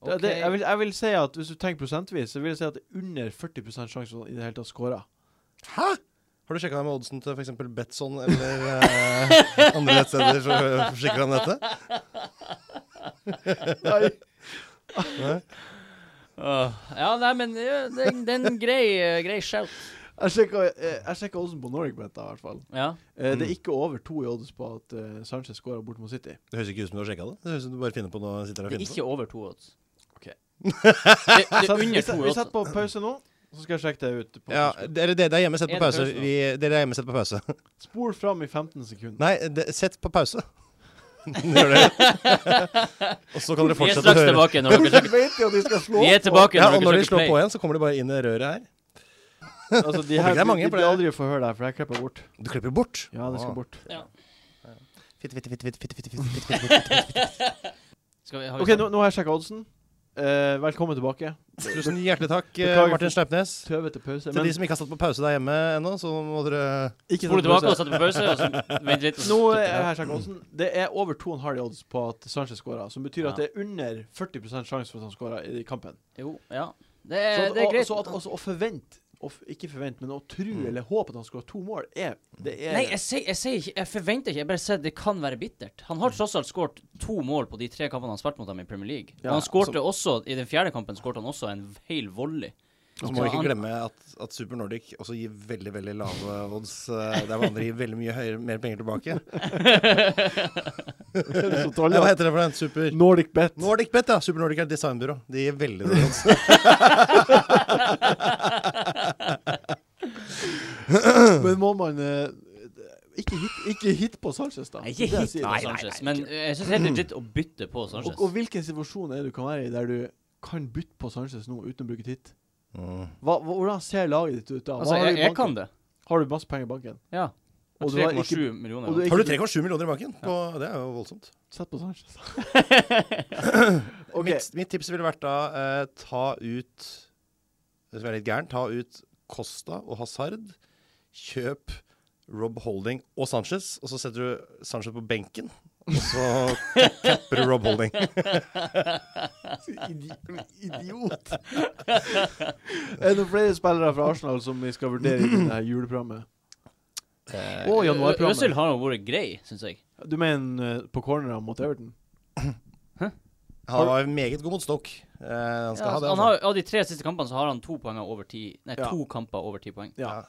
[SPEAKER 1] Det- det
[SPEAKER 2] Ok.
[SPEAKER 1] jeg, vil, jeg vil si at Hvis du tenker prosentvis, så vil jeg si at det er under 40 sjanse for at han i det hele tatt scorer.
[SPEAKER 4] Hæ?! Har du sjekka med oddsen til f.eks. Betson eller eh, andre nettsteder som eh, forsikrer om dette?
[SPEAKER 1] Nei.
[SPEAKER 2] Åh, ja, nei, men det er- det er det er en grei, eh, grei shout.
[SPEAKER 1] Jeg sjekka eh, jeg sjekka oddsen på Norwegbetta, i hvert fall.
[SPEAKER 2] Ja.
[SPEAKER 1] Eh,
[SPEAKER 4] Mm.
[SPEAKER 1] Det er ikke over to i odds på at eh, Sanchez scorer borte mot City.
[SPEAKER 4] Det høres ikke ut som du har sjekka det. Det høres ut som du bare finner på noe. sitter der
[SPEAKER 2] Det er
[SPEAKER 4] og finner på.
[SPEAKER 2] ikke over to odds.
[SPEAKER 1] Ok.
[SPEAKER 2] det, det er
[SPEAKER 1] Sett-
[SPEAKER 2] under
[SPEAKER 1] vi
[SPEAKER 2] to
[SPEAKER 1] set- Vi
[SPEAKER 2] odds.
[SPEAKER 1] setter på pause nå, så skal jeg sjekke det ut. På
[SPEAKER 4] Ja,
[SPEAKER 1] Facebook.
[SPEAKER 4] dere, dere er hjemme, sett på
[SPEAKER 2] Er det
[SPEAKER 4] pause.
[SPEAKER 2] pause nå?
[SPEAKER 4] Vi, dere er hjemme, sett på pause.
[SPEAKER 1] Spol fram i 15 sekunder.
[SPEAKER 4] Nei, de, sett på pause. Gjør det. Og så
[SPEAKER 2] Vi
[SPEAKER 4] kan dere
[SPEAKER 2] er
[SPEAKER 4] fortsette å
[SPEAKER 2] straks
[SPEAKER 4] høre.
[SPEAKER 2] tilbake når dere
[SPEAKER 1] vet de at de skal slå?
[SPEAKER 2] Vi er tilbake
[SPEAKER 4] Ja,
[SPEAKER 2] når
[SPEAKER 4] og når
[SPEAKER 2] dere
[SPEAKER 4] de slår
[SPEAKER 2] trykker
[SPEAKER 4] på
[SPEAKER 2] play.
[SPEAKER 4] igjen, så kommer de bare inn i røret her.
[SPEAKER 1] Altså, de
[SPEAKER 4] Håper
[SPEAKER 1] her
[SPEAKER 4] ikke det er mange,
[SPEAKER 1] de, de
[SPEAKER 4] for
[SPEAKER 1] blir
[SPEAKER 4] det-
[SPEAKER 1] aldri å få høre det, her, for jeg klipper bort.
[SPEAKER 4] Du klipper bort.
[SPEAKER 1] Ja, det
[SPEAKER 4] Ah.
[SPEAKER 1] skal bort.
[SPEAKER 4] Fitte, fitte, fitte, fitte, fitte, fitte, fitte, fitte, fitte.
[SPEAKER 2] Skal vi, har vi
[SPEAKER 1] OK, nå, nå har jeg sjekka oddsen. Eh, velkommen tilbake.
[SPEAKER 4] Tusen hjertelig takk, eh,
[SPEAKER 1] Beklager for-
[SPEAKER 4] Martin Sleipnes.
[SPEAKER 1] Tøvete pause.
[SPEAKER 4] Til
[SPEAKER 1] Men
[SPEAKER 4] de som ikke har satt på pause der hjemme ennå, så må dere
[SPEAKER 1] ikke
[SPEAKER 2] Spole
[SPEAKER 1] sånn
[SPEAKER 2] tilbake og
[SPEAKER 1] pause.
[SPEAKER 2] sette på pause, og så vent litt. og så-
[SPEAKER 1] Nå eh, jeg har jeg sjekket oddsen. Det er over 2,5 i odds på at Sanchez scorer, som betyr at det er under 40 sjanse for at han scorer i kampen.
[SPEAKER 2] Jo, ja. Det er,
[SPEAKER 1] Så, at,
[SPEAKER 2] Eh, det er
[SPEAKER 1] og-
[SPEAKER 2] greit.
[SPEAKER 1] så at, også, å forvente å f- Ikke forvente, men å tro eller håpe at han scorer to mål, er Det er
[SPEAKER 2] Nei, jeg sier, jeg sier ikke Jeg forventer ikke. Jeg bare sier det kan være bittert. Han har tross alt skåret to mål på de tre kampene han spilte mot dem i Premier League.
[SPEAKER 1] Ja,
[SPEAKER 2] og han skårte
[SPEAKER 1] så-
[SPEAKER 2] også I den fjerde kampen skårte han også en hel volley. Så
[SPEAKER 4] Så må vi ikke
[SPEAKER 2] han-
[SPEAKER 4] glemme at, at Super Nordic også gir veldig veldig lave odds. eh, Der hverandre gir veldig mye høyere, mer penger tilbake.
[SPEAKER 1] Så
[SPEAKER 4] Nei,
[SPEAKER 1] tolv,
[SPEAKER 4] Hva
[SPEAKER 1] ja.
[SPEAKER 4] heter det for den? Super
[SPEAKER 1] Nordic Bet.
[SPEAKER 4] Nordic Bet, ja. Super Nordic er et designbyrå. De gir veldig dårlig odds.
[SPEAKER 1] Men må man eh, ikke, hit, ikke hit på Sanchez, da.
[SPEAKER 2] Nei,
[SPEAKER 1] Det er det
[SPEAKER 2] ikke
[SPEAKER 1] jeg
[SPEAKER 2] hit
[SPEAKER 1] sier.
[SPEAKER 2] på Sanchez, men eh, jeg syns helt legit å bytte på Sanchez.
[SPEAKER 1] Og, og hvilken situasjon er det du kan være i der du kan bytte på Sanchez nå uten å bruke hit?
[SPEAKER 4] Mm.
[SPEAKER 1] Hva, hva- hvordan ser laget ditt ut da? Hva
[SPEAKER 2] Altså,
[SPEAKER 1] har du i
[SPEAKER 2] jeg, jeg
[SPEAKER 1] banken?
[SPEAKER 2] kan det.
[SPEAKER 1] Har du masse penger i banken?
[SPEAKER 2] Ja.
[SPEAKER 1] Og du har
[SPEAKER 2] 3,7 millioner.
[SPEAKER 1] og du er
[SPEAKER 2] eller noe.
[SPEAKER 4] Har du 3,7 millioner i banken? På, det er jo voldsomt.
[SPEAKER 1] Sett på Sanchez. Ok.
[SPEAKER 4] Mitt, mitt tips ville vært da eh, ta ut Det som er litt gærent, ta ut Costa og Hazard. Kjøp Rob Holding og Sanchez, og så setter du Sanchez på benken. Og så capper du Rob Holding.
[SPEAKER 1] Idi idiot. er det noen flere spillere fra Arsenal som vi skal vurdere i dette juleprogrammet?
[SPEAKER 4] Eh,
[SPEAKER 1] Og
[SPEAKER 2] Ø- Øzil
[SPEAKER 1] januarprogrammet.
[SPEAKER 2] har jo vært grei, syns jeg.
[SPEAKER 1] Du mener eh, på cornera mot Everton?
[SPEAKER 4] han var meget god mot Stoke. Eh, han skal
[SPEAKER 2] Ja,
[SPEAKER 4] ha det.
[SPEAKER 2] altså, han
[SPEAKER 4] Altså.
[SPEAKER 2] har, av de tre siste kampene så har han to poenger over ti Nei,
[SPEAKER 1] Ja.
[SPEAKER 2] to kamper over ti poeng.
[SPEAKER 1] Ja.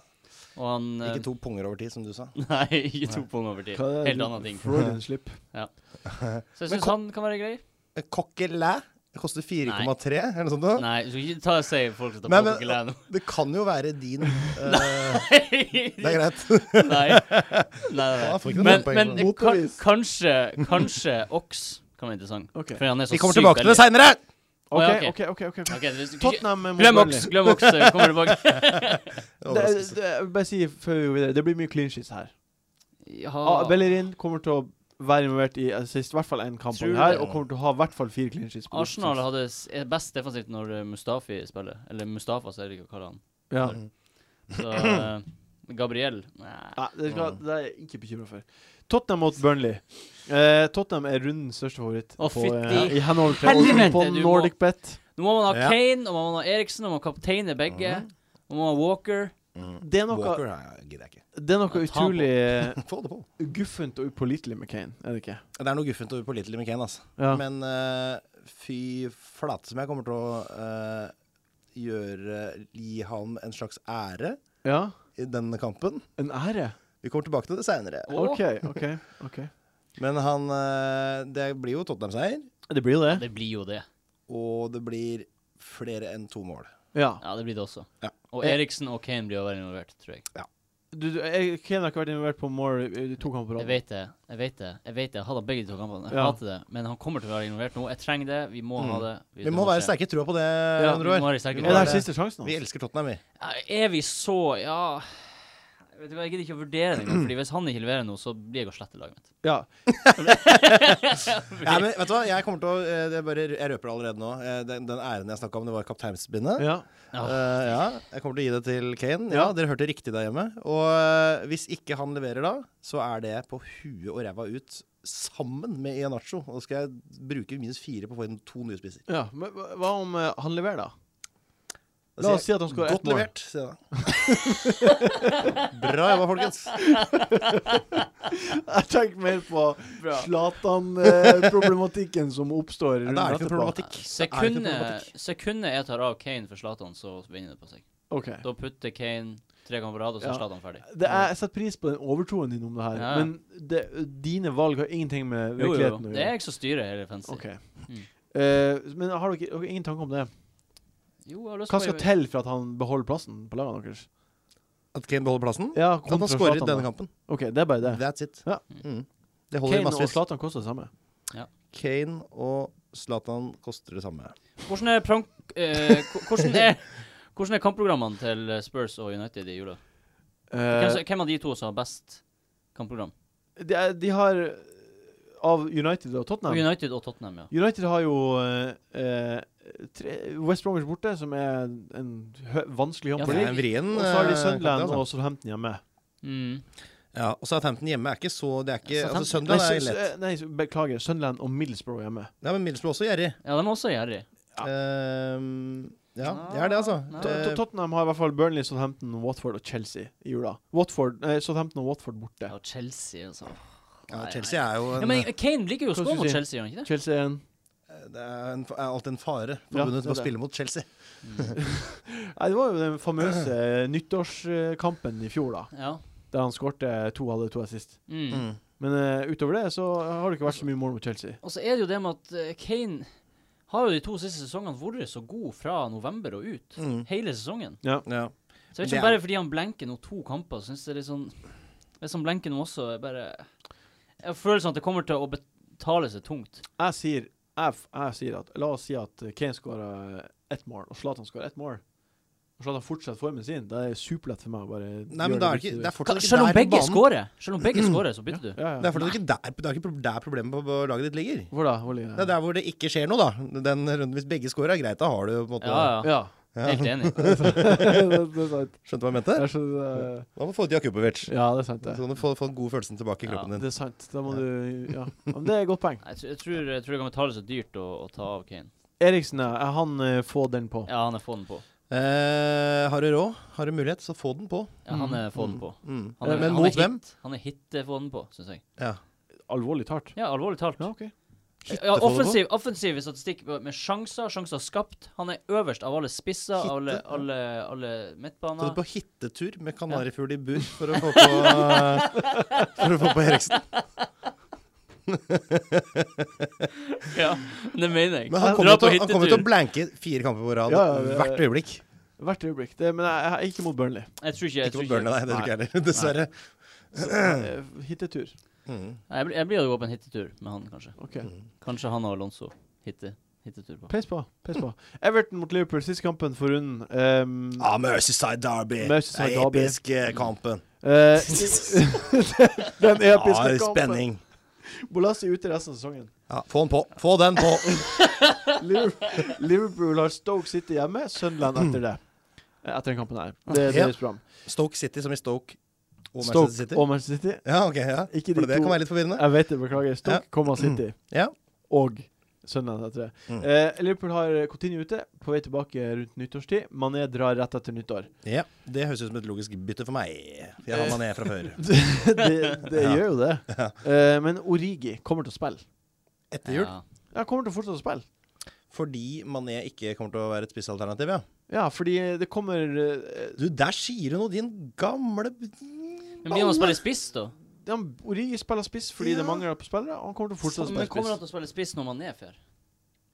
[SPEAKER 2] Og han eh,
[SPEAKER 4] Ikke to punger over tid, som du sa.
[SPEAKER 2] Nei, ikke to poenger over ti.
[SPEAKER 1] Hva er det
[SPEAKER 2] Helt
[SPEAKER 1] du-
[SPEAKER 2] annen ting.
[SPEAKER 1] Freudian slip.
[SPEAKER 2] Så jeg syns han kan være grei.
[SPEAKER 4] Coquelin Eh, koster 4,3, eller sånn noe sånt. da.
[SPEAKER 2] Nei, du skal ikke ta og si folk som tar
[SPEAKER 4] Men-
[SPEAKER 2] på
[SPEAKER 4] men-
[SPEAKER 2] seg klær nå.
[SPEAKER 4] Det kan jo være din. eh, det er greit.
[SPEAKER 2] Nei. Nei, nei,
[SPEAKER 4] Ja, får
[SPEAKER 2] nei.
[SPEAKER 4] ikke noen
[SPEAKER 2] Men,
[SPEAKER 4] poeng
[SPEAKER 2] men
[SPEAKER 4] for
[SPEAKER 1] det.
[SPEAKER 2] kan,
[SPEAKER 1] Motbevis.
[SPEAKER 2] kanskje, kanskje Ox kan være interessant.
[SPEAKER 1] Ok.
[SPEAKER 2] For han er så
[SPEAKER 4] Vi kommer
[SPEAKER 2] sykt
[SPEAKER 4] tilbake til det
[SPEAKER 2] billig.
[SPEAKER 4] seinere!
[SPEAKER 1] OK,
[SPEAKER 2] ja, ok.
[SPEAKER 1] OK. ok, ok, ok.
[SPEAKER 2] Ok, det-
[SPEAKER 1] Tottenham mot
[SPEAKER 2] Glem Ox,
[SPEAKER 1] Burnley.
[SPEAKER 2] glem Ox, eh, kommer tilbake.
[SPEAKER 1] Det, det, jeg vil bare si før vi går videre, det blir mye clean sheets her. Ah,
[SPEAKER 2] Ja,
[SPEAKER 1] Bellerin kommer til å være involvert i assist, i hvert fall én kamp
[SPEAKER 2] Tror
[SPEAKER 1] av det
[SPEAKER 2] du
[SPEAKER 1] her,
[SPEAKER 2] det?
[SPEAKER 1] og kommer til å ha i hvert fall fire clean sheets. på
[SPEAKER 2] Arsenal
[SPEAKER 1] Rosenborg.
[SPEAKER 2] hadde s- er best defensivt når eh, Mustafi spiller. Eller Mustafa, så jeg liker å kalle han.
[SPEAKER 1] ja.
[SPEAKER 2] Så eh, Gabriel Nei.
[SPEAKER 1] Nei, det,
[SPEAKER 2] Ah.
[SPEAKER 1] skal, det er jeg ikke bekymra for. Tottenham mot Burnley. Eh, Tottenham er rundens største favoritt
[SPEAKER 2] Å,
[SPEAKER 1] på,
[SPEAKER 2] fytti
[SPEAKER 1] eh, i henhold til
[SPEAKER 2] helvete,
[SPEAKER 1] på
[SPEAKER 2] du må-
[SPEAKER 1] Nordic Bet.
[SPEAKER 2] Nå må man ha
[SPEAKER 4] Ja.
[SPEAKER 2] Kane, og man må ha Eriksen, og man må kapteine begge. Og man må ha Walker.
[SPEAKER 1] Det er noe,
[SPEAKER 4] Mm. Walker nei, gidder jeg ikke.
[SPEAKER 1] det er noe
[SPEAKER 2] Ja, ta på.
[SPEAKER 1] utrolig eh,
[SPEAKER 4] Få det på.
[SPEAKER 1] guffent og upålitelig med Kane, er det ikke?
[SPEAKER 4] Det er noe guffent og upålitelig med Kane, altså.
[SPEAKER 1] Ja.
[SPEAKER 4] Men eh, fy flate som jeg kommer til å eh, gjøre Gi ham en slags ære
[SPEAKER 1] ja.
[SPEAKER 4] i denne kampen.
[SPEAKER 1] En ære.
[SPEAKER 4] Vi kommer tilbake til det seinere.
[SPEAKER 2] Og
[SPEAKER 1] OK, OK. ok
[SPEAKER 4] Men han eh, Det blir jo Tottenham-seier,
[SPEAKER 1] Det blir jo det.
[SPEAKER 2] Det blir jo det.
[SPEAKER 4] og det blir flere enn to mål.
[SPEAKER 1] Ja.
[SPEAKER 2] Ja, det blir det også.
[SPEAKER 4] Ja. Eh,
[SPEAKER 2] Og Eriksen og Kane blir jo veldig involvert, tror jeg.
[SPEAKER 1] Du, du, jeg, Kane har ikke vært involvert på Moore i i to kamper på
[SPEAKER 2] Jeg
[SPEAKER 1] rad.
[SPEAKER 2] vet det. Jeg vet det. Jeg vet det. Jeg hater begge de to kampene. Jeg
[SPEAKER 1] Ja.
[SPEAKER 2] hater det. Men han kommer til å være involvert nå. Jeg trenger det. Vi må
[SPEAKER 4] Mm.
[SPEAKER 2] ha det.
[SPEAKER 4] Vi må være sterke i trua på det,
[SPEAKER 1] Ja,
[SPEAKER 2] Vi må
[SPEAKER 4] Androar.
[SPEAKER 2] være sterke.
[SPEAKER 1] Er det her
[SPEAKER 4] det.
[SPEAKER 1] siste sjansen altså.
[SPEAKER 4] Vi
[SPEAKER 1] hans?
[SPEAKER 4] elsker Tottenham, vi.
[SPEAKER 2] Ja, Er vi så Ja Jeg vet ikke, jeg gidder ikke å vurdere det engang. Fordi hvis han ikke leverer noe, så blir jeg å slette laget mitt.
[SPEAKER 1] Ja.
[SPEAKER 4] Ja, men vet du hva, jeg kommer til å eh, det er bare, Jeg røper det allerede nå. Eh, Den, den æren jeg snakka om, det var kapteinsbindet.
[SPEAKER 1] ja.
[SPEAKER 2] Ja.
[SPEAKER 4] Eh, ja, jeg kommer til å gi det til Kane. Ja,
[SPEAKER 1] Ja.
[SPEAKER 4] Dere hørte riktig der hjemme. Og eh, hvis ikke han leverer da, så er det på huet og ræva ut sammen med Ianacho. Og da skal jeg bruke minus fire på å få inn to nye spisser.
[SPEAKER 1] ja. Men hva hva om eh, han leverer, da?
[SPEAKER 4] Da
[SPEAKER 1] La oss si at
[SPEAKER 4] sier
[SPEAKER 1] han
[SPEAKER 4] jeg,
[SPEAKER 1] skårer ett
[SPEAKER 4] Godt
[SPEAKER 1] mål.
[SPEAKER 4] levert, sier jeg da. Bra jobba, folkens.
[SPEAKER 1] Jeg tenker mer på Zlatan-problematikken som oppstår
[SPEAKER 4] Ja,
[SPEAKER 1] rundt
[SPEAKER 4] da er det ikke noe
[SPEAKER 1] etterpå.
[SPEAKER 4] problematikk. Da er det ikke noe
[SPEAKER 2] Sekundet,
[SPEAKER 4] problematikk.
[SPEAKER 2] sekundet jeg tar av Kane for Zlatan, så vinner det på seg.
[SPEAKER 1] Ok.
[SPEAKER 2] Da putter Kane tre kamper på rad, og så
[SPEAKER 1] Ja.
[SPEAKER 2] er Zlatan ferdig.
[SPEAKER 1] Det er, jeg setter pris på den overtroen din om det her,
[SPEAKER 2] Ja.
[SPEAKER 1] men det, dine valg har ingenting med
[SPEAKER 2] Jo, jo, jo.
[SPEAKER 1] virkeligheten å
[SPEAKER 2] Det er
[SPEAKER 1] gjøre.
[SPEAKER 2] jeg som styrer hele fancy.
[SPEAKER 1] Ok.
[SPEAKER 2] Mm.
[SPEAKER 1] Eh, men har dere dere har ingen tanke om det?
[SPEAKER 2] Jo, jeg har lyst
[SPEAKER 1] Hva
[SPEAKER 2] på-
[SPEAKER 1] skal til for at han beholder plassen på lagene deres? eh,
[SPEAKER 4] At Kane beholder plassen?
[SPEAKER 1] Ja,
[SPEAKER 4] At han
[SPEAKER 1] kontra
[SPEAKER 4] skårer
[SPEAKER 1] Zlatan,
[SPEAKER 4] denne
[SPEAKER 1] da.
[SPEAKER 4] kampen.
[SPEAKER 1] OK, det er bare det.
[SPEAKER 4] That's it.
[SPEAKER 1] Ja.
[SPEAKER 4] Mm. Det holder i
[SPEAKER 1] Kane og
[SPEAKER 4] massevis.
[SPEAKER 1] Zlatan koster det samme.
[SPEAKER 4] Kane og Zlatan koster det samme.
[SPEAKER 2] Hvordan er, prank, eh, ko- hvordan er, hvordan er kampprogrammene til eh, Spurs og United i jula? Hvem, som-
[SPEAKER 1] Eh,
[SPEAKER 2] hvem av de to som har best kampprogram?
[SPEAKER 1] de, er- de har eh, Av United og
[SPEAKER 2] Og
[SPEAKER 1] Tottenham
[SPEAKER 2] United og Tottenham, ja.
[SPEAKER 1] United har jo eh, eh, tre, West Bromwich borte, som er en hø vanskelig
[SPEAKER 2] Ja,
[SPEAKER 1] hånd
[SPEAKER 2] for
[SPEAKER 1] på
[SPEAKER 2] det
[SPEAKER 4] Det
[SPEAKER 1] liv.
[SPEAKER 4] er en vrien
[SPEAKER 1] Og så har de
[SPEAKER 4] eh,
[SPEAKER 1] Sunderland
[SPEAKER 4] kamp, det, altså.
[SPEAKER 1] og Southampton hjemme.
[SPEAKER 2] Mm.
[SPEAKER 4] Ja, og Southampton hjemme er ikke så Det er ikke altså,
[SPEAKER 2] Southampton-
[SPEAKER 1] Nei,
[SPEAKER 4] Sunderland er
[SPEAKER 1] s-
[SPEAKER 4] lett.
[SPEAKER 1] s- nei, s- beklager. Sunderland og Middlesbrough hjemme.
[SPEAKER 4] Ja, men Middlesbrough også gjerrig.
[SPEAKER 2] Ja, de er også gjerrig.
[SPEAKER 1] Ja.
[SPEAKER 4] Ehm, ja, det er det, altså.
[SPEAKER 2] Nei.
[SPEAKER 1] To- to-
[SPEAKER 4] Det-
[SPEAKER 1] Tottenham har i hvert fall Burnley, Southampton, Watford og Chelsea i jula. Watford, nei, Southampton og Watford borte.
[SPEAKER 2] Ja, og Chelsea, altså.
[SPEAKER 4] ja, Chelsea er jo
[SPEAKER 2] Ja,
[SPEAKER 4] en
[SPEAKER 2] men Kane liker jo å
[SPEAKER 1] Hva
[SPEAKER 2] skåre
[SPEAKER 1] skal
[SPEAKER 2] mot
[SPEAKER 1] du si?
[SPEAKER 2] Chelsea, gjør han ikke det?
[SPEAKER 1] Chelsea er en
[SPEAKER 4] eh, det er, en, er alltid en fare
[SPEAKER 1] Ja,
[SPEAKER 4] forbundet
[SPEAKER 1] det er
[SPEAKER 4] med å
[SPEAKER 1] det.
[SPEAKER 4] spille mot Chelsea.
[SPEAKER 1] Nei, det var jo den famøse eh, nyttårskampen i fjor, da.
[SPEAKER 2] Ja.
[SPEAKER 1] Der han skårte to av de to assist.
[SPEAKER 2] Mm.
[SPEAKER 4] Mm.
[SPEAKER 1] Men eh, utover det så har det ikke vært så mye mål mot Chelsea.
[SPEAKER 2] Og så er det jo det med at eh, Kane har jo de to siste sesongene vært så god fra november og ut.
[SPEAKER 4] Mm.
[SPEAKER 2] Hele sesongen.
[SPEAKER 4] Ja.
[SPEAKER 2] Så jeg vet
[SPEAKER 4] Det
[SPEAKER 2] ikke
[SPEAKER 4] er-
[SPEAKER 2] om bare fordi han blenker nå to kamper, syns jeg det er litt sånn Hvis han blenker nå også, er bare Jeg har følelsen at det kommer til å betale seg tungt.
[SPEAKER 1] Jeg sier, jeg, f- jeg sier at La oss si at Kane skårer eh, ett mål, og Zlatan skårer ett mål. Og Zlatan fortsetter formen sin. Det er superlett for meg å bare
[SPEAKER 4] Nei, men det er, ikke, det er fortsatt ikke
[SPEAKER 2] Selv om
[SPEAKER 4] der på
[SPEAKER 2] begge
[SPEAKER 4] banen.
[SPEAKER 2] skårer, selv om begge skårer, så bytter du.
[SPEAKER 1] Ja,
[SPEAKER 4] Det
[SPEAKER 1] ja.
[SPEAKER 4] er fortsatt ikke der, det er ikke pro- der problemet på, på laget ditt ligger.
[SPEAKER 1] Hvor da? Hvor ligger
[SPEAKER 4] Det er der hvor det ikke skjer noe, da. Den runden, hvis begge scorer, er greit. Da har du jo på en måte
[SPEAKER 2] Ja, ja.
[SPEAKER 1] Ja.
[SPEAKER 2] Helt enig.
[SPEAKER 1] det, det er sant.
[SPEAKER 4] Skjønte hva jeg mente?
[SPEAKER 1] Det er så, det-
[SPEAKER 4] Da må du få ut Jakubovic.
[SPEAKER 1] ja, det er sant,
[SPEAKER 4] Så
[SPEAKER 1] det.
[SPEAKER 4] kan du få, få den gode følelsen tilbake i
[SPEAKER 2] Ja,
[SPEAKER 4] kroppen din.
[SPEAKER 1] Det er sant. Da må du Ja. Men det er et godt poeng.
[SPEAKER 2] Jeg, tr- jeg, tror, jeg tror det kan betale seg dyrt å, å ta av Kane.
[SPEAKER 1] Eriksen, ja. Er han eh, få den på?
[SPEAKER 2] Ja, han er få den på.
[SPEAKER 4] Eh, har du råd, har du mulighet, så få den på.
[SPEAKER 2] Ja, han er få den på.
[SPEAKER 4] Mm.
[SPEAKER 2] Han er,
[SPEAKER 4] Men
[SPEAKER 2] han
[SPEAKER 4] mot
[SPEAKER 2] er hit-
[SPEAKER 4] hvem?
[SPEAKER 2] Han er hitte få den på, syns jeg.
[SPEAKER 4] Ja.
[SPEAKER 1] Alvorlig talt.
[SPEAKER 2] Ja, alvorlig talt.
[SPEAKER 1] Ja, OK.
[SPEAKER 2] Ja,
[SPEAKER 4] få den på?
[SPEAKER 2] offensiv, offensiv statistikk med sjanser, sjanser skapt. Han er øverst av alle spisser,
[SPEAKER 4] Hitte,
[SPEAKER 2] alle,
[SPEAKER 4] ja.
[SPEAKER 2] alle, alle
[SPEAKER 4] Så du
[SPEAKER 2] midtbaner.
[SPEAKER 4] på hittetur med kanarifugl i bur for å få på, for å få på Eriksen?
[SPEAKER 2] Ja, det mener jeg.
[SPEAKER 4] Men han
[SPEAKER 2] Dra
[SPEAKER 4] kommer jo til,
[SPEAKER 2] på
[SPEAKER 4] å- han kommer jo til å
[SPEAKER 2] hyttetur.
[SPEAKER 4] blanke fire kamper på rad
[SPEAKER 1] Ja, ja, ja.
[SPEAKER 4] hvert øyeblikk.
[SPEAKER 1] Hvert øyeblikk. Det, men jeg, jeg er ikke mot Burnley.
[SPEAKER 2] Jeg tror ikke jeg,
[SPEAKER 4] Ikke
[SPEAKER 2] tror
[SPEAKER 4] mot
[SPEAKER 2] ikke,
[SPEAKER 4] Burnley, nei. Det tror ikke jeg heller, dessverre.
[SPEAKER 1] Eh, Hittetur.
[SPEAKER 4] Mm.
[SPEAKER 2] Nei, jeg, blir- jeg blir å gå på en hittetur med han, kanskje.
[SPEAKER 1] OK.
[SPEAKER 2] Kanskje han og Alonso hitte, hittetur på.
[SPEAKER 1] Peis på. Peis på. Everton mot Liverpool, siste kampen for runden. Um,
[SPEAKER 4] Ah, Merseyside Derby.
[SPEAKER 1] Merseyside
[SPEAKER 4] Den
[SPEAKER 1] derby.
[SPEAKER 4] episke kampen.
[SPEAKER 1] eh, den
[SPEAKER 4] Ja,
[SPEAKER 1] episke kampen.
[SPEAKER 4] spenning.
[SPEAKER 1] Bolassi ute resten av sesongen.
[SPEAKER 4] Ja, få den på. Få den på.
[SPEAKER 1] Liverpool, Liverpool har Stoke City hjemme, Sunderland etter det. Eh, Etter den kampen her. Det er
[SPEAKER 4] Mm. Ja.
[SPEAKER 1] deres program.
[SPEAKER 4] Stoke City som i Stoke og Manchester
[SPEAKER 1] Stoke
[SPEAKER 4] City.
[SPEAKER 1] og Manchester City.
[SPEAKER 4] Ja, ok. ja.
[SPEAKER 1] Ikke
[SPEAKER 4] For
[SPEAKER 1] de
[SPEAKER 4] det
[SPEAKER 1] to.
[SPEAKER 4] kan være litt forvirrende.
[SPEAKER 1] Jeg vet det, beklager. Stoke, komma City
[SPEAKER 4] Ja.
[SPEAKER 1] og Sunderland etter det.
[SPEAKER 4] Mm.
[SPEAKER 1] Eh, Liverpool har Coutinho ute, på vei tilbake rundt nyttårstid. Mané drar rett etter nyttår.
[SPEAKER 4] ja. Det høres ut som et logisk bytte for meg. For
[SPEAKER 1] Eh.
[SPEAKER 4] jeg har mané fra før.
[SPEAKER 1] det det
[SPEAKER 4] Ja.
[SPEAKER 1] gjør jo det. Eh, men Origi kommer til å spille.
[SPEAKER 4] Etter jul.
[SPEAKER 2] Ja.
[SPEAKER 1] Ja, kommer til å fortsette å spille.
[SPEAKER 4] Fordi mané ikke kommer til å være et spissalternativ, ja.
[SPEAKER 1] Ja, fordi det kommer eh,
[SPEAKER 4] Du, der sier du noe, din gamle
[SPEAKER 2] Men blir han å spille spiss, da?
[SPEAKER 1] han- Origi spiller spiss fordi
[SPEAKER 4] Ja.
[SPEAKER 1] det mangler på spillere, og han kommer til å fortsette å
[SPEAKER 2] Sånn, Men
[SPEAKER 1] spille
[SPEAKER 2] kommer han
[SPEAKER 1] spiss.
[SPEAKER 2] til å spille spiss når man er fer?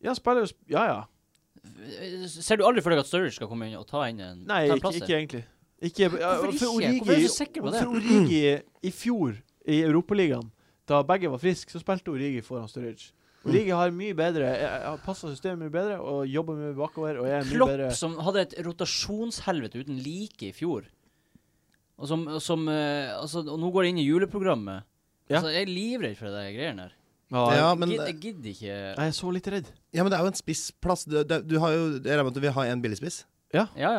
[SPEAKER 1] Ja, han spiller jo sp Ja, ja.
[SPEAKER 2] Ser du aldri for deg at Sturridge skal komme inn og ta inn en
[SPEAKER 1] Nei,
[SPEAKER 2] ta en
[SPEAKER 1] ikke,
[SPEAKER 2] plass her?
[SPEAKER 1] ikke egentlig. Ikke, ja,
[SPEAKER 2] Hvorfor
[SPEAKER 1] for
[SPEAKER 2] ikke? Hvorfor er du
[SPEAKER 1] Origi,
[SPEAKER 2] så sikker på det?
[SPEAKER 1] for Origi i fjor i Europaligaen, da begge var friske, så spilte Origi foran Sturridge. Origi har mye bedre eh, passa systemet mye bedre og jobber mye bakover og er mye
[SPEAKER 2] Klopp
[SPEAKER 1] bedre
[SPEAKER 2] som hadde et rotasjonshelvete uten like i fjor. Og som, og som eh, altså, og nå går det inn i juleprogrammet.
[SPEAKER 1] Ja. eh,
[SPEAKER 2] Altså, jeg er livredd for de greiene der.
[SPEAKER 4] Ja,
[SPEAKER 2] Jeg
[SPEAKER 4] men, eh,
[SPEAKER 2] gid- jeg gidder ikke
[SPEAKER 1] Jeg er så litt redd.
[SPEAKER 4] ja, men det er jo en spissplass. Du, du, du har jo, jeg regner med at du vil ha en billigspiss.
[SPEAKER 2] Ja, ja.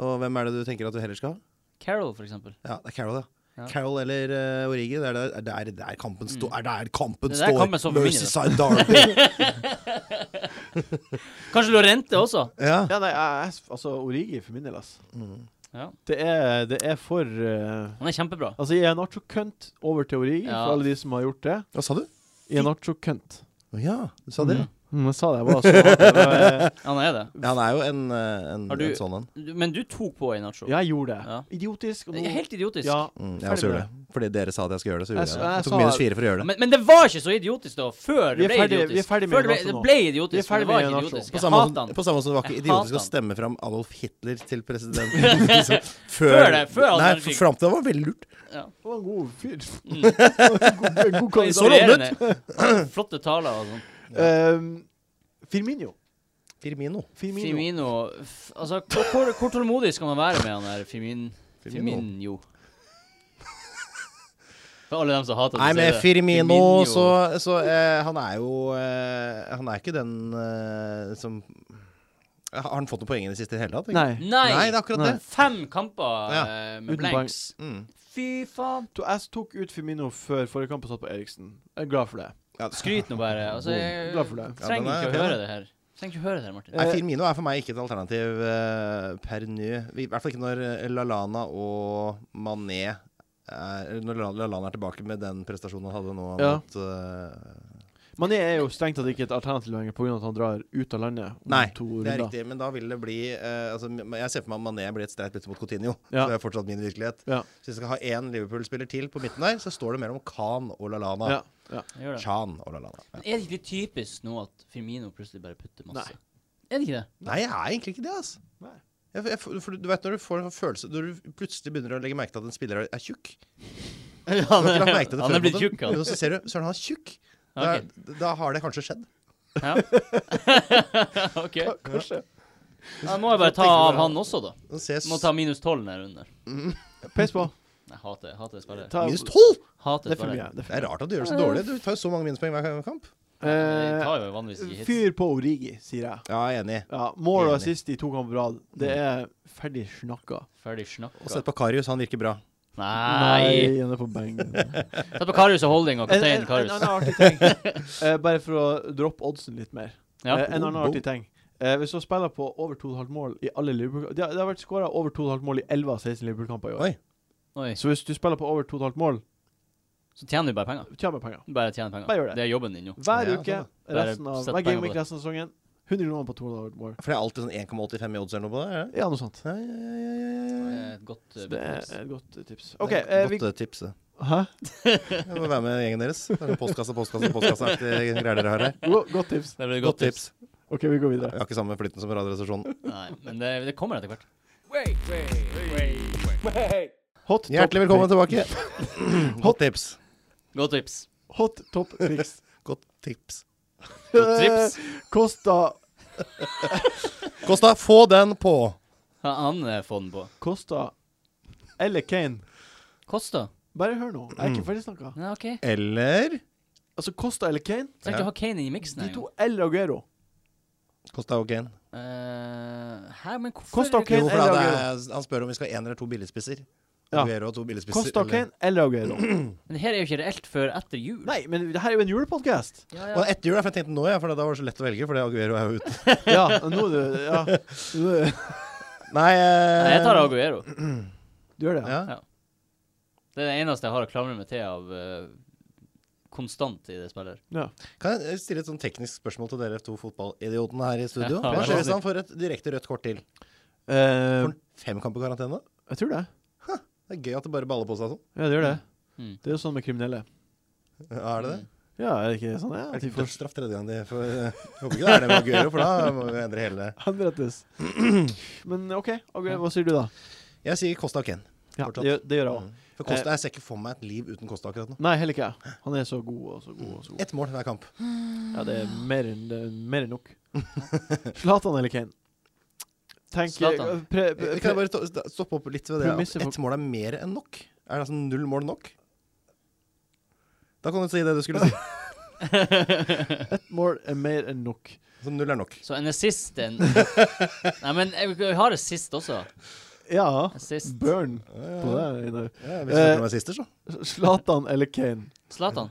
[SPEAKER 4] Og hvem er det du tenker at du heller skal ha?
[SPEAKER 2] Carol, for eksempel.
[SPEAKER 4] Ja, det er Carol, ja.
[SPEAKER 2] Ja. Mm.
[SPEAKER 4] Carol eller eh, Origi. Det er der, det er der kampen, stå, er der kampen
[SPEAKER 2] Det er der
[SPEAKER 4] står.
[SPEAKER 2] kampen står for min,
[SPEAKER 4] Merseyside Derby.
[SPEAKER 2] Kanskje Lorente også?
[SPEAKER 4] ja.
[SPEAKER 1] Ja, nei, jeg, jeg, altså Origi for min del, ass.
[SPEAKER 4] Mm.
[SPEAKER 2] Ja.
[SPEAKER 1] Det er, det er for eh,
[SPEAKER 2] Han er kjempebra.
[SPEAKER 1] Altså, jeg er nacho-kønt over til Origi,
[SPEAKER 2] Ja.
[SPEAKER 1] for alle de som har gjort det.
[SPEAKER 4] Hva sa du?
[SPEAKER 1] Jeg er nacho-kønt.
[SPEAKER 4] Å ja, du sa det. ja.
[SPEAKER 1] Mm, jeg sa det, jeg var så hardt. Jeg var, eh,
[SPEAKER 2] Han er det.
[SPEAKER 4] Ja, han er jo en, eh, en,
[SPEAKER 2] Har du-
[SPEAKER 4] en sånn en.
[SPEAKER 2] Du- Men du tok på en nacho.
[SPEAKER 1] Ja, jeg gjorde det.
[SPEAKER 2] Ja.
[SPEAKER 1] Idiotisk.
[SPEAKER 2] Det er Helt idiotisk.
[SPEAKER 1] ja,
[SPEAKER 4] Mm,
[SPEAKER 1] Ferdig
[SPEAKER 4] jeg også
[SPEAKER 1] med
[SPEAKER 4] gjorde det. Fordi dere sa at jeg skulle gjøre det, så
[SPEAKER 1] Jeg s-
[SPEAKER 4] gjorde jeg det.
[SPEAKER 1] jeg
[SPEAKER 4] Jeg
[SPEAKER 1] sa-
[SPEAKER 4] tok minus fire for å gjøre det.
[SPEAKER 2] Men, men det var ikke så idiotisk da, før
[SPEAKER 1] Vi
[SPEAKER 2] det
[SPEAKER 1] er
[SPEAKER 2] ble
[SPEAKER 1] ferdig-
[SPEAKER 2] idiotisk.
[SPEAKER 1] vi er ferdig med
[SPEAKER 2] før det ble,
[SPEAKER 1] Nacho
[SPEAKER 2] det
[SPEAKER 1] nå.
[SPEAKER 2] ble
[SPEAKER 1] Vi er
[SPEAKER 2] idiotisk,
[SPEAKER 1] ferdig
[SPEAKER 2] men det var
[SPEAKER 1] med
[SPEAKER 2] ikke
[SPEAKER 1] Nacho.
[SPEAKER 2] idiotisk.
[SPEAKER 4] På
[SPEAKER 2] Jeg
[SPEAKER 4] samme,
[SPEAKER 2] hater
[SPEAKER 4] måte,
[SPEAKER 2] han.
[SPEAKER 4] på samme måte som det var ikke
[SPEAKER 2] Jeg
[SPEAKER 4] idiotisk
[SPEAKER 2] hater
[SPEAKER 4] å
[SPEAKER 2] han.
[SPEAKER 4] stemme fram Adolf Hitler til president. liksom,
[SPEAKER 2] Før det, før han
[SPEAKER 4] Nei,
[SPEAKER 2] var slik.
[SPEAKER 4] fram til det var veldig lurt.
[SPEAKER 1] det var en god fyr. god,
[SPEAKER 2] Mm.
[SPEAKER 1] en god kandidat.
[SPEAKER 4] Så lovende ut.
[SPEAKER 2] Inspirerende. Flotte taler og sånn.
[SPEAKER 1] Ehm, Firmino.
[SPEAKER 4] Firmino.
[SPEAKER 1] Firmino.
[SPEAKER 2] Firmino f- Altså, hvor, hvor, hvor tålmodig skal man være med han der Firmin,
[SPEAKER 4] Firmino.
[SPEAKER 2] Firmino? For alle dem som hater
[SPEAKER 4] Nei,
[SPEAKER 2] å
[SPEAKER 4] med
[SPEAKER 2] si det.
[SPEAKER 4] Firmino, så, så eh, Han er jo eh, Han er ikke den eh, som Har han fått noen poeng i det siste i det hele tatt? egentlig?
[SPEAKER 1] Nei.
[SPEAKER 2] Nei!
[SPEAKER 4] Nei, det er akkurat det.
[SPEAKER 2] Fem kamper
[SPEAKER 4] Ja,
[SPEAKER 2] eh,
[SPEAKER 1] uten
[SPEAKER 2] med blanks.
[SPEAKER 4] Mm.
[SPEAKER 2] Fy faen.
[SPEAKER 1] To- Jeg tok ut Firmino før forrige kamp og satt på Eriksen. Jeg er glad for det.
[SPEAKER 4] Ja,
[SPEAKER 2] Skryt nå bare. Altså, jeg
[SPEAKER 1] Glad for det.
[SPEAKER 4] Ja, den
[SPEAKER 2] trenger
[SPEAKER 4] er
[SPEAKER 2] ikke
[SPEAKER 4] fin,
[SPEAKER 2] å
[SPEAKER 4] da.
[SPEAKER 2] høre det her. Trenger ikke å høre det her, Martin.
[SPEAKER 1] Eh,
[SPEAKER 4] Nei, Firmino er for meg ikke et alternativ eh, per nå. I hvert fall ikke når eh, Lallana og Mané er, Når Lallana er tilbake med den prestasjonen han hadde nå
[SPEAKER 1] Ja.
[SPEAKER 4] mot eh,
[SPEAKER 1] Mané er jo strengt tatt ikke et alternativ lenger pga. at han drar ut av landet om
[SPEAKER 4] Nei,
[SPEAKER 1] to
[SPEAKER 4] Det er
[SPEAKER 1] runder.
[SPEAKER 4] riktig, men da vil det bli eh, altså, m- Jeg ser for meg at Mané blir et streit bytte mot Coutinho.
[SPEAKER 1] Ja.
[SPEAKER 4] Så det er fortsatt min virkelighet.
[SPEAKER 1] Ja.
[SPEAKER 4] Så hvis jeg skal ha én Liverpool-spiller til på midten der, så står det mellom Khan og Lalana.
[SPEAKER 1] Ja, ja.
[SPEAKER 2] Jeg gjør det.
[SPEAKER 4] Khan og Lalana. Ja.
[SPEAKER 2] Men er det ikke litt typisk nå at Firmino plutselig bare putter masse?
[SPEAKER 1] Nei.
[SPEAKER 2] Er det ikke det?
[SPEAKER 4] Nei, jeg er egentlig ikke det, altså.
[SPEAKER 1] Nei.
[SPEAKER 4] Jeg, jeg, for du vet når du får en følelse Når du plutselig begynner å legge merke til at en spiller er tjukk Du har ikke lagt merke til det
[SPEAKER 2] han
[SPEAKER 4] før,
[SPEAKER 2] er blitt
[SPEAKER 4] på en måte.
[SPEAKER 2] tjukk, han.
[SPEAKER 4] Men Så ser du, så er han tjukk. Da,
[SPEAKER 2] Ok.
[SPEAKER 4] da har det kanskje skjedd.
[SPEAKER 2] Ja. ok.
[SPEAKER 1] Kanskje.
[SPEAKER 2] Da må jeg bare ta av han også, da.
[SPEAKER 4] Nå ser jeg
[SPEAKER 2] Må ta minus 12 ned under.
[SPEAKER 1] Peis på.
[SPEAKER 2] Jeg hater, jeg hater spillet.
[SPEAKER 1] Ta,
[SPEAKER 4] minus tolv!
[SPEAKER 2] Hater
[SPEAKER 1] Det er for
[SPEAKER 2] spillet.
[SPEAKER 1] mye. Det er
[SPEAKER 4] Det
[SPEAKER 1] for
[SPEAKER 4] er rart at du gjør det så dårlig. Du tar jo så mange minuspoeng hver kamp.
[SPEAKER 2] Jeg
[SPEAKER 1] mye.
[SPEAKER 2] tar jo vanligvis
[SPEAKER 1] Eh,
[SPEAKER 2] ikke hits.
[SPEAKER 1] Fyr på Origi, sier jeg.
[SPEAKER 4] Ja, jeg er enig.
[SPEAKER 1] Ja, Mål og
[SPEAKER 4] Enig.
[SPEAKER 1] assist i to kamper på rad. Det er ferdig snakka.
[SPEAKER 2] Ferdig
[SPEAKER 4] Og
[SPEAKER 2] snakka.
[SPEAKER 4] sett på Karius, han virker bra.
[SPEAKER 2] Nei!
[SPEAKER 1] han er på benken.
[SPEAKER 2] Sett på Karius og holding og
[SPEAKER 1] En, en,
[SPEAKER 2] kapteinen
[SPEAKER 1] en annen
[SPEAKER 2] Karius.
[SPEAKER 1] artig ting, eh, bare for å droppe oddsen litt mer.
[SPEAKER 2] Ja.
[SPEAKER 1] Eh, en annen
[SPEAKER 4] Oh,
[SPEAKER 1] artig ting. Eh, hvis du spiller på over 2,5 mål i alle Liverpool Det har, det har vært skåra over 2,5 mål i 11 av 16 Liverpool-kamper i år.
[SPEAKER 4] Oi.
[SPEAKER 2] Oi.
[SPEAKER 1] Så hvis du spiller på over 2,5 mål,
[SPEAKER 2] Så tjener du bare penger.
[SPEAKER 1] tjener du penger.
[SPEAKER 2] Du bare tjener penger.
[SPEAKER 1] Bare gjør det. Eh,
[SPEAKER 2] er jobben din, jo.
[SPEAKER 1] Hver
[SPEAKER 4] Ja,
[SPEAKER 1] uke
[SPEAKER 4] sånn
[SPEAKER 2] Bare
[SPEAKER 1] resten av, hver
[SPEAKER 2] sett penger på
[SPEAKER 1] gameweek
[SPEAKER 2] det.
[SPEAKER 1] resten av sesongen. 100 kroner på 2,5 mål.
[SPEAKER 4] For det er alltid sånn 1,85 i odds eller noe på det? er det?
[SPEAKER 1] Ja, noe sånt.
[SPEAKER 4] Ja, ja, ja, ja, ja, ja.
[SPEAKER 2] Eh, Et godt eh,
[SPEAKER 1] Så det
[SPEAKER 2] tips.
[SPEAKER 1] er et godt eh, tips. OK,
[SPEAKER 4] Det
[SPEAKER 1] eh,
[SPEAKER 4] er
[SPEAKER 1] vi
[SPEAKER 4] Godt eh, tips. det.
[SPEAKER 1] Hæ?
[SPEAKER 4] Jeg må være med gjengen deres. Det er noen Postkasse, postkasse, postkasseaktige greier dere har her.
[SPEAKER 1] Jo, godt tips.
[SPEAKER 2] Det blir et
[SPEAKER 4] Godt tips.
[SPEAKER 1] OK, vi går
[SPEAKER 4] Vi
[SPEAKER 1] videre.
[SPEAKER 4] har ikke samme flyten som Radioresepsjonen.
[SPEAKER 2] Nei, men det, det kommer etter hvert.
[SPEAKER 1] Hot top
[SPEAKER 4] Hjertelig velkommen tilbake. Godt tips.
[SPEAKER 2] Godt tips.
[SPEAKER 1] Hot top triks.
[SPEAKER 4] Godt tips.
[SPEAKER 2] Godt tips.
[SPEAKER 1] Kosta
[SPEAKER 4] Kosta, få den på.
[SPEAKER 2] Han, han eh, får den på.
[SPEAKER 1] Kosta eller Kane
[SPEAKER 2] Kosta?
[SPEAKER 1] Bare hør nå. Jeg
[SPEAKER 4] Mm.
[SPEAKER 1] er ikke ferdig snakka.
[SPEAKER 2] Ja, OK.
[SPEAKER 4] Eller
[SPEAKER 1] Altså, Kosta eller Kane?
[SPEAKER 2] Trenger
[SPEAKER 4] Ja.
[SPEAKER 2] ikke å ha Kane inn i miksen
[SPEAKER 1] De
[SPEAKER 2] her.
[SPEAKER 1] to eller Aguero.
[SPEAKER 4] Kosta og Kane.
[SPEAKER 2] Uh, hæ, men hvorfor
[SPEAKER 1] Kosta og
[SPEAKER 4] Jo,
[SPEAKER 1] Kane
[SPEAKER 4] for da,
[SPEAKER 1] eller
[SPEAKER 4] det
[SPEAKER 1] Aguero.
[SPEAKER 4] er, han spør om vi skal ha én eller to billedspisser.
[SPEAKER 1] Ja.
[SPEAKER 4] Aguero og to billedspisser.
[SPEAKER 1] Kosta og Kane eller Aguero.
[SPEAKER 2] Men det her er jo ikke reelt før etter jul.
[SPEAKER 1] Nei, eh, men det her er jo en julepodkast.
[SPEAKER 2] Ja,
[SPEAKER 4] Og etter jul, for jeg tenkte nå, ja, for da var det så lett å velge, fordi Aguero er jo ute.
[SPEAKER 1] Ja, og nå er det Ja. Nå er det-
[SPEAKER 4] Nei, eh,
[SPEAKER 2] Nei, jeg tar Aguero.
[SPEAKER 1] Du gjør det, ja?
[SPEAKER 4] Ja.
[SPEAKER 2] Det er det eneste jeg har å klamre meg til av eh, konstant i det spillet. her.
[SPEAKER 1] ja.
[SPEAKER 4] Kan jeg stille et sånn teknisk spørsmål til dere to fotballidiotene her i studio?
[SPEAKER 2] Ja,
[SPEAKER 4] Hva
[SPEAKER 2] vær så
[SPEAKER 4] skjer hvis
[SPEAKER 2] snill.
[SPEAKER 4] han får et direkte rødt kort til?
[SPEAKER 1] Eh,
[SPEAKER 4] Får han fem kamper karantene?
[SPEAKER 1] jeg tror det.
[SPEAKER 4] Det er gøy at det bare baller på seg sånn.
[SPEAKER 1] Ja, det gjør det.
[SPEAKER 2] Mm.
[SPEAKER 1] Det er jo sånn med kriminelle.
[SPEAKER 4] Ja, er det det?
[SPEAKER 1] Ja, er det ikke sånn? Mm. Ja,
[SPEAKER 4] Er
[SPEAKER 1] at
[SPEAKER 4] det
[SPEAKER 1] de
[SPEAKER 4] ikke
[SPEAKER 1] får
[SPEAKER 4] dødsstraff tredje gang de får eh, Jeg Håper ikke det er det med Aguero, for da må vi endre hele
[SPEAKER 1] henrettes. Men OK, Aguero, hva sier du da?
[SPEAKER 4] Jeg sier Kosta og Ken.
[SPEAKER 1] Ja,
[SPEAKER 4] Fortsatt.
[SPEAKER 1] det, gjør- det gjør jeg òg.
[SPEAKER 4] Mm. For
[SPEAKER 1] Eh.
[SPEAKER 4] Kosta, jeg ser ikke for meg et liv uten Kosta akkurat nå.
[SPEAKER 1] Nei, heller ikke jeg. Han er så god og så god og så god.
[SPEAKER 4] Ett mål hver kamp.
[SPEAKER 1] Ja, det er
[SPEAKER 2] Ah.
[SPEAKER 1] mer enn, det er mer enn nok. Zlatan eller Kane? Tenk eh,
[SPEAKER 2] Zlatan.
[SPEAKER 1] Pre, pre,
[SPEAKER 4] Kan jeg bare to- stoppe opp litt ved det?
[SPEAKER 1] Premisset
[SPEAKER 4] At
[SPEAKER 1] for-
[SPEAKER 4] ett mål er mer enn nok? Er det altså null mål nok? Da kan du si det du skulle si.
[SPEAKER 1] Ett mål er mer enn nok.
[SPEAKER 4] Så Altså, null er nok.
[SPEAKER 2] Så en assist en... Nei, men jeg, jeg har assist også.
[SPEAKER 1] Ja.
[SPEAKER 2] Assist.
[SPEAKER 1] Burn på
[SPEAKER 4] Ja,
[SPEAKER 1] det. Einar.
[SPEAKER 4] ja, vi snakker om assister, så.
[SPEAKER 1] Zlatan eller Kane?
[SPEAKER 2] Zlatan.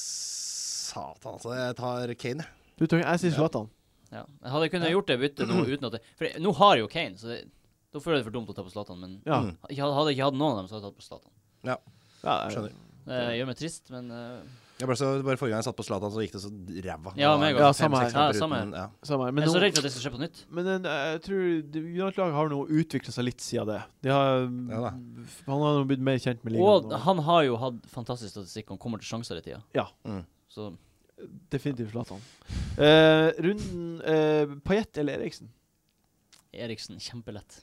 [SPEAKER 4] Satan, altså. Jeg tar Kane, jeg.
[SPEAKER 1] Du, Tønge, jeg sier Zlatan.
[SPEAKER 2] Ja. Jeg hadde kunnet gjort det byttet nå uten at det For jeg- nå har jeg jo Kane, så det, da føler jeg det for dumt å ta på Zlatan. Men
[SPEAKER 1] Ja.
[SPEAKER 4] Mm.
[SPEAKER 2] jeg hadde hadde jeg ikke hatt noen av dem, så hadde jeg tatt på Zlatan.
[SPEAKER 1] ja eh, jeg-
[SPEAKER 4] Skjønner.
[SPEAKER 2] Det gjør meg trist, men eh,
[SPEAKER 4] Jeg ble så, bare Forrige gang jeg satt på Zlatan, så gikk det så ræva.
[SPEAKER 2] Ja, meg
[SPEAKER 1] Ja,
[SPEAKER 2] også.
[SPEAKER 1] samme her.
[SPEAKER 2] Ja, samme her.
[SPEAKER 4] ja.
[SPEAKER 1] Samme her.
[SPEAKER 2] Jeg
[SPEAKER 1] Men,
[SPEAKER 2] er
[SPEAKER 1] nå,
[SPEAKER 2] så redd for at det skal skje på nytt.
[SPEAKER 1] men eh, jeg tror det- United-laget har nå utvikla seg litt siden det. De har, mm,
[SPEAKER 4] Ja da.
[SPEAKER 1] han har nå blitt mer kjent med
[SPEAKER 2] Og
[SPEAKER 1] ligaen. og-
[SPEAKER 2] han har jo hatt fantastisk statistikk. Han kommer til sjanser i tida.
[SPEAKER 1] Ja.
[SPEAKER 4] Mm.
[SPEAKER 2] Så
[SPEAKER 1] Definitivt Zlatan. Eh, runden eh, Payet eller Eriksen?
[SPEAKER 2] Eriksen, kjempelett.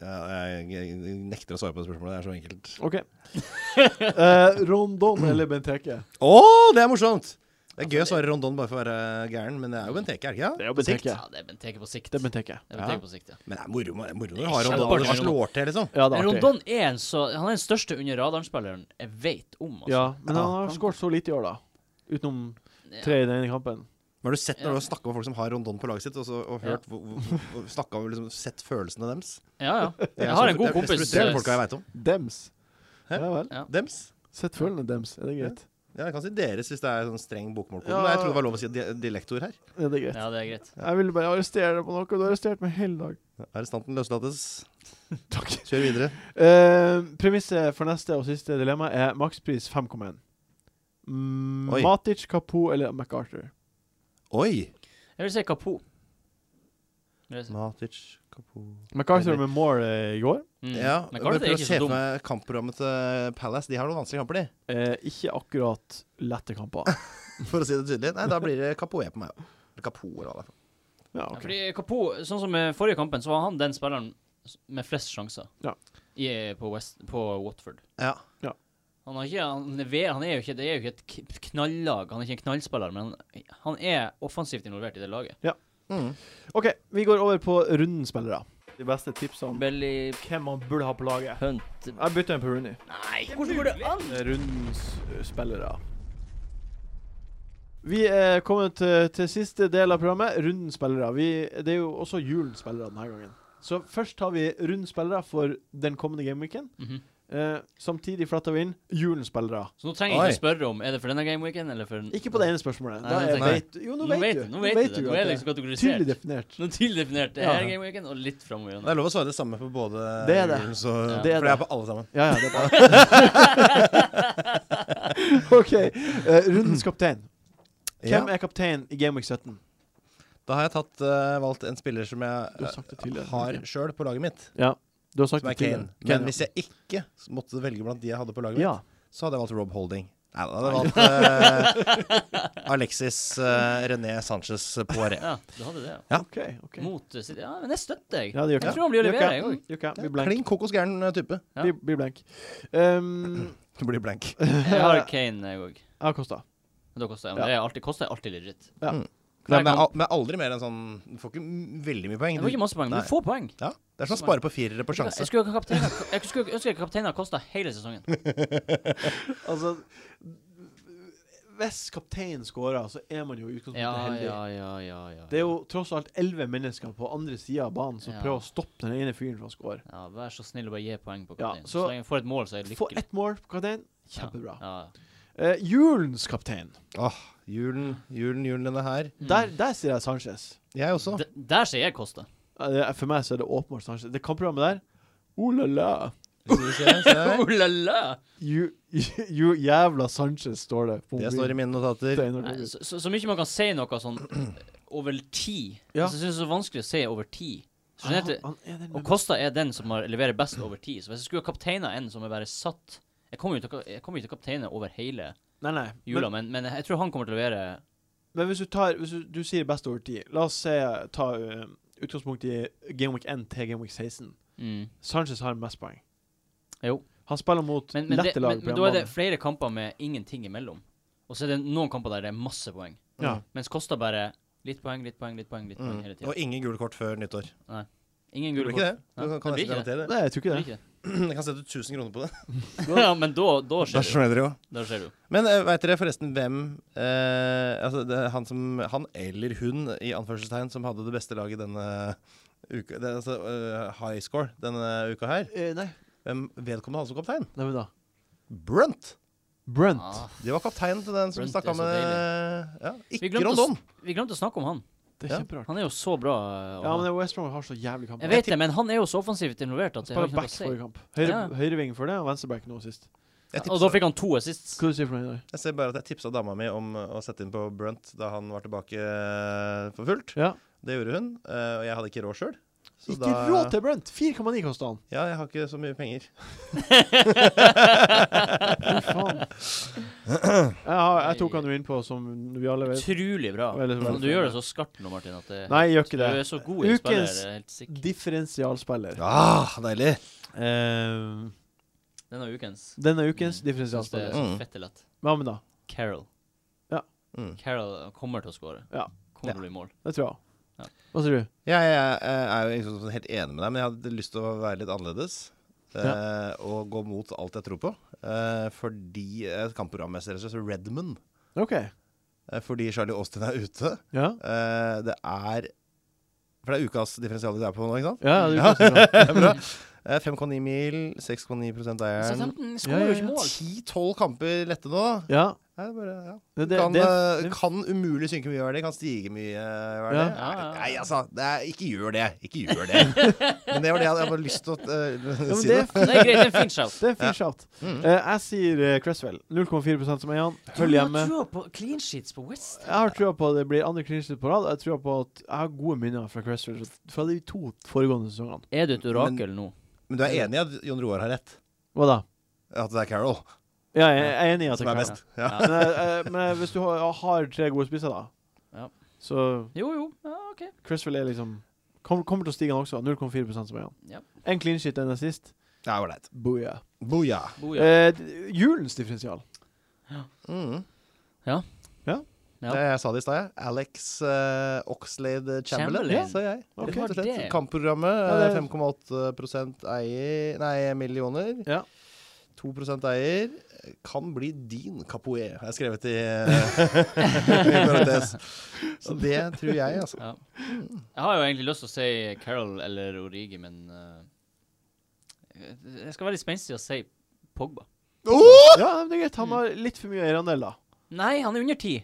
[SPEAKER 4] Ja, jeg, jeg nekter å svare på det spørsmålet. Det er så enkelt.
[SPEAKER 1] OK. Eh, Rondon eller Benteke?
[SPEAKER 4] Å, det er morsomt! Det er gøy å svare Rondon bare for å være gæren, men det er jo Benteke, er det
[SPEAKER 1] er jo
[SPEAKER 4] ikke?
[SPEAKER 2] Ja, det er Benteke på sikt.
[SPEAKER 1] Det er
[SPEAKER 2] Det
[SPEAKER 1] Benteke.
[SPEAKER 2] er Benteke på sikt, ja.
[SPEAKER 4] det? Men det er moro, det er moro når du har Rondon og
[SPEAKER 2] Kjempeartig.
[SPEAKER 4] det slår til, liksom.
[SPEAKER 1] Ja, det
[SPEAKER 2] Men
[SPEAKER 1] er artig.
[SPEAKER 2] Rondon er en så Han er den største under radaren-spilleren jeg vet om. Altså.
[SPEAKER 1] Ja, men han har skåret så lite i år, da. Utenom tre i den ene kampen.
[SPEAKER 4] Men har du sett når
[SPEAKER 2] Ja.
[SPEAKER 4] du har snakket med folk som har Rondon på laget sitt, og, så, og hørt hvor- hvor- hvor- snakket om, liksom, sett følelsene deres?
[SPEAKER 2] Ja, ja.
[SPEAKER 4] Det er
[SPEAKER 2] Jeg har
[SPEAKER 1] sånn-
[SPEAKER 4] så-
[SPEAKER 2] en god
[SPEAKER 4] det er Det
[SPEAKER 2] kompis eh,
[SPEAKER 4] mest frustrerende folka jeg vet om.
[SPEAKER 1] Dems.
[SPEAKER 4] Hæ?
[SPEAKER 1] Ja vel.
[SPEAKER 4] Dems.
[SPEAKER 1] Sett følgende dems. Er det greit?
[SPEAKER 4] Ja, jeg kan si deres hvis det er sånn streng bokmålkode.
[SPEAKER 1] Ja.
[SPEAKER 4] Nei, Jeg trodde det var lov å si di- dialektord her.
[SPEAKER 1] Er det greit?
[SPEAKER 2] Ja, det er greit.
[SPEAKER 1] Jeg ville bare arrestere deg på noe. Du har arrestert meg hele dag.
[SPEAKER 4] Arrestanten løslates. Takk. Kjør videre.
[SPEAKER 1] Eh, Premisset for neste og siste dilemma er makspris 5,1. Mm,
[SPEAKER 4] Oi.
[SPEAKER 1] Matic, Kapo eller MacArthur.
[SPEAKER 4] Oi!
[SPEAKER 2] Jeg vil si Kapo. Vil jeg si.
[SPEAKER 4] Matic, Kapo
[SPEAKER 1] MacArthur
[SPEAKER 4] Enig.
[SPEAKER 1] med Moore eh, i går.
[SPEAKER 2] Mm.
[SPEAKER 4] Ja,
[SPEAKER 2] men
[SPEAKER 4] men
[SPEAKER 2] Cardiff er
[SPEAKER 4] prøv å
[SPEAKER 2] ikke
[SPEAKER 4] se
[SPEAKER 2] så
[SPEAKER 4] for
[SPEAKER 2] dum.
[SPEAKER 4] meg kampprogrammet til Palace. De har noen vanskelige kamper, de.
[SPEAKER 1] Eh, ikke akkurat lette kamper.
[SPEAKER 4] For å si det tydelig. Nei, da blir det Kapoe på meg. Eller Kapo, eller hva det er.
[SPEAKER 1] Ja,
[SPEAKER 2] Ja,
[SPEAKER 1] ok.
[SPEAKER 2] Fordi Kapo, sånn som i forrige kampen, så var han den spilleren s- med flest sjanser
[SPEAKER 1] Ja.
[SPEAKER 2] I, på, West, på Watford.
[SPEAKER 4] Ja.
[SPEAKER 2] Han, har ikke, han, er, ve- han er jo ikke Det er jo ikke et k- knallag, han er ikke en knallspiller, men han, han er offensivt involvert i det laget.
[SPEAKER 4] Mm.
[SPEAKER 1] OK, vi går over på rundens spillere. De beste tipsene om
[SPEAKER 5] Belly
[SPEAKER 1] hvem man burde ha på laget.
[SPEAKER 5] Hunt.
[SPEAKER 1] Jeg bytter en på Rooney.
[SPEAKER 2] Nei, hvordan går det an?
[SPEAKER 1] Rundens eh, spillere. Vi er kommet til, til siste del av programmet, rundens spillere. Vi, det er jo også julens spillere denne gangen. Så først tar vi rundens spillere for den kommende gameweeken.
[SPEAKER 2] Mhm.
[SPEAKER 1] Eh, samtidig flatter vi inn julens spillere.
[SPEAKER 2] Så nå trenger jeg
[SPEAKER 4] Oi.
[SPEAKER 2] ikke spørre om Er det for denne gameweeken eller for
[SPEAKER 1] Ikke på det ene spørsmålet.
[SPEAKER 2] Nei,
[SPEAKER 1] Da
[SPEAKER 2] nå
[SPEAKER 1] er,
[SPEAKER 4] tenker
[SPEAKER 1] vet, jo, nå vet,
[SPEAKER 2] vet,
[SPEAKER 1] du.
[SPEAKER 2] nå vet du
[SPEAKER 1] jo
[SPEAKER 2] det. Nå
[SPEAKER 1] at
[SPEAKER 2] er det liksom
[SPEAKER 1] er tydelig
[SPEAKER 2] kategorisert.
[SPEAKER 1] definert.
[SPEAKER 2] Nå er det tydelig definert. Det
[SPEAKER 1] Ja.
[SPEAKER 2] er gameweeken, og litt framover.
[SPEAKER 4] Det er lov å svare det samme på både
[SPEAKER 1] Det er det.
[SPEAKER 4] Julen, Så,
[SPEAKER 2] Ja.
[SPEAKER 1] Det er
[SPEAKER 4] For
[SPEAKER 1] det.
[SPEAKER 4] jeg er på alle sammen.
[SPEAKER 1] Ja, ja, det er bra. OK. eh, rundens kaptein.
[SPEAKER 4] Ja.
[SPEAKER 1] Hvem er kaptein i Game Week 17?
[SPEAKER 4] Da har jeg tatt, eh, valgt en spiller som
[SPEAKER 1] Du
[SPEAKER 4] jeg
[SPEAKER 1] har sagt det tidligere.
[SPEAKER 4] eh, har sjøl på laget mitt,
[SPEAKER 1] Ja. Du har sagt
[SPEAKER 4] som er
[SPEAKER 1] det tidligere.
[SPEAKER 4] Kane. Men hvis jeg ikke måtte velge blant de jeg hadde på laget
[SPEAKER 1] ja.
[SPEAKER 4] mitt, så hadde jeg valgt Rob Holding. Nei, da hadde jeg valgt eh, Alexis eh, René Sanchez Poiré.
[SPEAKER 2] Ja, du hadde det. ja.
[SPEAKER 4] Ja.
[SPEAKER 1] OK. ok
[SPEAKER 2] Mot eh, City. Ja, men jeg støtter, jeg.
[SPEAKER 1] Ja, det gjør
[SPEAKER 2] Jeg tror han blir å
[SPEAKER 1] Gjør
[SPEAKER 2] levere,
[SPEAKER 1] ikke.
[SPEAKER 2] jeg òg.
[SPEAKER 1] Gjør ikke. Blir blank.
[SPEAKER 4] Klin kokos gæren eh, type.
[SPEAKER 2] Ja.
[SPEAKER 1] Blir, blir blank. Um,
[SPEAKER 4] Du blir blank.
[SPEAKER 2] Jeg har Kane, jeg òg.
[SPEAKER 1] ja, Kosta.
[SPEAKER 2] Men da koster jeg.
[SPEAKER 1] Ja.
[SPEAKER 2] Men det er alltid, koster alltid legit.
[SPEAKER 1] Ja.
[SPEAKER 4] Mm.
[SPEAKER 2] Hver
[SPEAKER 4] Nei, men,
[SPEAKER 2] kamp.
[SPEAKER 4] al- men aldri mer enn sånn Du får ikke m- veldig mye poeng.
[SPEAKER 2] Jeg får ikke masse poeng, men
[SPEAKER 4] Nei.
[SPEAKER 2] du får poeng.
[SPEAKER 4] Ja, det er som å spare på firere på
[SPEAKER 2] Jeg
[SPEAKER 4] sjanse.
[SPEAKER 2] skulle jo ha kapteina Jeg skulle ønske kapteinen hadde kosta hele sesongen.
[SPEAKER 1] Altså Hvis kapteinen scorer, så er man jo i utgangspunktet
[SPEAKER 2] Ja,
[SPEAKER 1] heldig.
[SPEAKER 2] ja, ja, ja. ja.
[SPEAKER 1] Det er jo tross alt elleve mennesker på andre sida av banen som
[SPEAKER 2] Ja.
[SPEAKER 1] prøver å stoppe den ene fyren fra å score.
[SPEAKER 2] ja, Vær så snill å bare gi poeng på
[SPEAKER 1] Ja,
[SPEAKER 2] kapteinen.
[SPEAKER 1] så-
[SPEAKER 2] så, lenge jeg får et mål, så er jeg
[SPEAKER 1] Få
[SPEAKER 2] lykkelig.
[SPEAKER 1] ett mål på kapteinen. Kjempebra.
[SPEAKER 2] Ja.
[SPEAKER 1] Eh, julens kaptein.
[SPEAKER 2] Mm.
[SPEAKER 4] Åh, julen, julen, julen denne her.
[SPEAKER 1] Der, der sier jeg Sanchez.
[SPEAKER 4] Jeg også.
[SPEAKER 2] Ja. D- Der sier jeg Kosta.
[SPEAKER 1] Eh, det- For meg så er det åpenbart Sanchez. Det kampprogrammet der Oh la la.
[SPEAKER 4] Skal vi se, se her.
[SPEAKER 2] Oh la la!
[SPEAKER 1] Ju, ju, jævla Sanchez, står det. på
[SPEAKER 4] Det står i
[SPEAKER 1] mobilen.
[SPEAKER 4] mine notater.
[SPEAKER 1] Det er når
[SPEAKER 2] Nei,
[SPEAKER 1] det-
[SPEAKER 2] Så, så, så mye man kan si noe sånn over tid.
[SPEAKER 1] Ja.
[SPEAKER 2] Altså, jeg synes det er så vanskelig å si over tid. Så
[SPEAKER 1] Han-
[SPEAKER 2] skjønner jeg at-
[SPEAKER 1] han er den
[SPEAKER 2] og
[SPEAKER 1] med-
[SPEAKER 2] Kosta er den som har leverer best over tid. Så hvis jeg skulle ha kapteina en som er bare satt Jeg kommer jo til, å ka- jeg kommer jo til å kapteine over hele
[SPEAKER 1] Nei, nei.
[SPEAKER 2] jula,
[SPEAKER 1] Men,
[SPEAKER 2] men, men jeg tror han kommer til å levere
[SPEAKER 1] men hvis du tar Hvis du, du sier best over tid La oss se, ta eh, utgangspunkt i Game Week 1 til Game Week 16.
[SPEAKER 2] mm.
[SPEAKER 1] Sanchez har mest poeng.
[SPEAKER 2] Jo.
[SPEAKER 1] Han spiller mot
[SPEAKER 2] Men, men, det,
[SPEAKER 1] lette lag
[SPEAKER 2] men,
[SPEAKER 1] på
[SPEAKER 2] men da er det
[SPEAKER 1] hjemmebane.
[SPEAKER 2] flere kamper med ingenting imellom. Og så er det noen kamper der det er masse poeng.
[SPEAKER 1] Ja.
[SPEAKER 2] Mens Kosta bare litt poeng, litt poeng, litt poeng litt poeng
[SPEAKER 4] Mm.
[SPEAKER 2] hele tida.
[SPEAKER 4] Og ingen gule kort før nyttår.
[SPEAKER 2] Ingen
[SPEAKER 4] Det
[SPEAKER 2] gule
[SPEAKER 4] blir ikke
[SPEAKER 2] kort.
[SPEAKER 4] det. Du kan,
[SPEAKER 2] Det blir
[SPEAKER 4] kan nesten
[SPEAKER 2] ikke
[SPEAKER 4] garantere det.
[SPEAKER 1] Nei, jeg tror ikke
[SPEAKER 2] Blir
[SPEAKER 1] det.
[SPEAKER 2] ikke det.
[SPEAKER 4] Jeg kan sette 1000 kroner på det.
[SPEAKER 2] Ja, men da, da skjer det. jo.
[SPEAKER 4] dere jo.
[SPEAKER 2] Da skjer det. jo.
[SPEAKER 4] Men uh, veit dere forresten hvem eh, altså det, er han, som, han eller hun i anførselstegn som hadde det beste laget denne uka det, er Altså eh, high score denne uka her?
[SPEAKER 1] Eh, nei,
[SPEAKER 4] Hvem vedkommende hadde som kaptein?
[SPEAKER 1] nei, men da.
[SPEAKER 4] Brunt!
[SPEAKER 1] Brunt.
[SPEAKER 2] Ah,
[SPEAKER 4] Det var kapteinen til den som
[SPEAKER 2] Brunt
[SPEAKER 4] snakka
[SPEAKER 2] er så
[SPEAKER 4] med ja,
[SPEAKER 2] Vi
[SPEAKER 4] Ikke
[SPEAKER 2] glemte å s-
[SPEAKER 4] Rondon.
[SPEAKER 2] vi glemte å snakke om han.
[SPEAKER 1] Det er
[SPEAKER 4] Ja.
[SPEAKER 1] kjemperart.
[SPEAKER 2] Han er jo så bra. eh, å
[SPEAKER 1] Ja,
[SPEAKER 2] ha.
[SPEAKER 1] men det er West Brom har så jævlig kamp.
[SPEAKER 2] jeg vet det, men han er jo så offensivt involvert at jeg har
[SPEAKER 1] Spiller
[SPEAKER 2] ikke noe å
[SPEAKER 1] back
[SPEAKER 2] si.
[SPEAKER 1] forrige kamp. Høyre,
[SPEAKER 2] Ja.
[SPEAKER 1] Høyreving for det, og venstreback nå sist.
[SPEAKER 4] Jeg,
[SPEAKER 2] Og da
[SPEAKER 4] tipsa,
[SPEAKER 2] fikk han to assists.
[SPEAKER 1] Hva du sier for noe i dag?
[SPEAKER 4] jeg ser bare at jeg tipsa dama mi om å sette inn på Brunt da han var tilbake eh, for fullt.
[SPEAKER 1] Ja.
[SPEAKER 4] Det gjorde hun, eh, og jeg hadde ikke råd sjøl.
[SPEAKER 1] Ikke råd til Brunt! 4,9 kosta han.
[SPEAKER 4] Ja, jeg har ikke så mye penger.
[SPEAKER 1] Fy faen. Jeg, har, jeg tok han jo innpå, som vi alle vet.
[SPEAKER 2] Utrolig bra.
[SPEAKER 1] Veldig bra.
[SPEAKER 2] Du gjør det så skarpt nå, Martin, at det,
[SPEAKER 1] Nei, jeg gjør ikke
[SPEAKER 2] du
[SPEAKER 1] det.
[SPEAKER 2] er så god i å spille.
[SPEAKER 1] Ukens-
[SPEAKER 2] jeg er Helt sikker.
[SPEAKER 1] Differensialspiller.
[SPEAKER 4] Ah, deilig!
[SPEAKER 1] Eh,
[SPEAKER 2] Denne ukens.
[SPEAKER 1] denne ukens
[SPEAKER 2] Mm. Synes det er
[SPEAKER 1] differensialspiller.
[SPEAKER 2] så
[SPEAKER 4] Mm.
[SPEAKER 2] fette lett.
[SPEAKER 1] Hva med da?
[SPEAKER 2] Carol.
[SPEAKER 4] Mm.
[SPEAKER 2] Carol kommer til å skåre.
[SPEAKER 1] Ja.
[SPEAKER 2] Kommer til å bli mål.
[SPEAKER 1] Det tror
[SPEAKER 2] Ja.
[SPEAKER 1] jeg. Hva sier du?
[SPEAKER 4] Ja, jeg, jeg er jo ikke sånn helt enig med deg, men jeg hadde lyst til å være litt annerledes. eh, Og gå mot alt jeg tror på. Eh, fordi eh, kampprogrammessig rett og slett Redmond.
[SPEAKER 1] OK.
[SPEAKER 4] Eh, fordi Charlie Austin er ute.
[SPEAKER 1] Ja.
[SPEAKER 4] Eh, det er For det er ukas differensiale du er på nå, ikke sant?
[SPEAKER 1] Ja, det er ukens, ja.
[SPEAKER 4] Bra. Eh, 5,9 mil, 6,9 eieren.
[SPEAKER 2] Southampton
[SPEAKER 1] Ja,
[SPEAKER 2] skårer
[SPEAKER 1] ja,
[SPEAKER 2] jo ikke
[SPEAKER 1] ja.
[SPEAKER 2] mål.
[SPEAKER 4] 10-12 kamper lette nå. da.
[SPEAKER 1] Ja.
[SPEAKER 4] Nei, det er bare, ja.
[SPEAKER 1] Det, det,
[SPEAKER 4] kan,
[SPEAKER 1] det,
[SPEAKER 4] eh,
[SPEAKER 1] det-
[SPEAKER 4] kan umulig synke mye i verdi, kan stige mye i verdi.
[SPEAKER 1] Ja.
[SPEAKER 2] Ja, ja, ja.
[SPEAKER 4] Nei, altså, det er, ikke gjør det. Ikke gjør det. Men det var det jeg hadde jeg bare lyst til å eh,
[SPEAKER 1] ja, men
[SPEAKER 4] si.
[SPEAKER 1] det,
[SPEAKER 4] Det.
[SPEAKER 1] er
[SPEAKER 2] Det
[SPEAKER 1] fint.
[SPEAKER 2] er greit, det er en fin shout.
[SPEAKER 1] det er fin shout.
[SPEAKER 4] Mm.
[SPEAKER 1] Eh, jeg sier eh, Cresswell. 0,4 som eier han. Følg hjemme.
[SPEAKER 2] Du har trua på clean sheets på West.
[SPEAKER 1] Jeg har trua på at det blir andre clinches på rad. og Jeg tror på at jeg har gode minner fra Cresswell fra de to foregående sesongene.
[SPEAKER 2] Er du et orakel nå?
[SPEAKER 4] Men du er enig i at Jon Roar har rett?
[SPEAKER 1] Hva da?
[SPEAKER 4] At det er Carol
[SPEAKER 1] Ja, jeg jeg er enig i at
[SPEAKER 4] som
[SPEAKER 1] det
[SPEAKER 4] er
[SPEAKER 1] kan
[SPEAKER 4] best? Ja.
[SPEAKER 1] Men, eh, eh, men eh, hvis du har, har tre gode spisser, da,
[SPEAKER 2] Ja.
[SPEAKER 1] så
[SPEAKER 2] Jo, jo. Ja, OK.
[SPEAKER 1] Cresswell er liksom kom, Kommer til å stige, han også. 0,4 som er han.
[SPEAKER 2] Ja.
[SPEAKER 1] En clean shit, en assist.
[SPEAKER 4] Det er ålreit.
[SPEAKER 1] Booyah.
[SPEAKER 4] Boja.
[SPEAKER 2] Boja.
[SPEAKER 1] Eh, d- julens differensial.
[SPEAKER 4] Mm.
[SPEAKER 2] Ja.
[SPEAKER 1] Ja.
[SPEAKER 2] Ja.
[SPEAKER 4] Det jeg sa det i stad, jeg. Alex eh, Oxlade
[SPEAKER 2] Chamberlain.
[SPEAKER 4] Chamberlain, sa jeg.
[SPEAKER 1] Ok.
[SPEAKER 4] Rett og slett.
[SPEAKER 2] Det.
[SPEAKER 4] Kampprogrammet.
[SPEAKER 1] Ja, det-
[SPEAKER 4] eh, 5,8 eier Nei, millioner.
[SPEAKER 1] Ja.
[SPEAKER 4] 2 eier. Kan bli din Capoe, har jeg skrevet i, eh, i parentes. Så det tror jeg, altså.
[SPEAKER 2] Ja. Jeg har jo egentlig lyst til å si Carol eller Origi, men eh, Jeg skal være litt spenstig og si Pogba.
[SPEAKER 4] Oh!
[SPEAKER 1] Ja, men det er greit. Han har litt for mye eierandel, da.
[SPEAKER 2] Nei, han er under ti.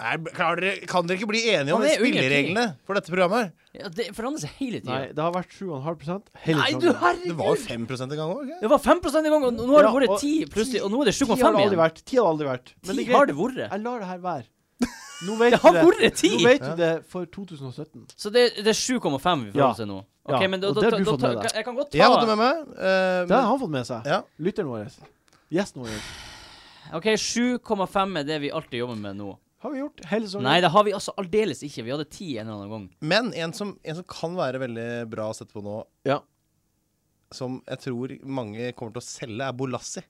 [SPEAKER 4] Er, klarer dere, kan dere ikke bli enige om
[SPEAKER 2] Han er
[SPEAKER 4] spillereglene for dette programmet?
[SPEAKER 2] Ja, det forandrer seg hele tida.
[SPEAKER 1] Nei, det sånn- har vært 7,5 hele
[SPEAKER 2] Nei, du
[SPEAKER 1] sesongen.
[SPEAKER 4] Det var jo
[SPEAKER 2] herregud!
[SPEAKER 4] 5 en gang òg.
[SPEAKER 2] Det var 5 en gang, og nå har
[SPEAKER 1] Ja,
[SPEAKER 2] det
[SPEAKER 1] og
[SPEAKER 2] vært 10 plutselig, og nå er det 7,5
[SPEAKER 1] Ti har det aldri
[SPEAKER 2] igjen.
[SPEAKER 1] vært. Ti har det aldri vært. Men det
[SPEAKER 2] 10
[SPEAKER 1] er
[SPEAKER 2] har
[SPEAKER 1] greit.
[SPEAKER 2] det vært.
[SPEAKER 1] Jeg lar det her være. Nå vet
[SPEAKER 2] Det har
[SPEAKER 1] du det.
[SPEAKER 2] vært
[SPEAKER 1] Nå
[SPEAKER 2] 10!
[SPEAKER 1] vet du det for 2017.
[SPEAKER 2] Så det, det er 7,5 vi forholder
[SPEAKER 1] Ja.
[SPEAKER 2] oss til nå.
[SPEAKER 1] Ja,
[SPEAKER 2] Ok, men da,
[SPEAKER 1] og
[SPEAKER 2] da,
[SPEAKER 1] det har
[SPEAKER 2] da,
[SPEAKER 1] du
[SPEAKER 2] da,
[SPEAKER 1] fått med
[SPEAKER 2] ta-
[SPEAKER 1] deg.
[SPEAKER 2] jeg kan godt
[SPEAKER 4] Jeg har fått det
[SPEAKER 2] ta
[SPEAKER 4] med meg. eh,
[SPEAKER 1] Det har han fått med seg.
[SPEAKER 4] Ja.
[SPEAKER 1] Lytteren vår. Gjesten vår.
[SPEAKER 2] Ok, 7,5 er det vi alltid jobber med nå.
[SPEAKER 1] Har vi gjort hele
[SPEAKER 4] Mm.
[SPEAKER 1] sesongen.
[SPEAKER 2] Nei, det har vi altså aldeles ikke. Vi hadde 10 en eller annen gang.
[SPEAKER 4] Men en som, en som kan være veldig bra å sette på nå,
[SPEAKER 1] Ja.
[SPEAKER 4] som jeg tror mange kommer til å selge, er Bolassi.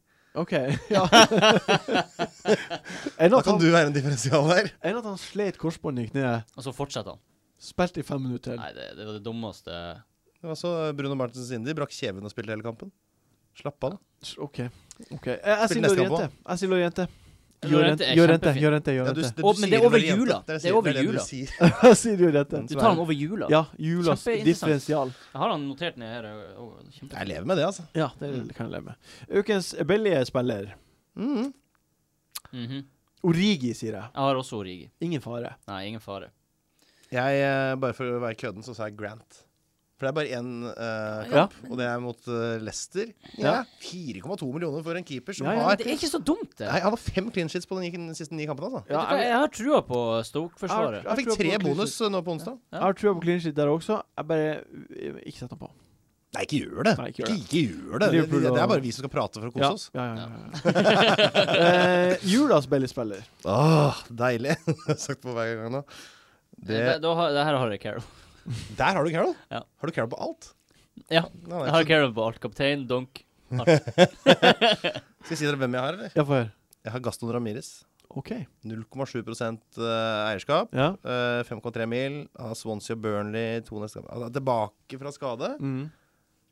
[SPEAKER 1] OK. Ja. enn,
[SPEAKER 4] Da
[SPEAKER 1] at
[SPEAKER 4] kan
[SPEAKER 1] han,
[SPEAKER 4] du være en differensial der.
[SPEAKER 1] enn at han slet korsbåndet i kneet,
[SPEAKER 2] Og så fortsetter han.
[SPEAKER 1] spilte i fem minutter til.
[SPEAKER 2] Nei, det, det var det dummeste
[SPEAKER 4] Det var så Bruno Martins Indi brakk kjeven og spilte hele kampen. Slapp av, da.
[SPEAKER 1] OK. ok Jeg, jeg sier
[SPEAKER 4] neste kamp
[SPEAKER 1] Loriente. Jeg sier Loriente.
[SPEAKER 2] Loriente er
[SPEAKER 1] Jorente.
[SPEAKER 2] kjempefin.
[SPEAKER 1] Jorente.
[SPEAKER 4] Ja, du-
[SPEAKER 1] Jorente.
[SPEAKER 4] du
[SPEAKER 2] Å, men det er
[SPEAKER 4] sier
[SPEAKER 2] over
[SPEAKER 4] vel jente.
[SPEAKER 2] jula. Det
[SPEAKER 4] Dere
[SPEAKER 2] er
[SPEAKER 4] sier
[SPEAKER 2] over
[SPEAKER 4] vel det du
[SPEAKER 2] jula.
[SPEAKER 4] sier.
[SPEAKER 1] Jeg sier Jorente.
[SPEAKER 2] Du tar han over jula.
[SPEAKER 1] Ja. Julas
[SPEAKER 2] Kjempeinteressant.
[SPEAKER 1] differensial.
[SPEAKER 2] Jeg har han notert ned her. og- og- kjempe-
[SPEAKER 4] Jeg lever med det, altså.
[SPEAKER 1] Ja, det kan jeg leve med. Ukens billige spiller.
[SPEAKER 4] Mm.
[SPEAKER 2] Mhm.
[SPEAKER 1] Origi, sier jeg.
[SPEAKER 2] Jeg har også Origi.
[SPEAKER 1] Ingen fare.
[SPEAKER 2] Nei, ingen fare.
[SPEAKER 4] Jeg, eh, bare for å være kødden, så sa jeg Grant. For det er bare én eh,
[SPEAKER 1] Ja.
[SPEAKER 4] kamp, og det er mot eh, Leicester. Ja.
[SPEAKER 1] Ja.
[SPEAKER 4] 4,2 millioner for en keeper som
[SPEAKER 1] Ja, ja,
[SPEAKER 2] Men
[SPEAKER 4] har
[SPEAKER 2] det er ikke så dumt, det.
[SPEAKER 4] Nei, Han har fem clean sheets på de ni- siste ni kampene.
[SPEAKER 2] Vet
[SPEAKER 4] altså.
[SPEAKER 2] du hva, jeg har trua på Stoke-forsvaret.
[SPEAKER 1] Jeg
[SPEAKER 4] Han fikk
[SPEAKER 1] tror
[SPEAKER 4] tre
[SPEAKER 1] på clean
[SPEAKER 4] bonus eh, nå på onsdag.
[SPEAKER 1] Jeg har trua på clean sheet der også. Jeg bare eh, Ikke sett ham på.
[SPEAKER 4] Nei, ikke gjør det.
[SPEAKER 1] Nei, ikke
[SPEAKER 4] ikke,
[SPEAKER 1] gjør det.
[SPEAKER 4] ikke gjør det. Det,
[SPEAKER 1] Liverpool
[SPEAKER 4] det, det er
[SPEAKER 1] og-
[SPEAKER 4] bare vi som skal prate for å kose
[SPEAKER 1] Ja,
[SPEAKER 4] oss.
[SPEAKER 1] ja, ja, ja, ja. eh, Julas billigspiller.
[SPEAKER 4] Åh, deilig. Sagt på hver gang nå. Det,
[SPEAKER 2] Det, da, har- det her har jeg Carol.
[SPEAKER 4] der har du Carol.
[SPEAKER 2] Ja.
[SPEAKER 4] Har du Carol på alt?
[SPEAKER 2] Ja.
[SPEAKER 4] Nei, nei,
[SPEAKER 2] Jeg har Carol på alt. Kaptein, donk.
[SPEAKER 4] Skal jeg si dere hvem jeg har, eller?
[SPEAKER 1] Ja, få høre.
[SPEAKER 4] Jeg har Gaston Ramires.
[SPEAKER 1] OK.
[SPEAKER 4] 0,7 eh, eierskap.
[SPEAKER 1] Ja.
[SPEAKER 4] Eh, 5,3 mil. Han har Swansea og Burnley to neste kamp. Han er tilbake fra skade.
[SPEAKER 1] Mm.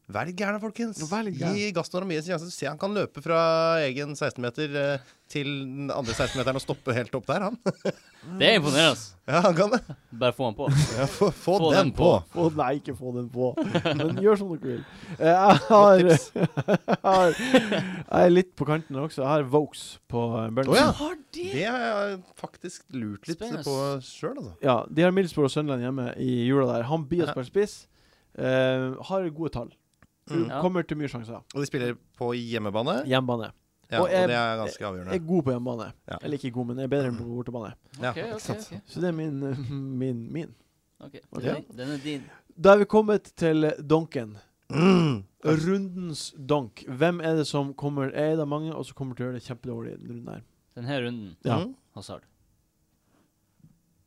[SPEAKER 4] Vær litt gærne, folkens.
[SPEAKER 1] Ja, vær litt
[SPEAKER 4] Gi Gaston Ramires en sjanse. Se, han kan løpe fra egen 16-meter eh, til den andre 16-meteren og stoppe helt opp der, han.
[SPEAKER 2] Det er imponerende. ass.
[SPEAKER 4] Ja, han kan det.
[SPEAKER 2] Bare få han på.
[SPEAKER 4] Ja, få, få,
[SPEAKER 2] Få
[SPEAKER 4] den,
[SPEAKER 2] den
[SPEAKER 4] på.
[SPEAKER 2] på.
[SPEAKER 1] Få, nei, ikke få den på. Men gjør som dere vil. Eh, Jeg har,
[SPEAKER 4] Godt tips.
[SPEAKER 1] jeg har Jeg er litt på kanten også. Jeg har Vokes på eh, Burnley.
[SPEAKER 4] Å, ja.
[SPEAKER 2] Har de?
[SPEAKER 4] Det har jeg faktisk lurt litt
[SPEAKER 2] Spennende.
[SPEAKER 4] på sjøl, altså.
[SPEAKER 1] Ja, de har Middlesbrough og Sunderland hjemme i jula der. Han blir å
[SPEAKER 4] Ja.
[SPEAKER 1] spille spiss. Eh, har gode tall.
[SPEAKER 4] Mm.
[SPEAKER 2] Ja.
[SPEAKER 1] Kommer til mye sjanser.
[SPEAKER 4] Og de spiller på hjemmebane,
[SPEAKER 1] Hjemmebane.
[SPEAKER 4] ja,
[SPEAKER 1] og
[SPEAKER 4] og
[SPEAKER 1] jeg-
[SPEAKER 4] det er ganske
[SPEAKER 1] Er
[SPEAKER 4] avgjørende.
[SPEAKER 1] god på hjemmebane.
[SPEAKER 4] Ja. Mm.
[SPEAKER 1] Eller ikke god, men er bedre enn på bortebane.
[SPEAKER 4] Ja,
[SPEAKER 2] Ok,
[SPEAKER 4] ikke
[SPEAKER 2] ok,
[SPEAKER 4] sant?
[SPEAKER 2] ok.
[SPEAKER 1] Så det er min, min, min.
[SPEAKER 2] Ok,
[SPEAKER 1] Ok.
[SPEAKER 2] Den, den er din.
[SPEAKER 1] Da er vi kommet til donken.
[SPEAKER 4] Mm.
[SPEAKER 1] Rundens donk. Hvem er det som kommer Er det mange, og så kommer til å gjøre det kjempedårlig i den runden her?
[SPEAKER 2] Denne runden,
[SPEAKER 1] Ja.
[SPEAKER 4] Mm.
[SPEAKER 2] Hazard.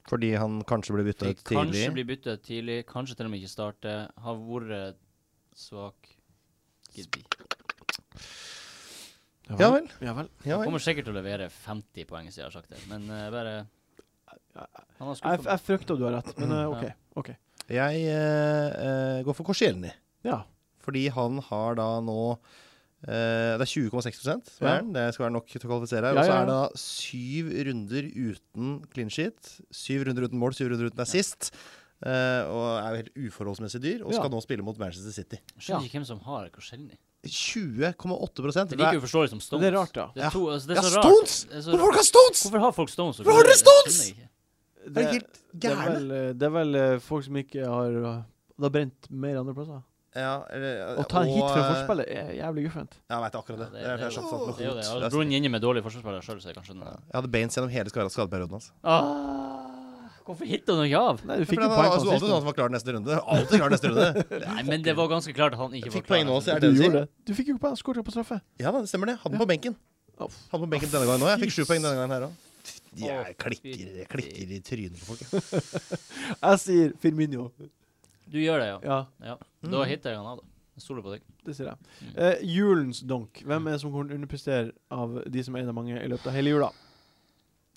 [SPEAKER 4] Fordi han kanskje ble bytta
[SPEAKER 2] De
[SPEAKER 4] ut tidlig.
[SPEAKER 2] kanskje blir bytta ut tidlig, kanskje til og med ikke starte. Har vært svak. Giddi.
[SPEAKER 4] Ja vel.
[SPEAKER 1] Ja vel.
[SPEAKER 4] Ja, vel.
[SPEAKER 2] Kommer sikkert til å levere 50 poeng, siden jeg har sagt det, men eh, bare Han har
[SPEAKER 1] Jeg,
[SPEAKER 2] skuffa
[SPEAKER 1] jeg frykter du har rett,
[SPEAKER 4] Mm.
[SPEAKER 1] men eh, OK. ok.
[SPEAKER 4] Jeg eh, eh, går for Korsielny,
[SPEAKER 1] Ja.
[SPEAKER 4] fordi han har da nå eh, Det er 20,6 som
[SPEAKER 1] Ja.
[SPEAKER 4] er den. Det skal være nok til å kvalifisere.
[SPEAKER 1] Ja,
[SPEAKER 4] Og så
[SPEAKER 1] ja,
[SPEAKER 4] er det da syv runder uten clean sheet. Syv runder uten mål, syv runder uten assist. eh, og er jo helt uforholdsmessig dyr, og
[SPEAKER 1] Ja.
[SPEAKER 4] skal nå spille mot Manchester City.
[SPEAKER 2] Skjønner ikke hvem som har Koscielny.
[SPEAKER 4] 20,8
[SPEAKER 2] Det
[SPEAKER 4] prosent.
[SPEAKER 2] er like uforståelig som Stones.
[SPEAKER 1] Det er rart, da.
[SPEAKER 2] Det er to, altså, det er
[SPEAKER 4] Ja,
[SPEAKER 2] så rart.
[SPEAKER 4] Stones!
[SPEAKER 2] Det er så
[SPEAKER 4] Hvorfor
[SPEAKER 2] rart.
[SPEAKER 4] folk har Stones?!
[SPEAKER 2] Hvorfor har folk Stones? og
[SPEAKER 4] Hvorfor har dere
[SPEAKER 2] Koscielny? Det
[SPEAKER 4] Stones?
[SPEAKER 2] skjønner jeg ikke.
[SPEAKER 4] Er de helt
[SPEAKER 1] det er
[SPEAKER 4] gærne?
[SPEAKER 1] vel, eh, det er vel eh, folk som ikke har eh, Det har brent mer andre plasser.
[SPEAKER 4] Ja, eller-
[SPEAKER 1] Å ta en hit fra
[SPEAKER 4] eh,
[SPEAKER 1] forspillet er jævlig guffent.
[SPEAKER 4] Ja, jeg veit akkurat det.
[SPEAKER 2] Ja,
[SPEAKER 4] det, er derfor jeg
[SPEAKER 2] jo-
[SPEAKER 4] satte satt
[SPEAKER 2] det er jo det. Jeg
[SPEAKER 4] med hodet. Det
[SPEAKER 2] hadde
[SPEAKER 4] er sant.
[SPEAKER 2] Brun inne med dårlige forsvarsspillere sjøl, så jeg kan skjønne det.
[SPEAKER 4] Jeg hadde Baines gjennom hele skade- skadeperioden hans.
[SPEAKER 2] Ah, hvorfor hitta han ikke av?
[SPEAKER 1] Nei, du
[SPEAKER 4] Ja, for
[SPEAKER 1] fikk jo
[SPEAKER 4] det var
[SPEAKER 1] poeng på
[SPEAKER 4] altså,
[SPEAKER 1] den
[SPEAKER 4] alltid sånn at
[SPEAKER 1] siste.
[SPEAKER 4] han var klar neste runde. Alltid klar neste runde.
[SPEAKER 2] Nei, men det var ganske klart at han ikke
[SPEAKER 4] Jeg fikk
[SPEAKER 2] var klar. altså.
[SPEAKER 4] poeng nå, så
[SPEAKER 1] Du
[SPEAKER 4] jeg- det du sier?
[SPEAKER 1] gjorde det. Du fikk jo ikke poeng, skåret på straffe.
[SPEAKER 4] Ja, da, det stemmer det. Hadde den på benken.
[SPEAKER 1] Uff.
[SPEAKER 4] Hadde den på benken denne gangen òg. Jeg fikk sju poeng denne gangen her òg. Jeg
[SPEAKER 2] Å,
[SPEAKER 4] klikker, jeg klikker i trynet på folk.
[SPEAKER 1] Jeg sier Firmino.
[SPEAKER 2] Du gjør det, ja.
[SPEAKER 1] Ja,
[SPEAKER 2] ja. Da hitter jeg han av, da. Jeg stoler på deg.
[SPEAKER 1] det sier jeg. Eh, julens donk. Hvem er det som kommer til å underprestere av de som er en av mange i løpet av hele jula?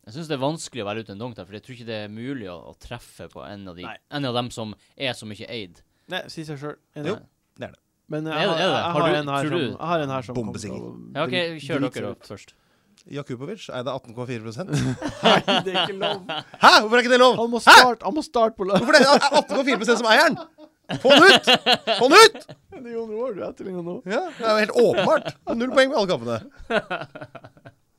[SPEAKER 2] Jeg syns det er vanskelig å velge ut en donk der, for jeg tror ikke det er mulig å, å treffe på en av, de,
[SPEAKER 1] Nei.
[SPEAKER 2] en av dem som er så mye eid.
[SPEAKER 1] Nei, si seg sjøl.
[SPEAKER 4] Jo, det er det.
[SPEAKER 1] Men eh,
[SPEAKER 2] Er
[SPEAKER 1] jeg, har-
[SPEAKER 2] det- er det?
[SPEAKER 1] jeg,
[SPEAKER 2] Har
[SPEAKER 1] har
[SPEAKER 2] du-
[SPEAKER 1] en her
[SPEAKER 2] tror
[SPEAKER 1] som,
[SPEAKER 2] du-
[SPEAKER 1] jeg har en her som kommer
[SPEAKER 4] Bombesikker.
[SPEAKER 1] til å
[SPEAKER 2] Ja, OK,
[SPEAKER 1] dri-
[SPEAKER 2] kjør
[SPEAKER 1] drite seg
[SPEAKER 2] dere
[SPEAKER 1] ut.
[SPEAKER 2] da først.
[SPEAKER 4] Jakubovic eide 18,4
[SPEAKER 1] Nei, det er ikke lov.
[SPEAKER 4] Hæ, hvorfor er ikke det lov?
[SPEAKER 1] Han må starte, han må starte på løpet.
[SPEAKER 4] Hvorfor er det 18,4 som eieren? Få den ut! Få den ut!
[SPEAKER 1] Det er Jon Roar du etterligner nå.
[SPEAKER 4] Ja, det er jo helt åpenbart. Null poeng med alle kampene.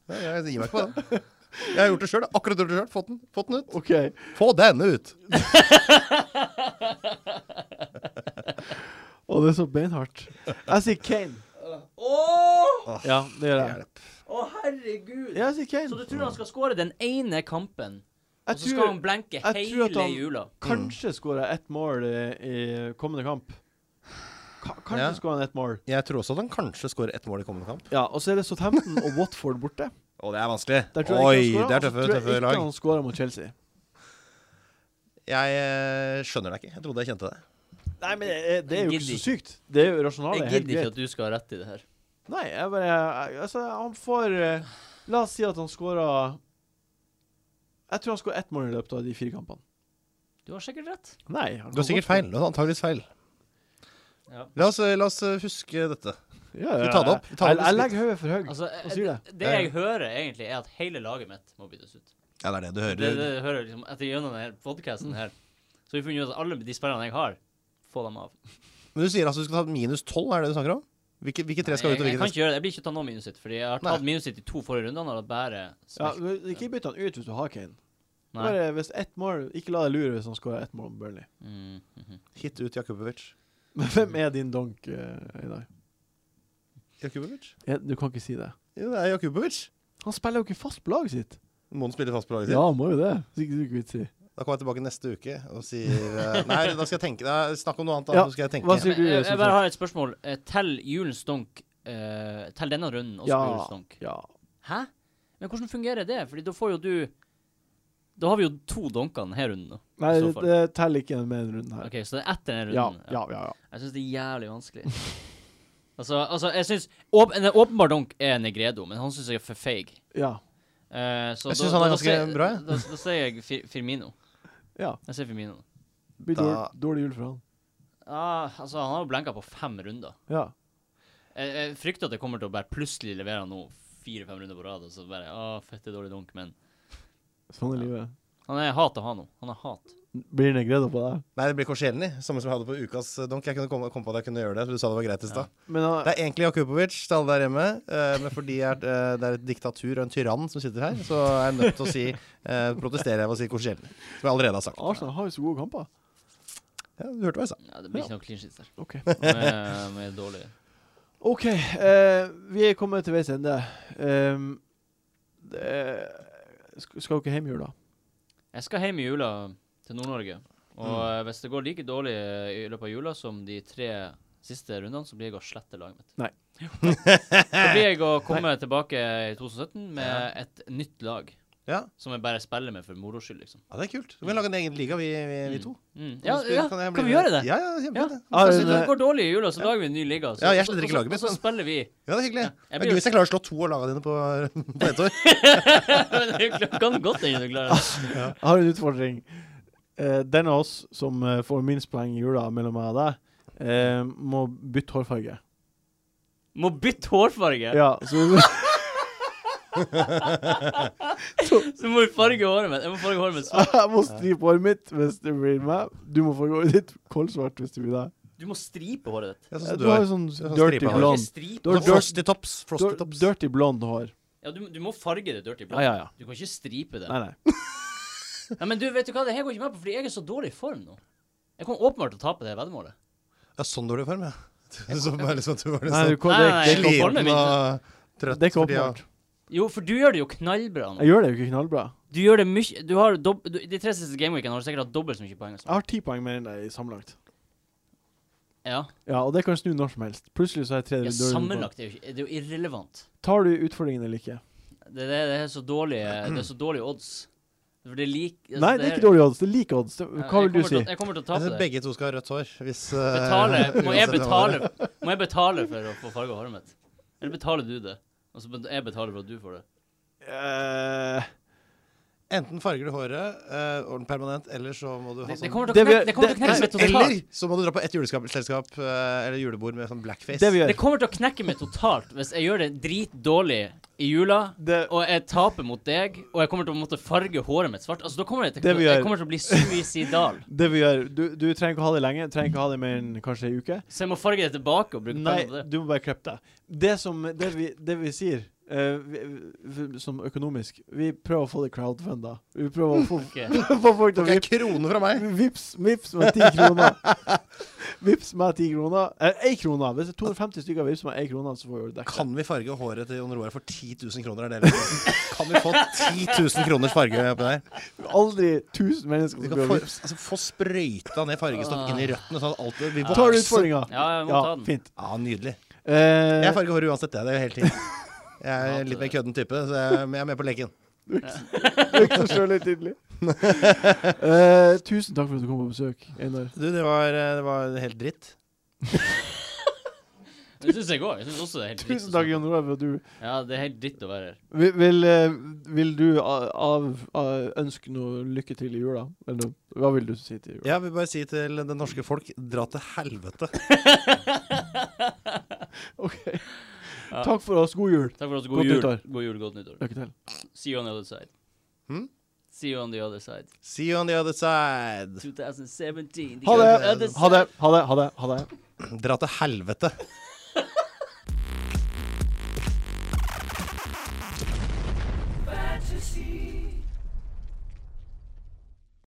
[SPEAKER 4] Nei, Jeg gir meg ikke på den. Jeg har gjort det sjøl. Akkurat gjort det sjøl. Fått den. Fått den ut.
[SPEAKER 1] OK.
[SPEAKER 4] Få denne ut.
[SPEAKER 1] Og det er så beinhardt. Jeg sier Kane. Ja, det gjør jeg.
[SPEAKER 4] Hjelp.
[SPEAKER 2] Å, herregud!
[SPEAKER 1] Jeg sier
[SPEAKER 2] Så du
[SPEAKER 1] Kane.
[SPEAKER 2] tror han skal skåre den ene kampen, og
[SPEAKER 1] Jeg
[SPEAKER 2] så skal
[SPEAKER 1] tror
[SPEAKER 2] han blenke
[SPEAKER 1] jeg tror at
[SPEAKER 2] hele
[SPEAKER 1] han-
[SPEAKER 2] jula? Mm.
[SPEAKER 1] kanskje skårer ett mål i, i kommende kamp. Ka kanskje
[SPEAKER 4] Ja.
[SPEAKER 1] skårer han ett mål.
[SPEAKER 4] Jeg tror også at han kanskje skårer ett mål i kommende kamp.
[SPEAKER 1] Ja, og så er det Southampton og Watford borte.
[SPEAKER 4] Å, det er vanskelig.
[SPEAKER 1] Der tror jeg
[SPEAKER 4] Oi,
[SPEAKER 1] ikke han
[SPEAKER 4] det
[SPEAKER 1] scorer,
[SPEAKER 4] er tøffe,
[SPEAKER 1] og så tror
[SPEAKER 4] tøffe
[SPEAKER 1] jeg
[SPEAKER 4] lag.
[SPEAKER 1] ikke han scorer mot Chelsea.
[SPEAKER 4] Jeg eh, skjønner deg ikke. Jeg trodde jeg kjente det.
[SPEAKER 1] Nei, men det er, det er jo
[SPEAKER 2] Jeg
[SPEAKER 1] ikke
[SPEAKER 2] gidder
[SPEAKER 1] så sykt. Det er jo rasjonale.
[SPEAKER 2] Jeg
[SPEAKER 1] helt
[SPEAKER 2] gidder ikke
[SPEAKER 1] greit.
[SPEAKER 2] at du skal ha rett i det her.
[SPEAKER 1] Nei, jeg bare jeg, Altså, han får eh, La oss si at han scorer Jeg tror han scorer ett mål i løpet av de fire kampene.
[SPEAKER 2] Du har sikkert rett.
[SPEAKER 1] Nei. han kan
[SPEAKER 4] Du har sikkert
[SPEAKER 1] godt-
[SPEAKER 4] feil. Du har antageligvis feil.
[SPEAKER 2] Ja.
[SPEAKER 4] La oss, eh, la oss huske dette.
[SPEAKER 1] Ja, ja,
[SPEAKER 4] Skal vi ta det opp?
[SPEAKER 1] jeg-
[SPEAKER 4] Ta det
[SPEAKER 1] jeg,
[SPEAKER 4] opp
[SPEAKER 1] jeg
[SPEAKER 4] litt.
[SPEAKER 1] legger hodet for høyt.
[SPEAKER 2] Altså,
[SPEAKER 1] Hva sier
[SPEAKER 2] eh, det jeg hører egentlig, er at hele laget mitt må byttes ut.
[SPEAKER 4] Ja, det er det du
[SPEAKER 2] Det, det jeg hører liksom etter gjennom denne podcasten her. Så vi funnet ut at alle de spillerne jeg har, få dem av.
[SPEAKER 4] Men du sier altså du skal ta minus 12, er det du snakker om? Hvilke, hvilke tre skal
[SPEAKER 2] jeg,
[SPEAKER 4] ut,
[SPEAKER 2] jeg
[SPEAKER 4] og hvilke
[SPEAKER 2] kan
[SPEAKER 4] tre skal
[SPEAKER 2] ikke gjøre det. Jeg blir ikke tatt noe minus sitt, fordi jeg har
[SPEAKER 4] Nei.
[SPEAKER 2] tatt minus sitt i to forrige runder. Og det bare
[SPEAKER 1] ja,
[SPEAKER 2] smelt.
[SPEAKER 1] men ikke bytt han ut hvis du har Kane.
[SPEAKER 2] Nei.
[SPEAKER 1] Bare hvis ett mål Ikke la deg lure hvis han scorer ett mål med Burnley.
[SPEAKER 2] Mm, mhm.
[SPEAKER 4] Hit ut Jakubovic.
[SPEAKER 1] Men hvem er din donk eh, i dag?
[SPEAKER 4] Jakubovic?
[SPEAKER 1] Ja, Du kan ikke si det.
[SPEAKER 4] Jo, det er Jakubovic.
[SPEAKER 1] Han spiller jo ikke fast på laget sitt.
[SPEAKER 4] Må han spille fast på laget sitt?
[SPEAKER 1] Ja, han må jo det. Hvis ikke du ikke vits i.
[SPEAKER 4] Da kommer jeg tilbake neste uke og sier eh, Nei, da skal jeg tenke. Nei, snakk om noe annet, da.
[SPEAKER 1] Ja,
[SPEAKER 4] Så skal jeg tenke.
[SPEAKER 1] hva sier-
[SPEAKER 2] Men eh,
[SPEAKER 1] du,
[SPEAKER 2] jeg,
[SPEAKER 1] Sondre?
[SPEAKER 2] jeg bare har et spørsmål. Eh, Tell julens donk eh, Tell denne runden også
[SPEAKER 1] Ja.
[SPEAKER 2] med julens donk.
[SPEAKER 1] Ja.
[SPEAKER 2] Hæ? Men hvordan fungerer det? Fordi da får jo du Da har vi jo to donker denne runden. nå.
[SPEAKER 1] Nei,
[SPEAKER 2] I så
[SPEAKER 1] det,
[SPEAKER 2] fall.
[SPEAKER 1] det teller ikke med denne runden her.
[SPEAKER 2] Ok, Så det er etter denne
[SPEAKER 1] Ja,
[SPEAKER 2] runden.
[SPEAKER 1] ja, ja. ja.
[SPEAKER 2] Jeg syns det er jævlig vanskelig. altså, altså, jeg syns åp En åpenbar donk er Negredo, men han syns jeg er for feig.
[SPEAKER 1] ja.
[SPEAKER 2] Eh, så
[SPEAKER 4] Jeg
[SPEAKER 2] da-
[SPEAKER 4] synes han
[SPEAKER 2] da-
[SPEAKER 4] er
[SPEAKER 2] da
[SPEAKER 4] ganske
[SPEAKER 2] sier-
[SPEAKER 4] bra, jeg.
[SPEAKER 2] Da, da, sier jeg Fir Firmino.
[SPEAKER 1] ja.
[SPEAKER 2] Jeg sier Firmino.
[SPEAKER 1] Det blir
[SPEAKER 4] Da-
[SPEAKER 1] dårlig, dårlig jul for han.
[SPEAKER 2] Ah, altså, han har jo blenka på fem runder.
[SPEAKER 1] Ja.
[SPEAKER 2] Jeg, jeg frykter at jeg kommer til å bare plutselig levere nå fire-fem runder på rad, og så bare ah, fette dårlig donk, men
[SPEAKER 1] Sånn er livet.
[SPEAKER 2] han er hat å ha nå. Han er hat.
[SPEAKER 1] Blir det Negredo på deg?
[SPEAKER 4] Nei, det blir Korselny, samme som jeg hadde på ukas eh, donk. Jeg kunne komme, komme på at jeg kunne gjøre det, for du sa det var greit i stad.
[SPEAKER 1] Men eh, han,
[SPEAKER 4] Det er egentlig Jakubovic til alle der hjemme, eh, men fordi jeg, er- eh, det er et diktatur og en tyrann som sitter her, så er jeg nødt til å si eh, protesterer jeg ved å si Korselny, som jeg allerede har sagt.
[SPEAKER 1] Arsenal har jo så gode kamper.
[SPEAKER 4] Ja, du hørte hva jeg sa.
[SPEAKER 2] Ja, det blir ikke noe clean shit der.
[SPEAKER 1] OK.
[SPEAKER 2] Han er, han er dårlig.
[SPEAKER 1] OK. eh, vi er kommet til veis ende. Ehm, det- sk- skal dere hjem i jula?
[SPEAKER 2] Jeg skal hjem i jula til Nord-Norge. Og eh, hvis det går like dårlig eh, i løpet av jula som de tre siste rundene, så blir jeg å slette laget mitt.
[SPEAKER 1] Nei.
[SPEAKER 2] så blir jeg å komme tilbake i 2017 med et nytt lag.
[SPEAKER 4] Ja.
[SPEAKER 2] Som jeg bare spiller med for moro skyld, liksom.
[SPEAKER 4] ja, det er kult. Du kan lage en egen liga, vi, vi, vi to.
[SPEAKER 2] Mm. Ja,
[SPEAKER 4] Spille-
[SPEAKER 2] ja, kan
[SPEAKER 4] jeg
[SPEAKER 2] vi
[SPEAKER 4] bli med?
[SPEAKER 2] gjøre det?
[SPEAKER 4] Ja, ja, kjempe,
[SPEAKER 2] Ja.
[SPEAKER 4] det.
[SPEAKER 1] Ja,
[SPEAKER 2] Hvis
[SPEAKER 1] men,
[SPEAKER 2] Altså, det
[SPEAKER 1] eh,
[SPEAKER 2] går dårlig i jula, så lager vi en ny liga. Så,
[SPEAKER 4] Ja, jeg
[SPEAKER 2] og så-
[SPEAKER 4] sletter ikke
[SPEAKER 2] og så-
[SPEAKER 4] laget
[SPEAKER 2] Og
[SPEAKER 4] mitt,
[SPEAKER 2] så
[SPEAKER 4] men-
[SPEAKER 2] spiller vi.
[SPEAKER 4] ja, det er hyggelig.
[SPEAKER 2] jeg
[SPEAKER 4] Det
[SPEAKER 2] blir
[SPEAKER 4] er
[SPEAKER 2] jo-
[SPEAKER 4] gøy hvis jeg klarer å slå to av lagene dine på, på ett år.
[SPEAKER 2] Men det er jo- kan godt hende du klarer det.
[SPEAKER 1] Jeg har en utfordring. Eh, den av oss som eh, får minst poeng i jula mellom meg og deg, eh, må bytte hårfarge.
[SPEAKER 2] Må bytte hårfarge.
[SPEAKER 1] Ja, så
[SPEAKER 2] Så må vi farge håret mitt. Jeg må farge håret mitt svart.
[SPEAKER 1] Jeg må stripe håret mitt hvis det blir meg. Du må få håret ditt kolsvart hvis det blir deg.
[SPEAKER 2] Du må stripe håret ditt.
[SPEAKER 4] Ja, sånn
[SPEAKER 1] Eh,
[SPEAKER 4] som
[SPEAKER 1] Du har jo
[SPEAKER 4] sånn
[SPEAKER 1] sånn
[SPEAKER 4] sånn
[SPEAKER 1] dirty
[SPEAKER 4] stripe hår.
[SPEAKER 2] Ikke
[SPEAKER 1] blond
[SPEAKER 2] stripe.
[SPEAKER 1] Du har dirt-
[SPEAKER 4] Frosty tops. Frosty
[SPEAKER 1] dir-
[SPEAKER 4] tops.
[SPEAKER 1] dirty blond hår.
[SPEAKER 2] Ja, du, du må farge det dirty blond.
[SPEAKER 1] Ja, ja, ja.
[SPEAKER 2] Du kan ikke stripe det.
[SPEAKER 1] Nei, nei.
[SPEAKER 2] Nei, men du, vet du hva, det her går ikke med på, fordi jeg er så dårlig i form nå. Jeg kommer åpenbart til å tape det her veddemålet.
[SPEAKER 4] Ja, sånn dårlig form, ja. Så bare liksom at du var
[SPEAKER 1] nei, du,
[SPEAKER 4] liksom
[SPEAKER 1] kom- det,
[SPEAKER 2] Nei, nei,
[SPEAKER 1] er ikke-
[SPEAKER 2] nei.
[SPEAKER 4] sliten
[SPEAKER 2] formen min.
[SPEAKER 4] og trøtt.
[SPEAKER 1] det er ikke
[SPEAKER 4] fordi, ja.
[SPEAKER 1] åpenbart.
[SPEAKER 2] Jo, for du gjør det jo knallbra nå.
[SPEAKER 1] Jeg gjør det jo ikke knallbra.
[SPEAKER 2] Du gjør det mye Du har dob du, De tre siste gameweekene har du sikkert hatt dobbelt så mye poeng.
[SPEAKER 1] Jeg har ti poeng mer enn deg i sammenlagt.
[SPEAKER 2] Ja.
[SPEAKER 1] Ja, og det kan snu når som helst. Plutselig så er jeg tredje
[SPEAKER 2] ja
[SPEAKER 1] dårlig på-
[SPEAKER 2] sammenlagt er jo, ikke, det er jo irrelevant.
[SPEAKER 1] Tar du utfordringen eller ikke?
[SPEAKER 2] Det, det, det er så dårlige Det er så dårlige odds. For det er lik altså,
[SPEAKER 1] Nei, det er
[SPEAKER 2] her-
[SPEAKER 1] ikke dårlige odds. Det er like odds. Det-
[SPEAKER 2] Jeg
[SPEAKER 1] Hva vil du
[SPEAKER 2] kommer
[SPEAKER 1] si?
[SPEAKER 2] til å- Jeg kommer til å
[SPEAKER 4] Jeg
[SPEAKER 2] tape
[SPEAKER 4] synes
[SPEAKER 2] det.
[SPEAKER 4] Altså, begge to skal ha rødt hår. Hvis, eh,
[SPEAKER 2] Betale. Må jeg
[SPEAKER 4] uansett hva det
[SPEAKER 2] betale, må jeg betale for å få farga håret mitt? Eller betaler du det? Og så bet- jeg betaler for at du får det.
[SPEAKER 1] Eh,
[SPEAKER 4] er. Enten farger du håret eh, orden permanent, eller så må du
[SPEAKER 2] Det,
[SPEAKER 4] ha
[SPEAKER 2] det
[SPEAKER 4] sånn
[SPEAKER 2] kommer til å
[SPEAKER 1] Det vi-
[SPEAKER 2] knekke det kommer til å
[SPEAKER 1] det-
[SPEAKER 2] knekke
[SPEAKER 1] nei,
[SPEAKER 2] meg totalt.
[SPEAKER 4] Eller så må du dra på et juleselskap eh, eller julebord med sånn blackface.
[SPEAKER 1] det vi
[SPEAKER 2] Det
[SPEAKER 1] gjør
[SPEAKER 2] kommer til å knekke meg totalt hvis jeg gjør det dritdårlig i jula,
[SPEAKER 1] Det-
[SPEAKER 2] og jeg taper mot deg, og jeg kommer til å måtte farge håret mitt svart. Altså, da kommer jeg til,
[SPEAKER 1] Det vi gjør-
[SPEAKER 2] jeg kommer til å bli suicidal.
[SPEAKER 1] Det vi gjør Du, du trenger ikke å ha det lenge. Trenger ikke å ha det mer enn kanskje ei uke.
[SPEAKER 2] Så jeg må farge det tilbake og bruke
[SPEAKER 1] Nei,
[SPEAKER 2] penger på det.
[SPEAKER 1] du må bare klippe deg. Det som Det vi, det vi sier eh, vi, vi, som økonomisk Vi prøver å få det crowdfunda. Vi prøver å få,
[SPEAKER 2] Ok.
[SPEAKER 1] få folk til å
[SPEAKER 4] Tok jeg
[SPEAKER 1] vippe.
[SPEAKER 4] krone fra meg?
[SPEAKER 1] Vips, vips med ti kroner. Vips med ti kroner. Eh, Én krone. Hvis det er 250 stykker vips med én krone, så får vi det dekket.
[SPEAKER 4] Kan vi farge håret til Jon Roar for 10 000 kroner? Er det liksom? Kan vi få 10 000 kroners farge oppi der?
[SPEAKER 1] Aldri 1000 mennesker
[SPEAKER 4] Vi
[SPEAKER 1] som
[SPEAKER 4] kan
[SPEAKER 1] går
[SPEAKER 4] få,
[SPEAKER 1] vips.
[SPEAKER 4] altså, få sprøyta ned fargestoff inn i røttene, sånn at alt det blir
[SPEAKER 1] Tar du
[SPEAKER 4] voksen.
[SPEAKER 1] utfordringa?
[SPEAKER 2] Ja, jeg må
[SPEAKER 1] Ja,
[SPEAKER 2] ta den.
[SPEAKER 1] fint.
[SPEAKER 4] Ja, nydelig.
[SPEAKER 1] Eh,
[SPEAKER 4] Jeg farger håret uansett, jeg. Det er jo hele tiden. Jeg
[SPEAKER 2] Ja,
[SPEAKER 4] er litt mer kødden type, så jeg, men jeg er med på leken.
[SPEAKER 1] Du gikk deg sjøl litt tidlig. Eh, tusen takk for at du kom på besøk, Einar.
[SPEAKER 4] Du, det var, eh, det var helt dritt.
[SPEAKER 2] Det syns jeg òg. Jeg syns også det er helt dritt.
[SPEAKER 1] Tusen
[SPEAKER 2] å
[SPEAKER 1] takk,
[SPEAKER 2] snakke.
[SPEAKER 1] Jon Olav, for at du
[SPEAKER 2] Ja, det er helt dritt å være her.
[SPEAKER 1] Vil, vil, eh, vil du av, av, av ønske noe lykke til i jula? Eller hva vil du si til jula?
[SPEAKER 4] Jeg vil bare si til det norske folk, dra til helvete.
[SPEAKER 1] OK. Takk for oss. God jul.
[SPEAKER 2] Takk for oss.
[SPEAKER 1] Godt
[SPEAKER 2] God jul.
[SPEAKER 1] nyttår.
[SPEAKER 2] God jul, godt nyttår.
[SPEAKER 1] Lykke til.
[SPEAKER 2] See you on the other side.
[SPEAKER 1] Hm?
[SPEAKER 4] Hmm?
[SPEAKER 2] See you on the other side.
[SPEAKER 4] See you on the other side.
[SPEAKER 2] 2017. the
[SPEAKER 1] Ha det.
[SPEAKER 2] other
[SPEAKER 1] Ha det.
[SPEAKER 2] side.
[SPEAKER 1] Ha det. Ha det. Ha det.
[SPEAKER 4] Dra til helvete.
[SPEAKER 5] fantasy.